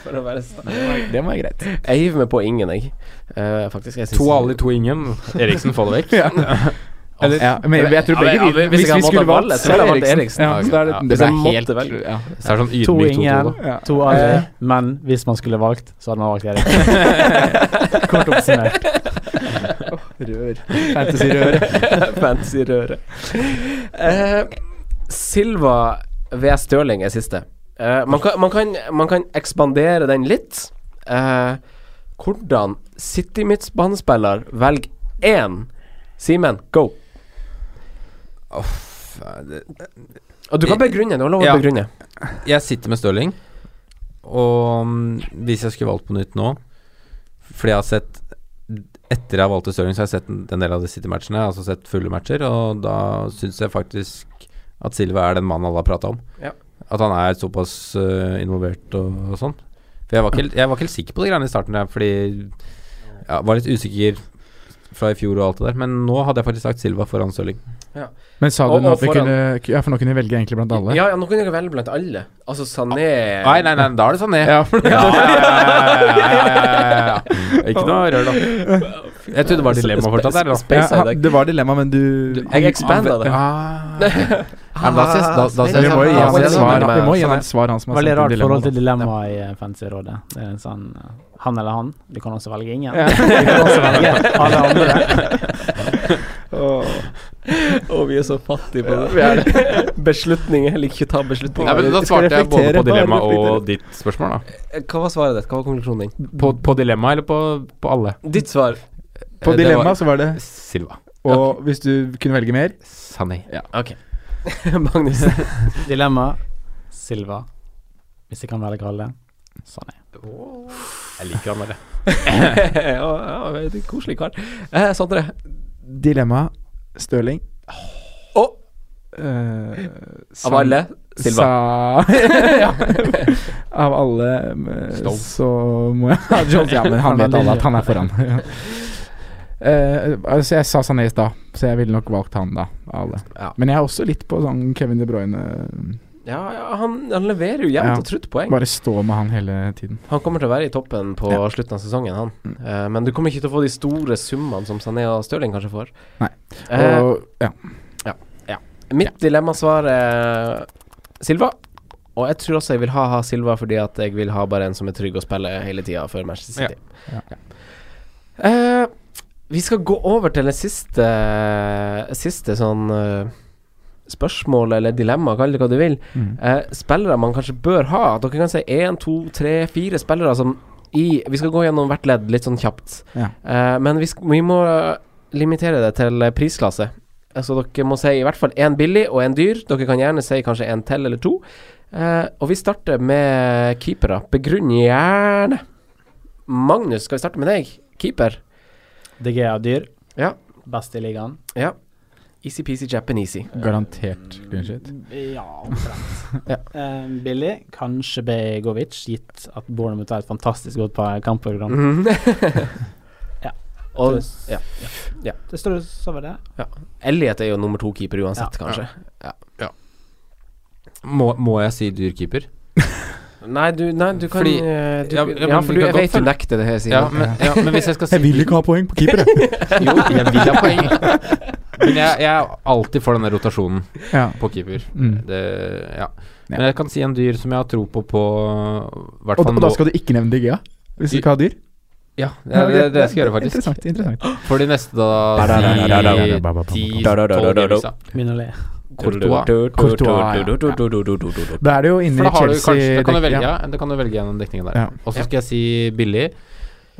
Speaker 3: For å være sta-
Speaker 1: Det må være greit.
Speaker 3: Jeg hiver meg på ingen, jeg. Eh, faktisk. Jeg synes-
Speaker 2: To
Speaker 3: (laughs)
Speaker 2: alle, to ingen. Eriksen, få det vekk.
Speaker 1: Ja.
Speaker 2: Eller-
Speaker 1: ja, men jeg, jeg tror
Speaker 3: Ja,
Speaker 1: begge
Speaker 3: men- ja,
Speaker 1: vi
Speaker 3: men hvis jeg hadde valgt alle, så ville jeg valgt Eriksen.
Speaker 1: Ja, så da er det,
Speaker 2: Ja,
Speaker 1: det,
Speaker 2: hvis
Speaker 1: er
Speaker 2: jeg
Speaker 1: helt
Speaker 2: måtte
Speaker 1: velge. Ja.
Speaker 2: Så er det sånn
Speaker 4: To
Speaker 2: ydmyk 2-2,
Speaker 4: ingen,
Speaker 2: da.
Speaker 1: Ja.
Speaker 4: to Ali.
Speaker 1: Eh.
Speaker 4: Men hvis man skulle valgt, så hadde man valgt Eriksen. (laughs) Kort oppsummert.
Speaker 1: Rør. Fantasy-rør.
Speaker 3: (laughs) Fancy røre. Eh, Silva ved Stirling er siste. Eh, man, kan, man, kan, man kan ekspandere den litt. Eh, hvordan City midtbanespiller velger én Simen, go!
Speaker 2: Uff, det-
Speaker 3: Og du kan begrunne. Du har lov å
Speaker 2: Ja.
Speaker 3: begrunne.
Speaker 2: Jeg sitter med Stirling, og mm, hvis jeg skulle valgt på nytt nå Fordi jeg har sett Etter jeg valgte Stirling, så har jeg sett en en del av de City-matchene. Jeg har også sett fulle matcher, og da syns jeg faktisk at Silva er den mannen alle har prata om.
Speaker 3: Ja.
Speaker 2: At han er såpass øh, involvert og, og sånn. For jeg var, ikke, helt- jeg var ikke helt sikker på de greiene i starten, jeg, fordi jeg var litt usikker fra i fjor og alt det der. Men nå hadde jeg faktisk sagt Silva foran Stirling.
Speaker 1: Men sa du
Speaker 3: Og-
Speaker 1: nå
Speaker 3: og
Speaker 1: at vi
Speaker 3: foran.
Speaker 1: kunne Ja, for nå kunne vi velge egentlig blant alle?
Speaker 3: Ja, ja, nå kan dere velge blant alle. Altså Sané
Speaker 2: Nei, nei, nei, da er det sånn ned.
Speaker 1: Ja, for det-
Speaker 2: Ikke noe rør, da. Jeg trodde det var dilemma fortsatt der, da.
Speaker 3: Space
Speaker 1: Ja,
Speaker 3: i dag.
Speaker 1: det var dilemma, men du
Speaker 3: Du- jeg expanda det.
Speaker 1: Ah.
Speaker 2: Ja, men da ses, da, da ses
Speaker 1: Vi må jo gi han et svar, vi må gi han et svar han som har
Speaker 4: Veldig
Speaker 1: sendt
Speaker 4: rart
Speaker 1: inn dilemma.
Speaker 4: forhold til dilemma i eh, Fancy-rådet. Det er en sånn eh, han eller han. Du kan også velge ingen.
Speaker 1: Ja.
Speaker 4: Du kan også velge alle andre.
Speaker 3: Og vi er så fattige på det. (laughs) Vi er det. Beslutninger. Jeg liker ikke å ta beslutninger.
Speaker 2: Nei, men Da
Speaker 1: Skal
Speaker 2: svarte jeg både
Speaker 1: reflektere,
Speaker 2: på dilemma
Speaker 1: bare reflektere.
Speaker 2: og ditt spørsmål, da.
Speaker 3: Eh, Hva var svaret ditt? Hva var konklusjonen din?
Speaker 2: På, på dilemma eller på, på alle?
Speaker 3: Ditt svar.
Speaker 1: På
Speaker 2: Eh, det
Speaker 1: dilemma
Speaker 2: var-
Speaker 1: så var det
Speaker 2: Silva.
Speaker 1: Og hvis du kunne velge mer
Speaker 2: Sané.
Speaker 3: Ok. (laughs) Magnus.
Speaker 2: (laughs)
Speaker 4: Dilemma Silva. Hvis jeg kan velge alle. Sånn er
Speaker 2: Jeg liker han der.
Speaker 3: ja, ja, det er en koselig kar. Eh, Sondre.
Speaker 1: Dilemma Stirling.
Speaker 3: Å!
Speaker 1: eh,
Speaker 3: Av alle? Silva.
Speaker 1: Sa, (laughs) ja. Av alle eh,
Speaker 2: Stones.
Speaker 1: så må jeg ha Jones. Ja, men han vet alle at han er (laughs) foran. Ja. Eh, altså jeg sa Sané i stad, så jeg ville nok valgt han da. Av alle.
Speaker 2: Ja.
Speaker 1: Men jeg er også litt på sånn Kevin De Bruyne.
Speaker 3: Ja, ja han, han leverer jo jevnt
Speaker 1: Ja.
Speaker 3: og trutt poeng.
Speaker 1: Bare stå med han hele tiden.
Speaker 3: Han kommer til å være i toppen på
Speaker 1: Ja. Mm.
Speaker 3: slutten av sesongen, han. Eh, men du kommer ikke til å få de store summene som Sané og Stirling kanskje får.
Speaker 1: Nei.
Speaker 3: Eh,
Speaker 1: Og, ja.
Speaker 3: mitt dilemmasvar er Silva. Og jeg tror også jeg vil ha, ha Silva fordi at jeg vil ha bare en som er trygg å spille hele tida for Manchester City.
Speaker 1: Ja.
Speaker 3: Eh, vi skal gå over til det siste, siste sånn eh, spørsmål eller dilemma, kall det hva du vil.
Speaker 1: Mm.
Speaker 3: Eh, spillere man kanskje bør ha. Dere kan si én, to, tre, fire spillere som i Vi skal gå gjennom hvert ledd litt sånn kjapt.
Speaker 1: Ja.
Speaker 3: Eh, men vi, sk vi må eh, limitere det til eh, prisklasse. Så dere må si i hvert fall én billig og én dyr. Dere kan gjerne si kanskje en til eller to. Eh, og vi starter med keepere. Begrunn gjerne. Magnus, skal vi starte med deg? Keeper.
Speaker 4: DG er dyr.
Speaker 3: Ja.
Speaker 4: Best i ligaen.
Speaker 3: Ja. Easy-peasy Japanesey.
Speaker 1: Garantert green shit.
Speaker 4: Ja, omtrent.
Speaker 3: Ja.
Speaker 4: Eh, billig. Kanskje Begovic, gitt at Bournemouth har et fantastisk godt par- kampprogram. (laughs) Ja.
Speaker 3: Og, ja.
Speaker 4: Det står så over det.
Speaker 3: Elliot er jo nummer to keeper uansett,
Speaker 4: Ja.
Speaker 3: kanskje.
Speaker 2: Må, må jeg si dyr keeper?
Speaker 3: Nei, du, nei, du kan
Speaker 2: Fordi-
Speaker 3: eh, du,
Speaker 2: ja,
Speaker 3: ja,
Speaker 2: ja, men
Speaker 3: for du,
Speaker 2: vi kan
Speaker 3: jeg
Speaker 2: godt
Speaker 3: vet du
Speaker 2: følge-
Speaker 3: nekter det her, Simen.
Speaker 2: Ja, men, ja, men hvis jeg skal si
Speaker 1: Jeg vil ikke ha poeng på keeper, jeg.
Speaker 2: (laughs) Jo, jeg vil ha poeng. Men jeg, jeg er alltid for denne rotasjonen
Speaker 1: ja.
Speaker 2: på keeper.
Speaker 1: Mm.
Speaker 2: Det, ja.
Speaker 1: Ja.
Speaker 2: Men jeg kan si en dyr som jeg har tro på på hvert
Speaker 1: Og da,
Speaker 2: fall
Speaker 1: da
Speaker 2: nå.
Speaker 1: skal du ikke nevne Digea? Hvis du
Speaker 2: I-
Speaker 1: ikke har dyr?
Speaker 2: Ja, det, det, det, skal jeg gjøre, faktisk.
Speaker 1: Interessant. interessant
Speaker 2: For de neste,
Speaker 1: Da, da, da, da, da, da, da,
Speaker 2: da
Speaker 1: da, da.
Speaker 2: ti-
Speaker 3: Da, da, da, da, da, da.
Speaker 2: tolv games,
Speaker 4: Begynner å le.
Speaker 2: Courtois.
Speaker 1: Courtois, ja. Da er det jo inne i
Speaker 2: For da har du
Speaker 1: Chelsea
Speaker 2: kanskje Da kan du
Speaker 1: dekk-
Speaker 2: velge,
Speaker 1: ja.
Speaker 2: ja. da kan du velge gjennom dekningen der.
Speaker 1: Ja.
Speaker 2: Og så skal jeg si billig,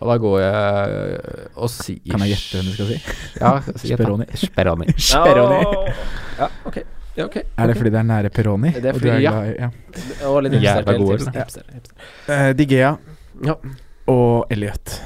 Speaker 2: og da går jeg og sier
Speaker 1: Kan jeg gjette hvem du skal si?
Speaker 2: Ja, si gjett da.
Speaker 1: Speroni. (laughs)
Speaker 2: Speroni.
Speaker 1: Speroni.
Speaker 3: Ja, ok. Ja, ok.
Speaker 1: Er det fordi det er nære Peroni?
Speaker 3: Det er
Speaker 1: og du
Speaker 3: fordi- ja.
Speaker 1: glad i- ja.
Speaker 3: Og litt
Speaker 2: Jævla
Speaker 3: hipster til,
Speaker 2: god,
Speaker 3: hipster,
Speaker 2: eller?
Speaker 3: hipster, hipster.
Speaker 1: Eh, Digea
Speaker 3: Ja.
Speaker 1: og Elliot.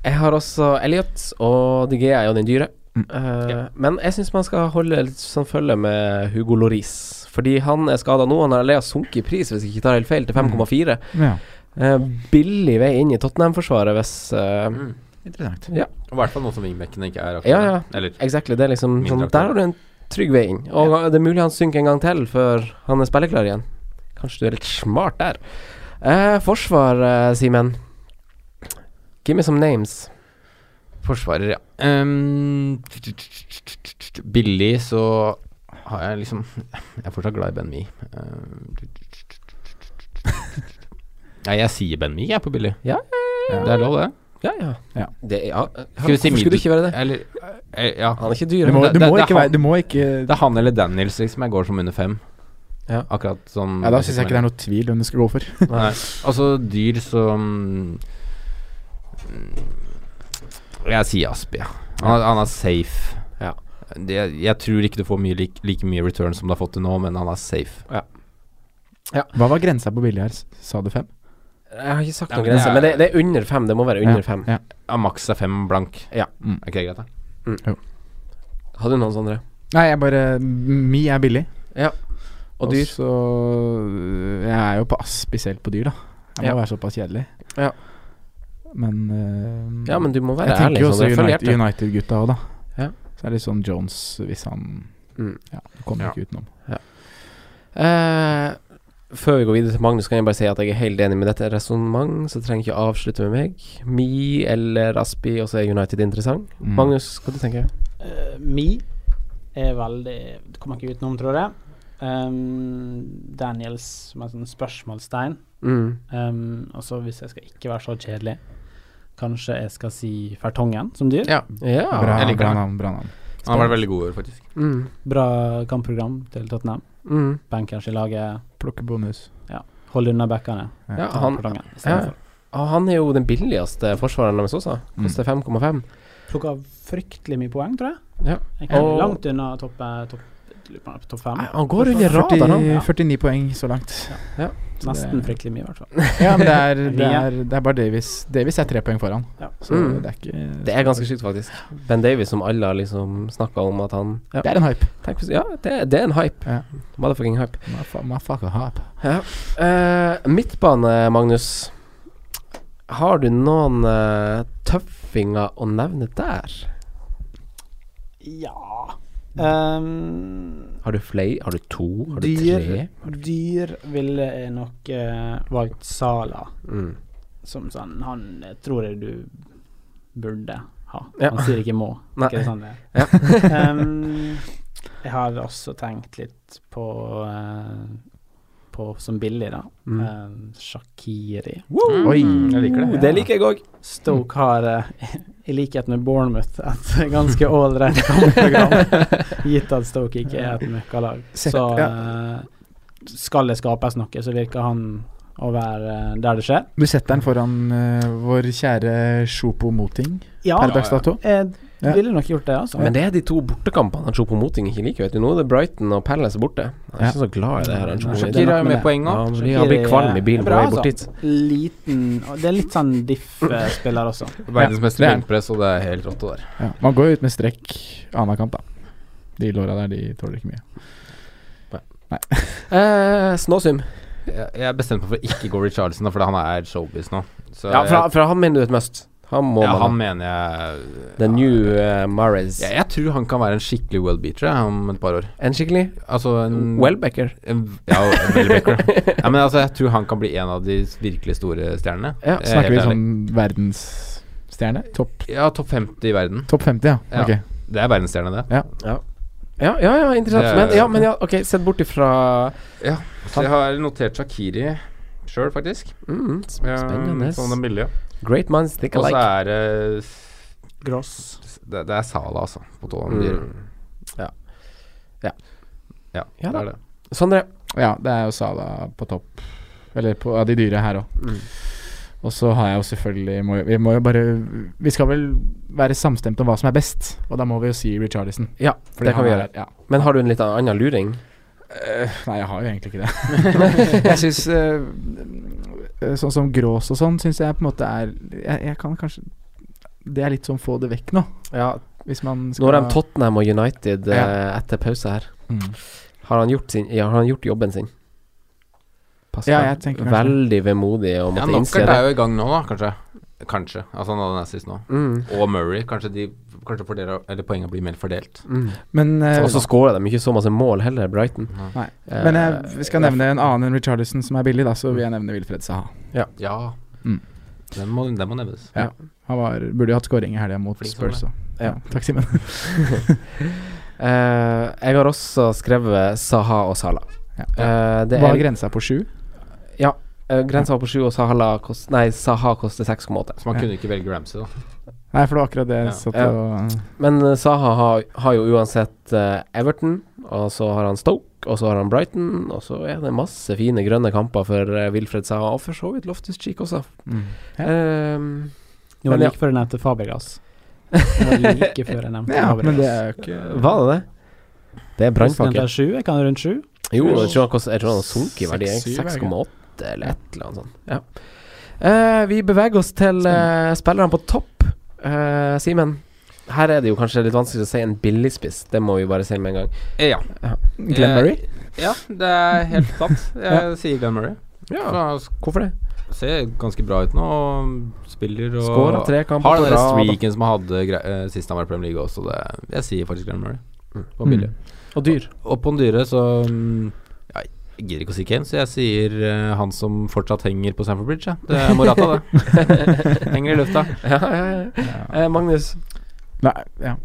Speaker 3: Jeg har også Elliot, og DG er jo den dyre.
Speaker 1: Mm.
Speaker 3: Eh, Men jeg syns man skal holde litt sånn følge med Hugo Loris. Fordi han er skada nå. Han har allerede sunket i pris, hvis jeg ikke tar helt feil, til 5,4.
Speaker 1: Ja,
Speaker 3: Eh, billig vei inn i Tottenham-forsvaret hvis eh,
Speaker 2: Mm.
Speaker 1: interessant.
Speaker 2: I hvert fall nå som wingbackene ikke er aktuelle.
Speaker 3: Ja, ja.
Speaker 2: Eller
Speaker 3: Exactly, det er liksom
Speaker 2: Mindre
Speaker 3: sånn,
Speaker 2: aktuelt.
Speaker 3: Der har du en trygg vei inn. Og det er mulig han synker en gang til før han er spilleklar igjen. Kanskje du er litt smart der. Eh, forsvar, eh, Simen. Give me some names.
Speaker 2: forsvarer, ja. Ehm, billig, så har jeg liksom Jeg er fortsatt glad i Ben Mee. Ehm, Nei, jeg sier Ben Mee, jeg, på billig.
Speaker 3: Ja,
Speaker 2: Det er lov, det.
Speaker 3: Ja, ja.
Speaker 1: Ja.
Speaker 3: Det, ja. eh,
Speaker 2: Skal vi si
Speaker 3: Hvorfor skulle
Speaker 2: middel-
Speaker 3: du ikke være det?
Speaker 2: Eller eh, Ja.
Speaker 3: Han er ikke dyr.
Speaker 1: Du må,
Speaker 2: det-
Speaker 1: du
Speaker 2: det-
Speaker 1: må
Speaker 2: det er
Speaker 1: ikke være
Speaker 2: han-
Speaker 1: Du må ikke
Speaker 2: Det er han eller Daniels liksom jeg går som under fem.
Speaker 3: Ja.
Speaker 2: Akkurat sånn som
Speaker 1: ja, Da syns jeg ikke det er noe tvil hvem du skal gå for.
Speaker 2: Nei. Altså dyr som Jeg sier Aspi, ja. Han, er- han er safe.
Speaker 3: Ja.
Speaker 2: Det, jeg tror ikke du får mye lik, like mye return som du har fått til nå, men han er safe.
Speaker 1: Hva var grensa på billig her? S- Sa du fem?
Speaker 3: Jeg har ikke sagt
Speaker 2: Ja,
Speaker 3: noen
Speaker 2: men det
Speaker 3: grense,
Speaker 2: er-
Speaker 3: men det, det er under fem. Det må være under
Speaker 1: Ja,
Speaker 3: fem.
Speaker 1: Ja.
Speaker 2: Ja, maks er fem blank.
Speaker 3: Ja.
Speaker 1: Mm.
Speaker 2: Er ikke det greit, da?
Speaker 3: Hadde du noen sånne?
Speaker 1: Nei, jeg bare Mi er billig.
Speaker 3: Og dyr?
Speaker 1: så øh, Jeg er jo på Aspi selv på dyr, da. Jeg må
Speaker 3: Ja.
Speaker 1: være såpass kjedelig.
Speaker 3: Ja.
Speaker 1: Men eh,
Speaker 3: Ja, men du må være
Speaker 1: Jeg
Speaker 3: ærlig.
Speaker 1: tenker jo
Speaker 3: Sondre.
Speaker 1: også
Speaker 3: Følg
Speaker 1: United-
Speaker 3: hjertet.
Speaker 1: United-gutta òg, da.
Speaker 3: Ja.
Speaker 1: Så er det sånn Jones, hvis han
Speaker 3: Mm.
Speaker 1: Ja, kommer
Speaker 2: Ja.
Speaker 1: ikke utenom.
Speaker 3: Eh, før vi går videre til Magnus, kan jeg bare si at jeg er helt enig med dette resonnement, så trenger jeg ikke å avslutte med meg. Mi eller Aspi, og så er United interessant.
Speaker 1: Mm.
Speaker 3: Magnus, hva du tenker du?
Speaker 4: Eh, Mi er veldig Det kommer jeg ikke utenom, tror jeg. Ehm, Daniels som er sånn spørsmålstegn.
Speaker 3: Mm.
Speaker 4: Ehm, og så hvis jeg skal ikke være så kjedelig, kanskje jeg skal si Fertongen som dyr.
Speaker 2: Ja.
Speaker 3: Ja.
Speaker 1: bra,
Speaker 2: jeg liker
Speaker 1: bra
Speaker 2: det.
Speaker 1: navn, bra navn.
Speaker 2: Han har vært veldig god i år, faktisk.
Speaker 3: Mm.
Speaker 4: Bra kampprogram til Tottenham.
Speaker 3: Mm.
Speaker 4: Bankers i laget.
Speaker 1: Plukke bonus.
Speaker 4: Hold unna backene.
Speaker 3: Ja,
Speaker 4: Ta
Speaker 3: han,
Speaker 4: Fertongen i
Speaker 3: ja.
Speaker 4: stedet for.
Speaker 3: Og han er jo den billigste forsvareren deres også. Koster 5,5.
Speaker 4: Plukka fryktelig mye poeng, tror jeg.
Speaker 3: Ja.
Speaker 4: Jeg kan
Speaker 3: Og-
Speaker 4: langt unna toppe, topp, lurer på om han er på topp fem.
Speaker 3: Nei, han går under radaren.
Speaker 1: 40,
Speaker 4: Ja.
Speaker 1: 49 poeng så langt. så det-
Speaker 4: Nesten fryktelig mye, i hvert fall.
Speaker 1: Ja, men det
Speaker 4: (laughs)
Speaker 1: er, det
Speaker 4: Mye.
Speaker 1: er, det er bare Davies. Davies er tre poeng foran,
Speaker 4: Ja.
Speaker 1: så
Speaker 3: Mm.
Speaker 1: det er
Speaker 3: (laughs)
Speaker 1: ikke
Speaker 3: Det er ganske sykt, faktisk. Ben Davies, som alle har liksom snakka om at han Ja,
Speaker 1: Det er en hype.
Speaker 3: tenk, hvis- ja det, det er en hype.
Speaker 1: Ja.
Speaker 3: Motherfucking hype.
Speaker 1: Motherfu- Motherfucker hype.
Speaker 3: Ja. Eh, midtbane, Magnus. Har du noen eh, tøffinger å nevne der?
Speaker 4: Ja Ehm,
Speaker 3: Har du flere? Har du to? Har du
Speaker 4: Dyr,
Speaker 3: tre?
Speaker 4: dyr ville jeg nok eh, valgt Sala
Speaker 3: Mm.
Speaker 4: som sånn Han eh, tror jeg du burde ha.
Speaker 3: Ja.
Speaker 4: Han sier ikke
Speaker 3: (laughs)
Speaker 4: må.
Speaker 3: Nei.
Speaker 4: Ikke det sånn det er? (laughs)
Speaker 3: Ja. (laughs)
Speaker 4: Ehm, jeg har også tenkt litt på, eh, på som billig, da.
Speaker 3: Mm.
Speaker 4: Eh, Shakiri.
Speaker 3: Mm.
Speaker 1: Oi.
Speaker 2: Jeg liker det.
Speaker 3: Oh, det liker jeg òg.
Speaker 4: Stoke har, eh, i likhet med Bournemouth,
Speaker 1: (laughs)
Speaker 4: et ganske ålreit kampprogram. Gitt at Stoke ikke er et møkkalag.
Speaker 1: Sett-
Speaker 4: Så eh, skal det skapes noe, så virker han å være eh, der det skjer.
Speaker 1: Du setter den foran eh, vår kjære Sjopo Moting
Speaker 4: Ja,
Speaker 1: per dags dato.
Speaker 4: jeg
Speaker 1: Ja.
Speaker 4: ville nok gjort det, altså.
Speaker 3: Men det er de to bortekampene han Chopo Moting ikke liker. Vet du. Nå er det Brighton og Palace borte. Jeg er ikke så glad i det her. Han, Choupo
Speaker 4: Nei,
Speaker 3: Moting.
Speaker 4: det er
Speaker 2: Shakira
Speaker 4: nok
Speaker 2: er
Speaker 4: med
Speaker 2: med
Speaker 4: det.
Speaker 2: poeng
Speaker 3: ja,
Speaker 2: nå.
Speaker 3: han blir, han blir kvalm i bilen på vei bort
Speaker 4: altså.
Speaker 3: dit.
Speaker 4: eh, Liten og Det er litt sånn diff-spiller også.
Speaker 2: Verdensmester
Speaker 1: Ja.
Speaker 2: i benkpress, og det er helt rått det der.
Speaker 1: Ja. Man går jo ut med strekk annenhver kamp, da. De låra der, de tåler ikke mye.
Speaker 3: Eh, Snåsum.
Speaker 2: Jeg, jeg bestemte meg for å ikke gå Richarlison, da, fordi han er showbiz nå. Så
Speaker 3: Ja, fra,
Speaker 2: jeg,
Speaker 3: fra han mener du et must. Han må
Speaker 2: ja,
Speaker 3: man ha.
Speaker 2: han mener jeg
Speaker 3: The new uh, Mares.
Speaker 2: jeg, jeg tror han kan være en skikkelig well-beater jeg, om et par år.
Speaker 3: En skikkelig
Speaker 2: Altså en
Speaker 3: Welbecker.
Speaker 2: en, Ja, well-beater. ja, men altså, jeg tror han kan bli en av de virkelig store stjernene.
Speaker 3: Ja,
Speaker 2: Jeg er
Speaker 1: Snakker vi
Speaker 2: helt
Speaker 1: sånn verdensstjerne? Topp
Speaker 2: ærlig. Ja, topp 50 i verden.
Speaker 1: topp 50, ja.
Speaker 2: Ja.
Speaker 1: Ok.
Speaker 2: Det er verdensstjerne, det.
Speaker 3: Ja, ja, ja, interessant.
Speaker 2: Det-
Speaker 3: Men ja, men ja, ok, sett bort ifra
Speaker 2: Så jeg har notert Shakiri sjøl, faktisk.
Speaker 3: mm, s- Spennende.
Speaker 2: Sånn den billige.
Speaker 3: Great minds think
Speaker 2: Og så
Speaker 3: alike.
Speaker 2: er det
Speaker 4: Gross.
Speaker 2: Det, det er Sala, altså. På tåen.
Speaker 3: Mm.
Speaker 2: Ja,
Speaker 3: Ja
Speaker 2: det
Speaker 3: da.
Speaker 2: er det.
Speaker 3: Sondre.
Speaker 1: Ja, det er jo Sala på topp. Eller på, av de dyre her òg.
Speaker 3: Mm.
Speaker 1: Og så har jeg jo selvfølgelig må, jo- Vi må jo bare Vi skal vel være samstemte om hva som er best, og da må vi jo si Richarlison.
Speaker 3: Ja,
Speaker 1: Fordi
Speaker 3: det kan vi
Speaker 1: han
Speaker 3: gjøre.
Speaker 1: er- Ja.
Speaker 3: Men har du en litt annen luring?
Speaker 1: Eh, nei, jeg har jo egentlig ikke det. jeg syns
Speaker 3: eh,
Speaker 1: Sånn som Grås og sånn, syns jeg på en måte er jeg, jeg kan kanskje Det er litt sånn få det vekk nå,
Speaker 3: Ja,
Speaker 1: hvis man skal
Speaker 3: Nå har de Tottenham og United eh,
Speaker 1: Ja.
Speaker 3: etter pause her.
Speaker 1: Mm.
Speaker 3: Har han gjort, sin, ja, har han gjort jobben sin? Pascal.
Speaker 1: Ja, jeg tenker kanskje
Speaker 3: Veldig vemodig å
Speaker 2: Ja,
Speaker 3: måtte innse
Speaker 2: Knockert
Speaker 3: det.
Speaker 2: er jo i gang nå, da, kanskje. Kanskje. Altså han hadde nazist nå.
Speaker 3: Mm.
Speaker 2: Og Murray. Kanskje, de, kanskje fordeler, eller poengene blir mer fordelt.
Speaker 3: Mm.
Speaker 1: Men, eh,
Speaker 3: Og så skårer de ikke så masse mål heller, Brighton.
Speaker 1: Nei.
Speaker 3: Eh,
Speaker 1: men jeg vi skal nevne en annen enn Richarlison som er billig, da, så vil jeg nevne Wilfred Saha.
Speaker 2: Ja.
Speaker 1: Mm.
Speaker 2: Den, må, den må nevnes.
Speaker 1: Han var, burde jo hatt scoring i helga mot
Speaker 2: Flink som
Speaker 1: Spurs.
Speaker 2: det.
Speaker 1: også. Ja, takk, Simen.
Speaker 3: eh, jeg har også skrevet Saha og Sala.
Speaker 1: Ja.
Speaker 3: Eh, det
Speaker 1: Var
Speaker 3: er,
Speaker 1: grensa på sju?
Speaker 3: eh, grensa var på sju, og Sahala kost, nei, Saha koster 6,8.
Speaker 2: Så man
Speaker 1: Ja.
Speaker 2: kunne ikke velge Ramsey, da.
Speaker 1: Nei, for det var akkurat det jeg
Speaker 2: Ja.
Speaker 1: satt
Speaker 3: Ja.
Speaker 1: og
Speaker 3: Men eh, Saha har, har jo uansett eh, Everton, og så har han Stoke, og så har han Brighton, og så er det masse fine grønne kamper for eh, Wilfred Saha, og for så vidt Loftus Cheek også.
Speaker 1: mm. Ja.
Speaker 3: Eh,
Speaker 4: Det var
Speaker 3: Men ja.
Speaker 4: like før jeg nevnte
Speaker 1: (laughs)
Speaker 4: Fabergas. Det var like før jeg nevnte
Speaker 1: Ja, men det
Speaker 4: Fabergas.
Speaker 1: er jo ikke
Speaker 3: var det det? Det er brannpakke.
Speaker 4: Kosten er sju, jeg kan rundt sju.
Speaker 3: Jo, jeg tror han kost- jeg tror han har sunket i verdi.
Speaker 1: Seks, syv, er det ikke?
Speaker 3: 6,8 eller et eller annet sånt. Ja. Eh, vi beveger oss til eh, spillerne på topp. Eh, Simen, her er det jo kanskje litt vanskelig å si en billigspiss. Det må vi bare si med en gang.
Speaker 2: Eh, Ja.
Speaker 1: Glenn Murray?
Speaker 2: ja, det er helt sant.
Speaker 3: (laughs)
Speaker 2: Jeg sier Glenn Murray. For
Speaker 3: Ja,
Speaker 2: han sk-
Speaker 3: hvorfor det?
Speaker 2: ser ganske bra ut nå. og Spiller og
Speaker 3: Skåra tre kamper
Speaker 2: Har den
Speaker 3: på
Speaker 2: der
Speaker 3: rad.
Speaker 2: streaken som han hadde grei- eh, sist han var i Premier League også. Det, jeg sier faktisk Glenn Murray.
Speaker 3: Mm.
Speaker 2: På billig.
Speaker 4: Og dyr.
Speaker 2: Og på den dyre så mm, ja, Jeg gidder ikke å si Kane, så jeg sier eh, han som fortsatt henger på Stamford Bridge. Ja. Det er Morata, det. henger i lufta.
Speaker 3: (laughs) Ja, ja, ja. Eh, Magnus.
Speaker 1: Nei, ja.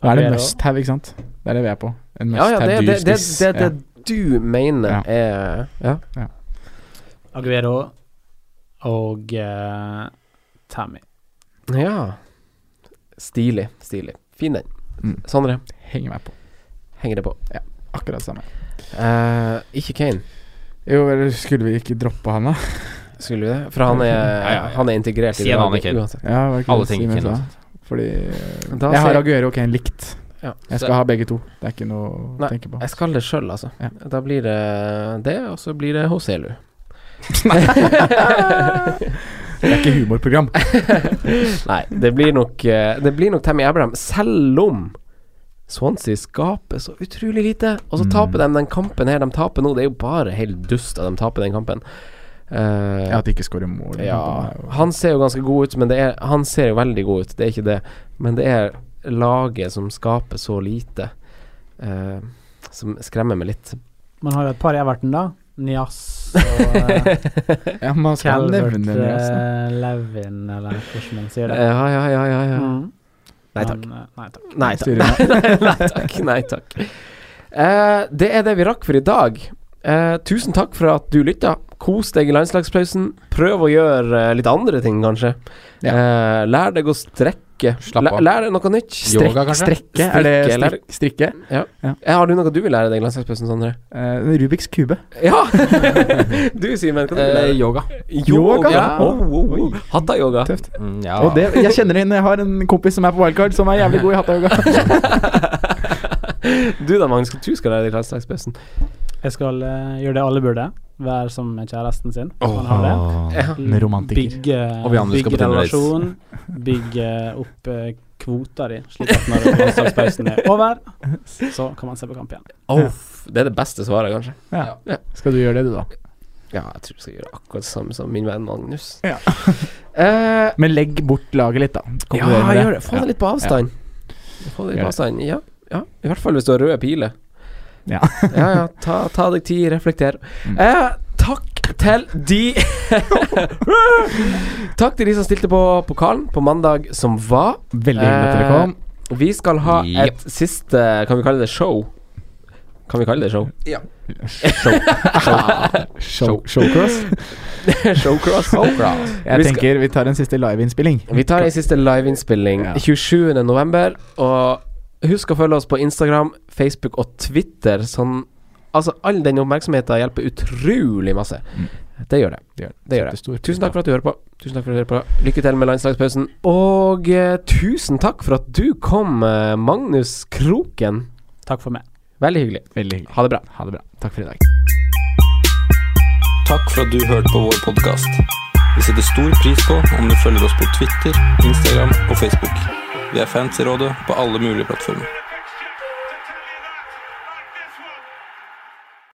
Speaker 1: Da er det
Speaker 4: Aguero.
Speaker 1: must have, ikke sant? Det er det vi er på. En must
Speaker 3: Ja, ja, det
Speaker 1: have
Speaker 3: er det,
Speaker 1: dyr
Speaker 3: det,
Speaker 1: spiss.
Speaker 3: det, det du mener
Speaker 1: Ja.
Speaker 3: er ja.
Speaker 4: Aguero og eh, Tammy.
Speaker 3: ja. Stilig. Stilig. Fin den.
Speaker 1: Mm.
Speaker 3: Sondre,
Speaker 1: ja. Henger meg på.
Speaker 3: henger det på?
Speaker 1: Akkurat samme.
Speaker 3: Eh, ikke Kane,
Speaker 1: Jo, eller skulle vi ikke droppe han, da?
Speaker 3: skulle vi det? For han er,
Speaker 2: Ja, ja, ja.
Speaker 3: Han er integrert
Speaker 2: Si en annen Kane.
Speaker 3: uansett.
Speaker 1: Ja, var det ikke
Speaker 2: Alle
Speaker 1: det
Speaker 2: tenker
Speaker 1: Simen
Speaker 2: Kane,
Speaker 1: sa? Fordi
Speaker 3: Da
Speaker 1: Jeg
Speaker 3: ser-
Speaker 1: har Aguero og Kane likt.
Speaker 3: Ja.
Speaker 1: Jeg skal ha begge to. Det er ikke noe
Speaker 3: Nei.
Speaker 1: å tenke på.
Speaker 3: Jeg skal det sjøl, altså.
Speaker 1: Ja.
Speaker 3: Da blir det det, og så blir det Hoselu.
Speaker 1: Det er ikke humorprogram.
Speaker 3: Nei, det blir nok eh, Det blir nok Tammy Abraham, selv om Swansea skaper så utrolig lite. Og så
Speaker 2: Mm.
Speaker 3: taper de den kampen her de taper nå. Det er jo bare helt dust at de taper den kampen. Eh,
Speaker 1: (laughs) Ja, At de ikke scorer mål.
Speaker 3: ja, han ser jo ganske god ut, men det er Han ser jo veldig god ut, det er ikke det. Men det er laget som skaper så lite, eh, som skremmer meg litt.
Speaker 4: Man har jo et par i Everton, da. Nias og eh,
Speaker 1: ja, man skal
Speaker 4: Calvert
Speaker 1: nevne det. Altså.
Speaker 4: eh, Levin, eller hvordan man sier det.
Speaker 3: Eh, Ja, ja, ja, ja. ja.
Speaker 4: Mm.
Speaker 3: Nei takk.
Speaker 4: Men, eh, nei takk.
Speaker 3: Nei takk.
Speaker 1: Styrer meg.
Speaker 3: (laughs) nei takk. Nei, takk. Eh, det er det vi rakk for i dag. Eh, tusen takk for at du lytta. Kos deg i landslagspausen. Prøv å gjøre eh, litt andre ting, kanskje.
Speaker 1: Ja.
Speaker 3: Eh, lær deg å strekke.
Speaker 2: Slapp
Speaker 3: Læ-
Speaker 2: av.
Speaker 3: Lær deg noe nytt. Strekk,
Speaker 2: Yoga, kanskje?
Speaker 3: Strekke,
Speaker 1: Er det
Speaker 3: strekke, lær-
Speaker 1: strik strikke?
Speaker 3: Eh, Har du noe du vil lære deg i landslagspausen, Sondre?
Speaker 1: Eh, Rubiks kube.
Speaker 3: Ja! (laughs) du, Simen. hva du vil
Speaker 2: Eh,
Speaker 3: lære deg?
Speaker 2: yoga.
Speaker 1: yoga?
Speaker 3: Ja.
Speaker 1: Oh,
Speaker 3: Oh, oh. Hatta-yoga.
Speaker 1: Tøft.
Speaker 2: Mm, ja.
Speaker 1: Og det, jeg kjenner inn Jeg har en kompis som er på wildcard, som er jævlig god i hattayoga.
Speaker 3: Du da, Magnus. Du skal lære deg landslagspausen.
Speaker 4: Jeg skal eh, gjøre det alle burde. Være som kjæresten sin. hvis man har det.
Speaker 3: Ja.
Speaker 1: En romantiker.
Speaker 4: Bygge,
Speaker 2: Og vi andre
Speaker 4: bygge
Speaker 2: skal på Tinder-dates.
Speaker 4: relasjon. Bygge opp eh, kvota di, slik at når landslagspausen er over, så kan man se på kamp igjen.
Speaker 3: Oh, det er det beste svaret, kanskje. Ja.
Speaker 1: Ja. Skal du gjøre det, du, da?
Speaker 3: Ja, jeg tror jeg skal gjøre akkurat det samme som min venn Magnus.
Speaker 1: Ja.
Speaker 3: (laughs) eh,
Speaker 1: Men legg bort laget litt, da.
Speaker 3: ja,
Speaker 1: Konkluderer med
Speaker 3: gjør det. Få det litt på avstand. Få det litt på
Speaker 1: Gjør det.
Speaker 3: avstand, ja. ja. I hvert fall hvis du har røde piler.
Speaker 1: Ja.
Speaker 3: (laughs) ja, ja. Ta, ta deg tid, reflekter.
Speaker 1: Mm.
Speaker 3: Eh, takk til de (laughs) Takk til de som stilte på pokalen på mandag som var.
Speaker 1: Veldig hyggelig at dere kom.
Speaker 3: Eh, Vi skal ha
Speaker 2: Yep.
Speaker 3: et siste Kan vi kalle det show? Kan vi kalle det
Speaker 1: (laughs)
Speaker 3: show?
Speaker 1: Show, showcross.
Speaker 3: (laughs) Showcross.
Speaker 1: (laughs) Jeg
Speaker 3: Vi skal-
Speaker 1: tenker vi tar en siste liveinnspilling.
Speaker 3: Vi tar en siste liveinnspilling
Speaker 1: Ja.
Speaker 3: 27. november. Og husk å følge oss på Instagram, Facebook og Twitter. Sånn, altså All den oppmerksomheten hjelper utrolig masse.
Speaker 1: Mm.
Speaker 3: Det gjør det. Det gjør det. Tusen takk for at du hører på. Tusen takk for at du hører på Lykke til med landslagspausen. Og eh, tusen takk for at du kom, eh, Magnus Kroken.
Speaker 4: Takk for meg.
Speaker 3: Veldig hyggelig.
Speaker 1: Veldig hyggelig.
Speaker 3: Ha det bra.
Speaker 1: Ha det bra. Takk for i dag.
Speaker 5: Takk for at du hørte på vår podkast. Vi setter stor pris på om du følger oss på Twitter, Instagram og Facebook. Vi er fans i rådet på alle mulige plattformer.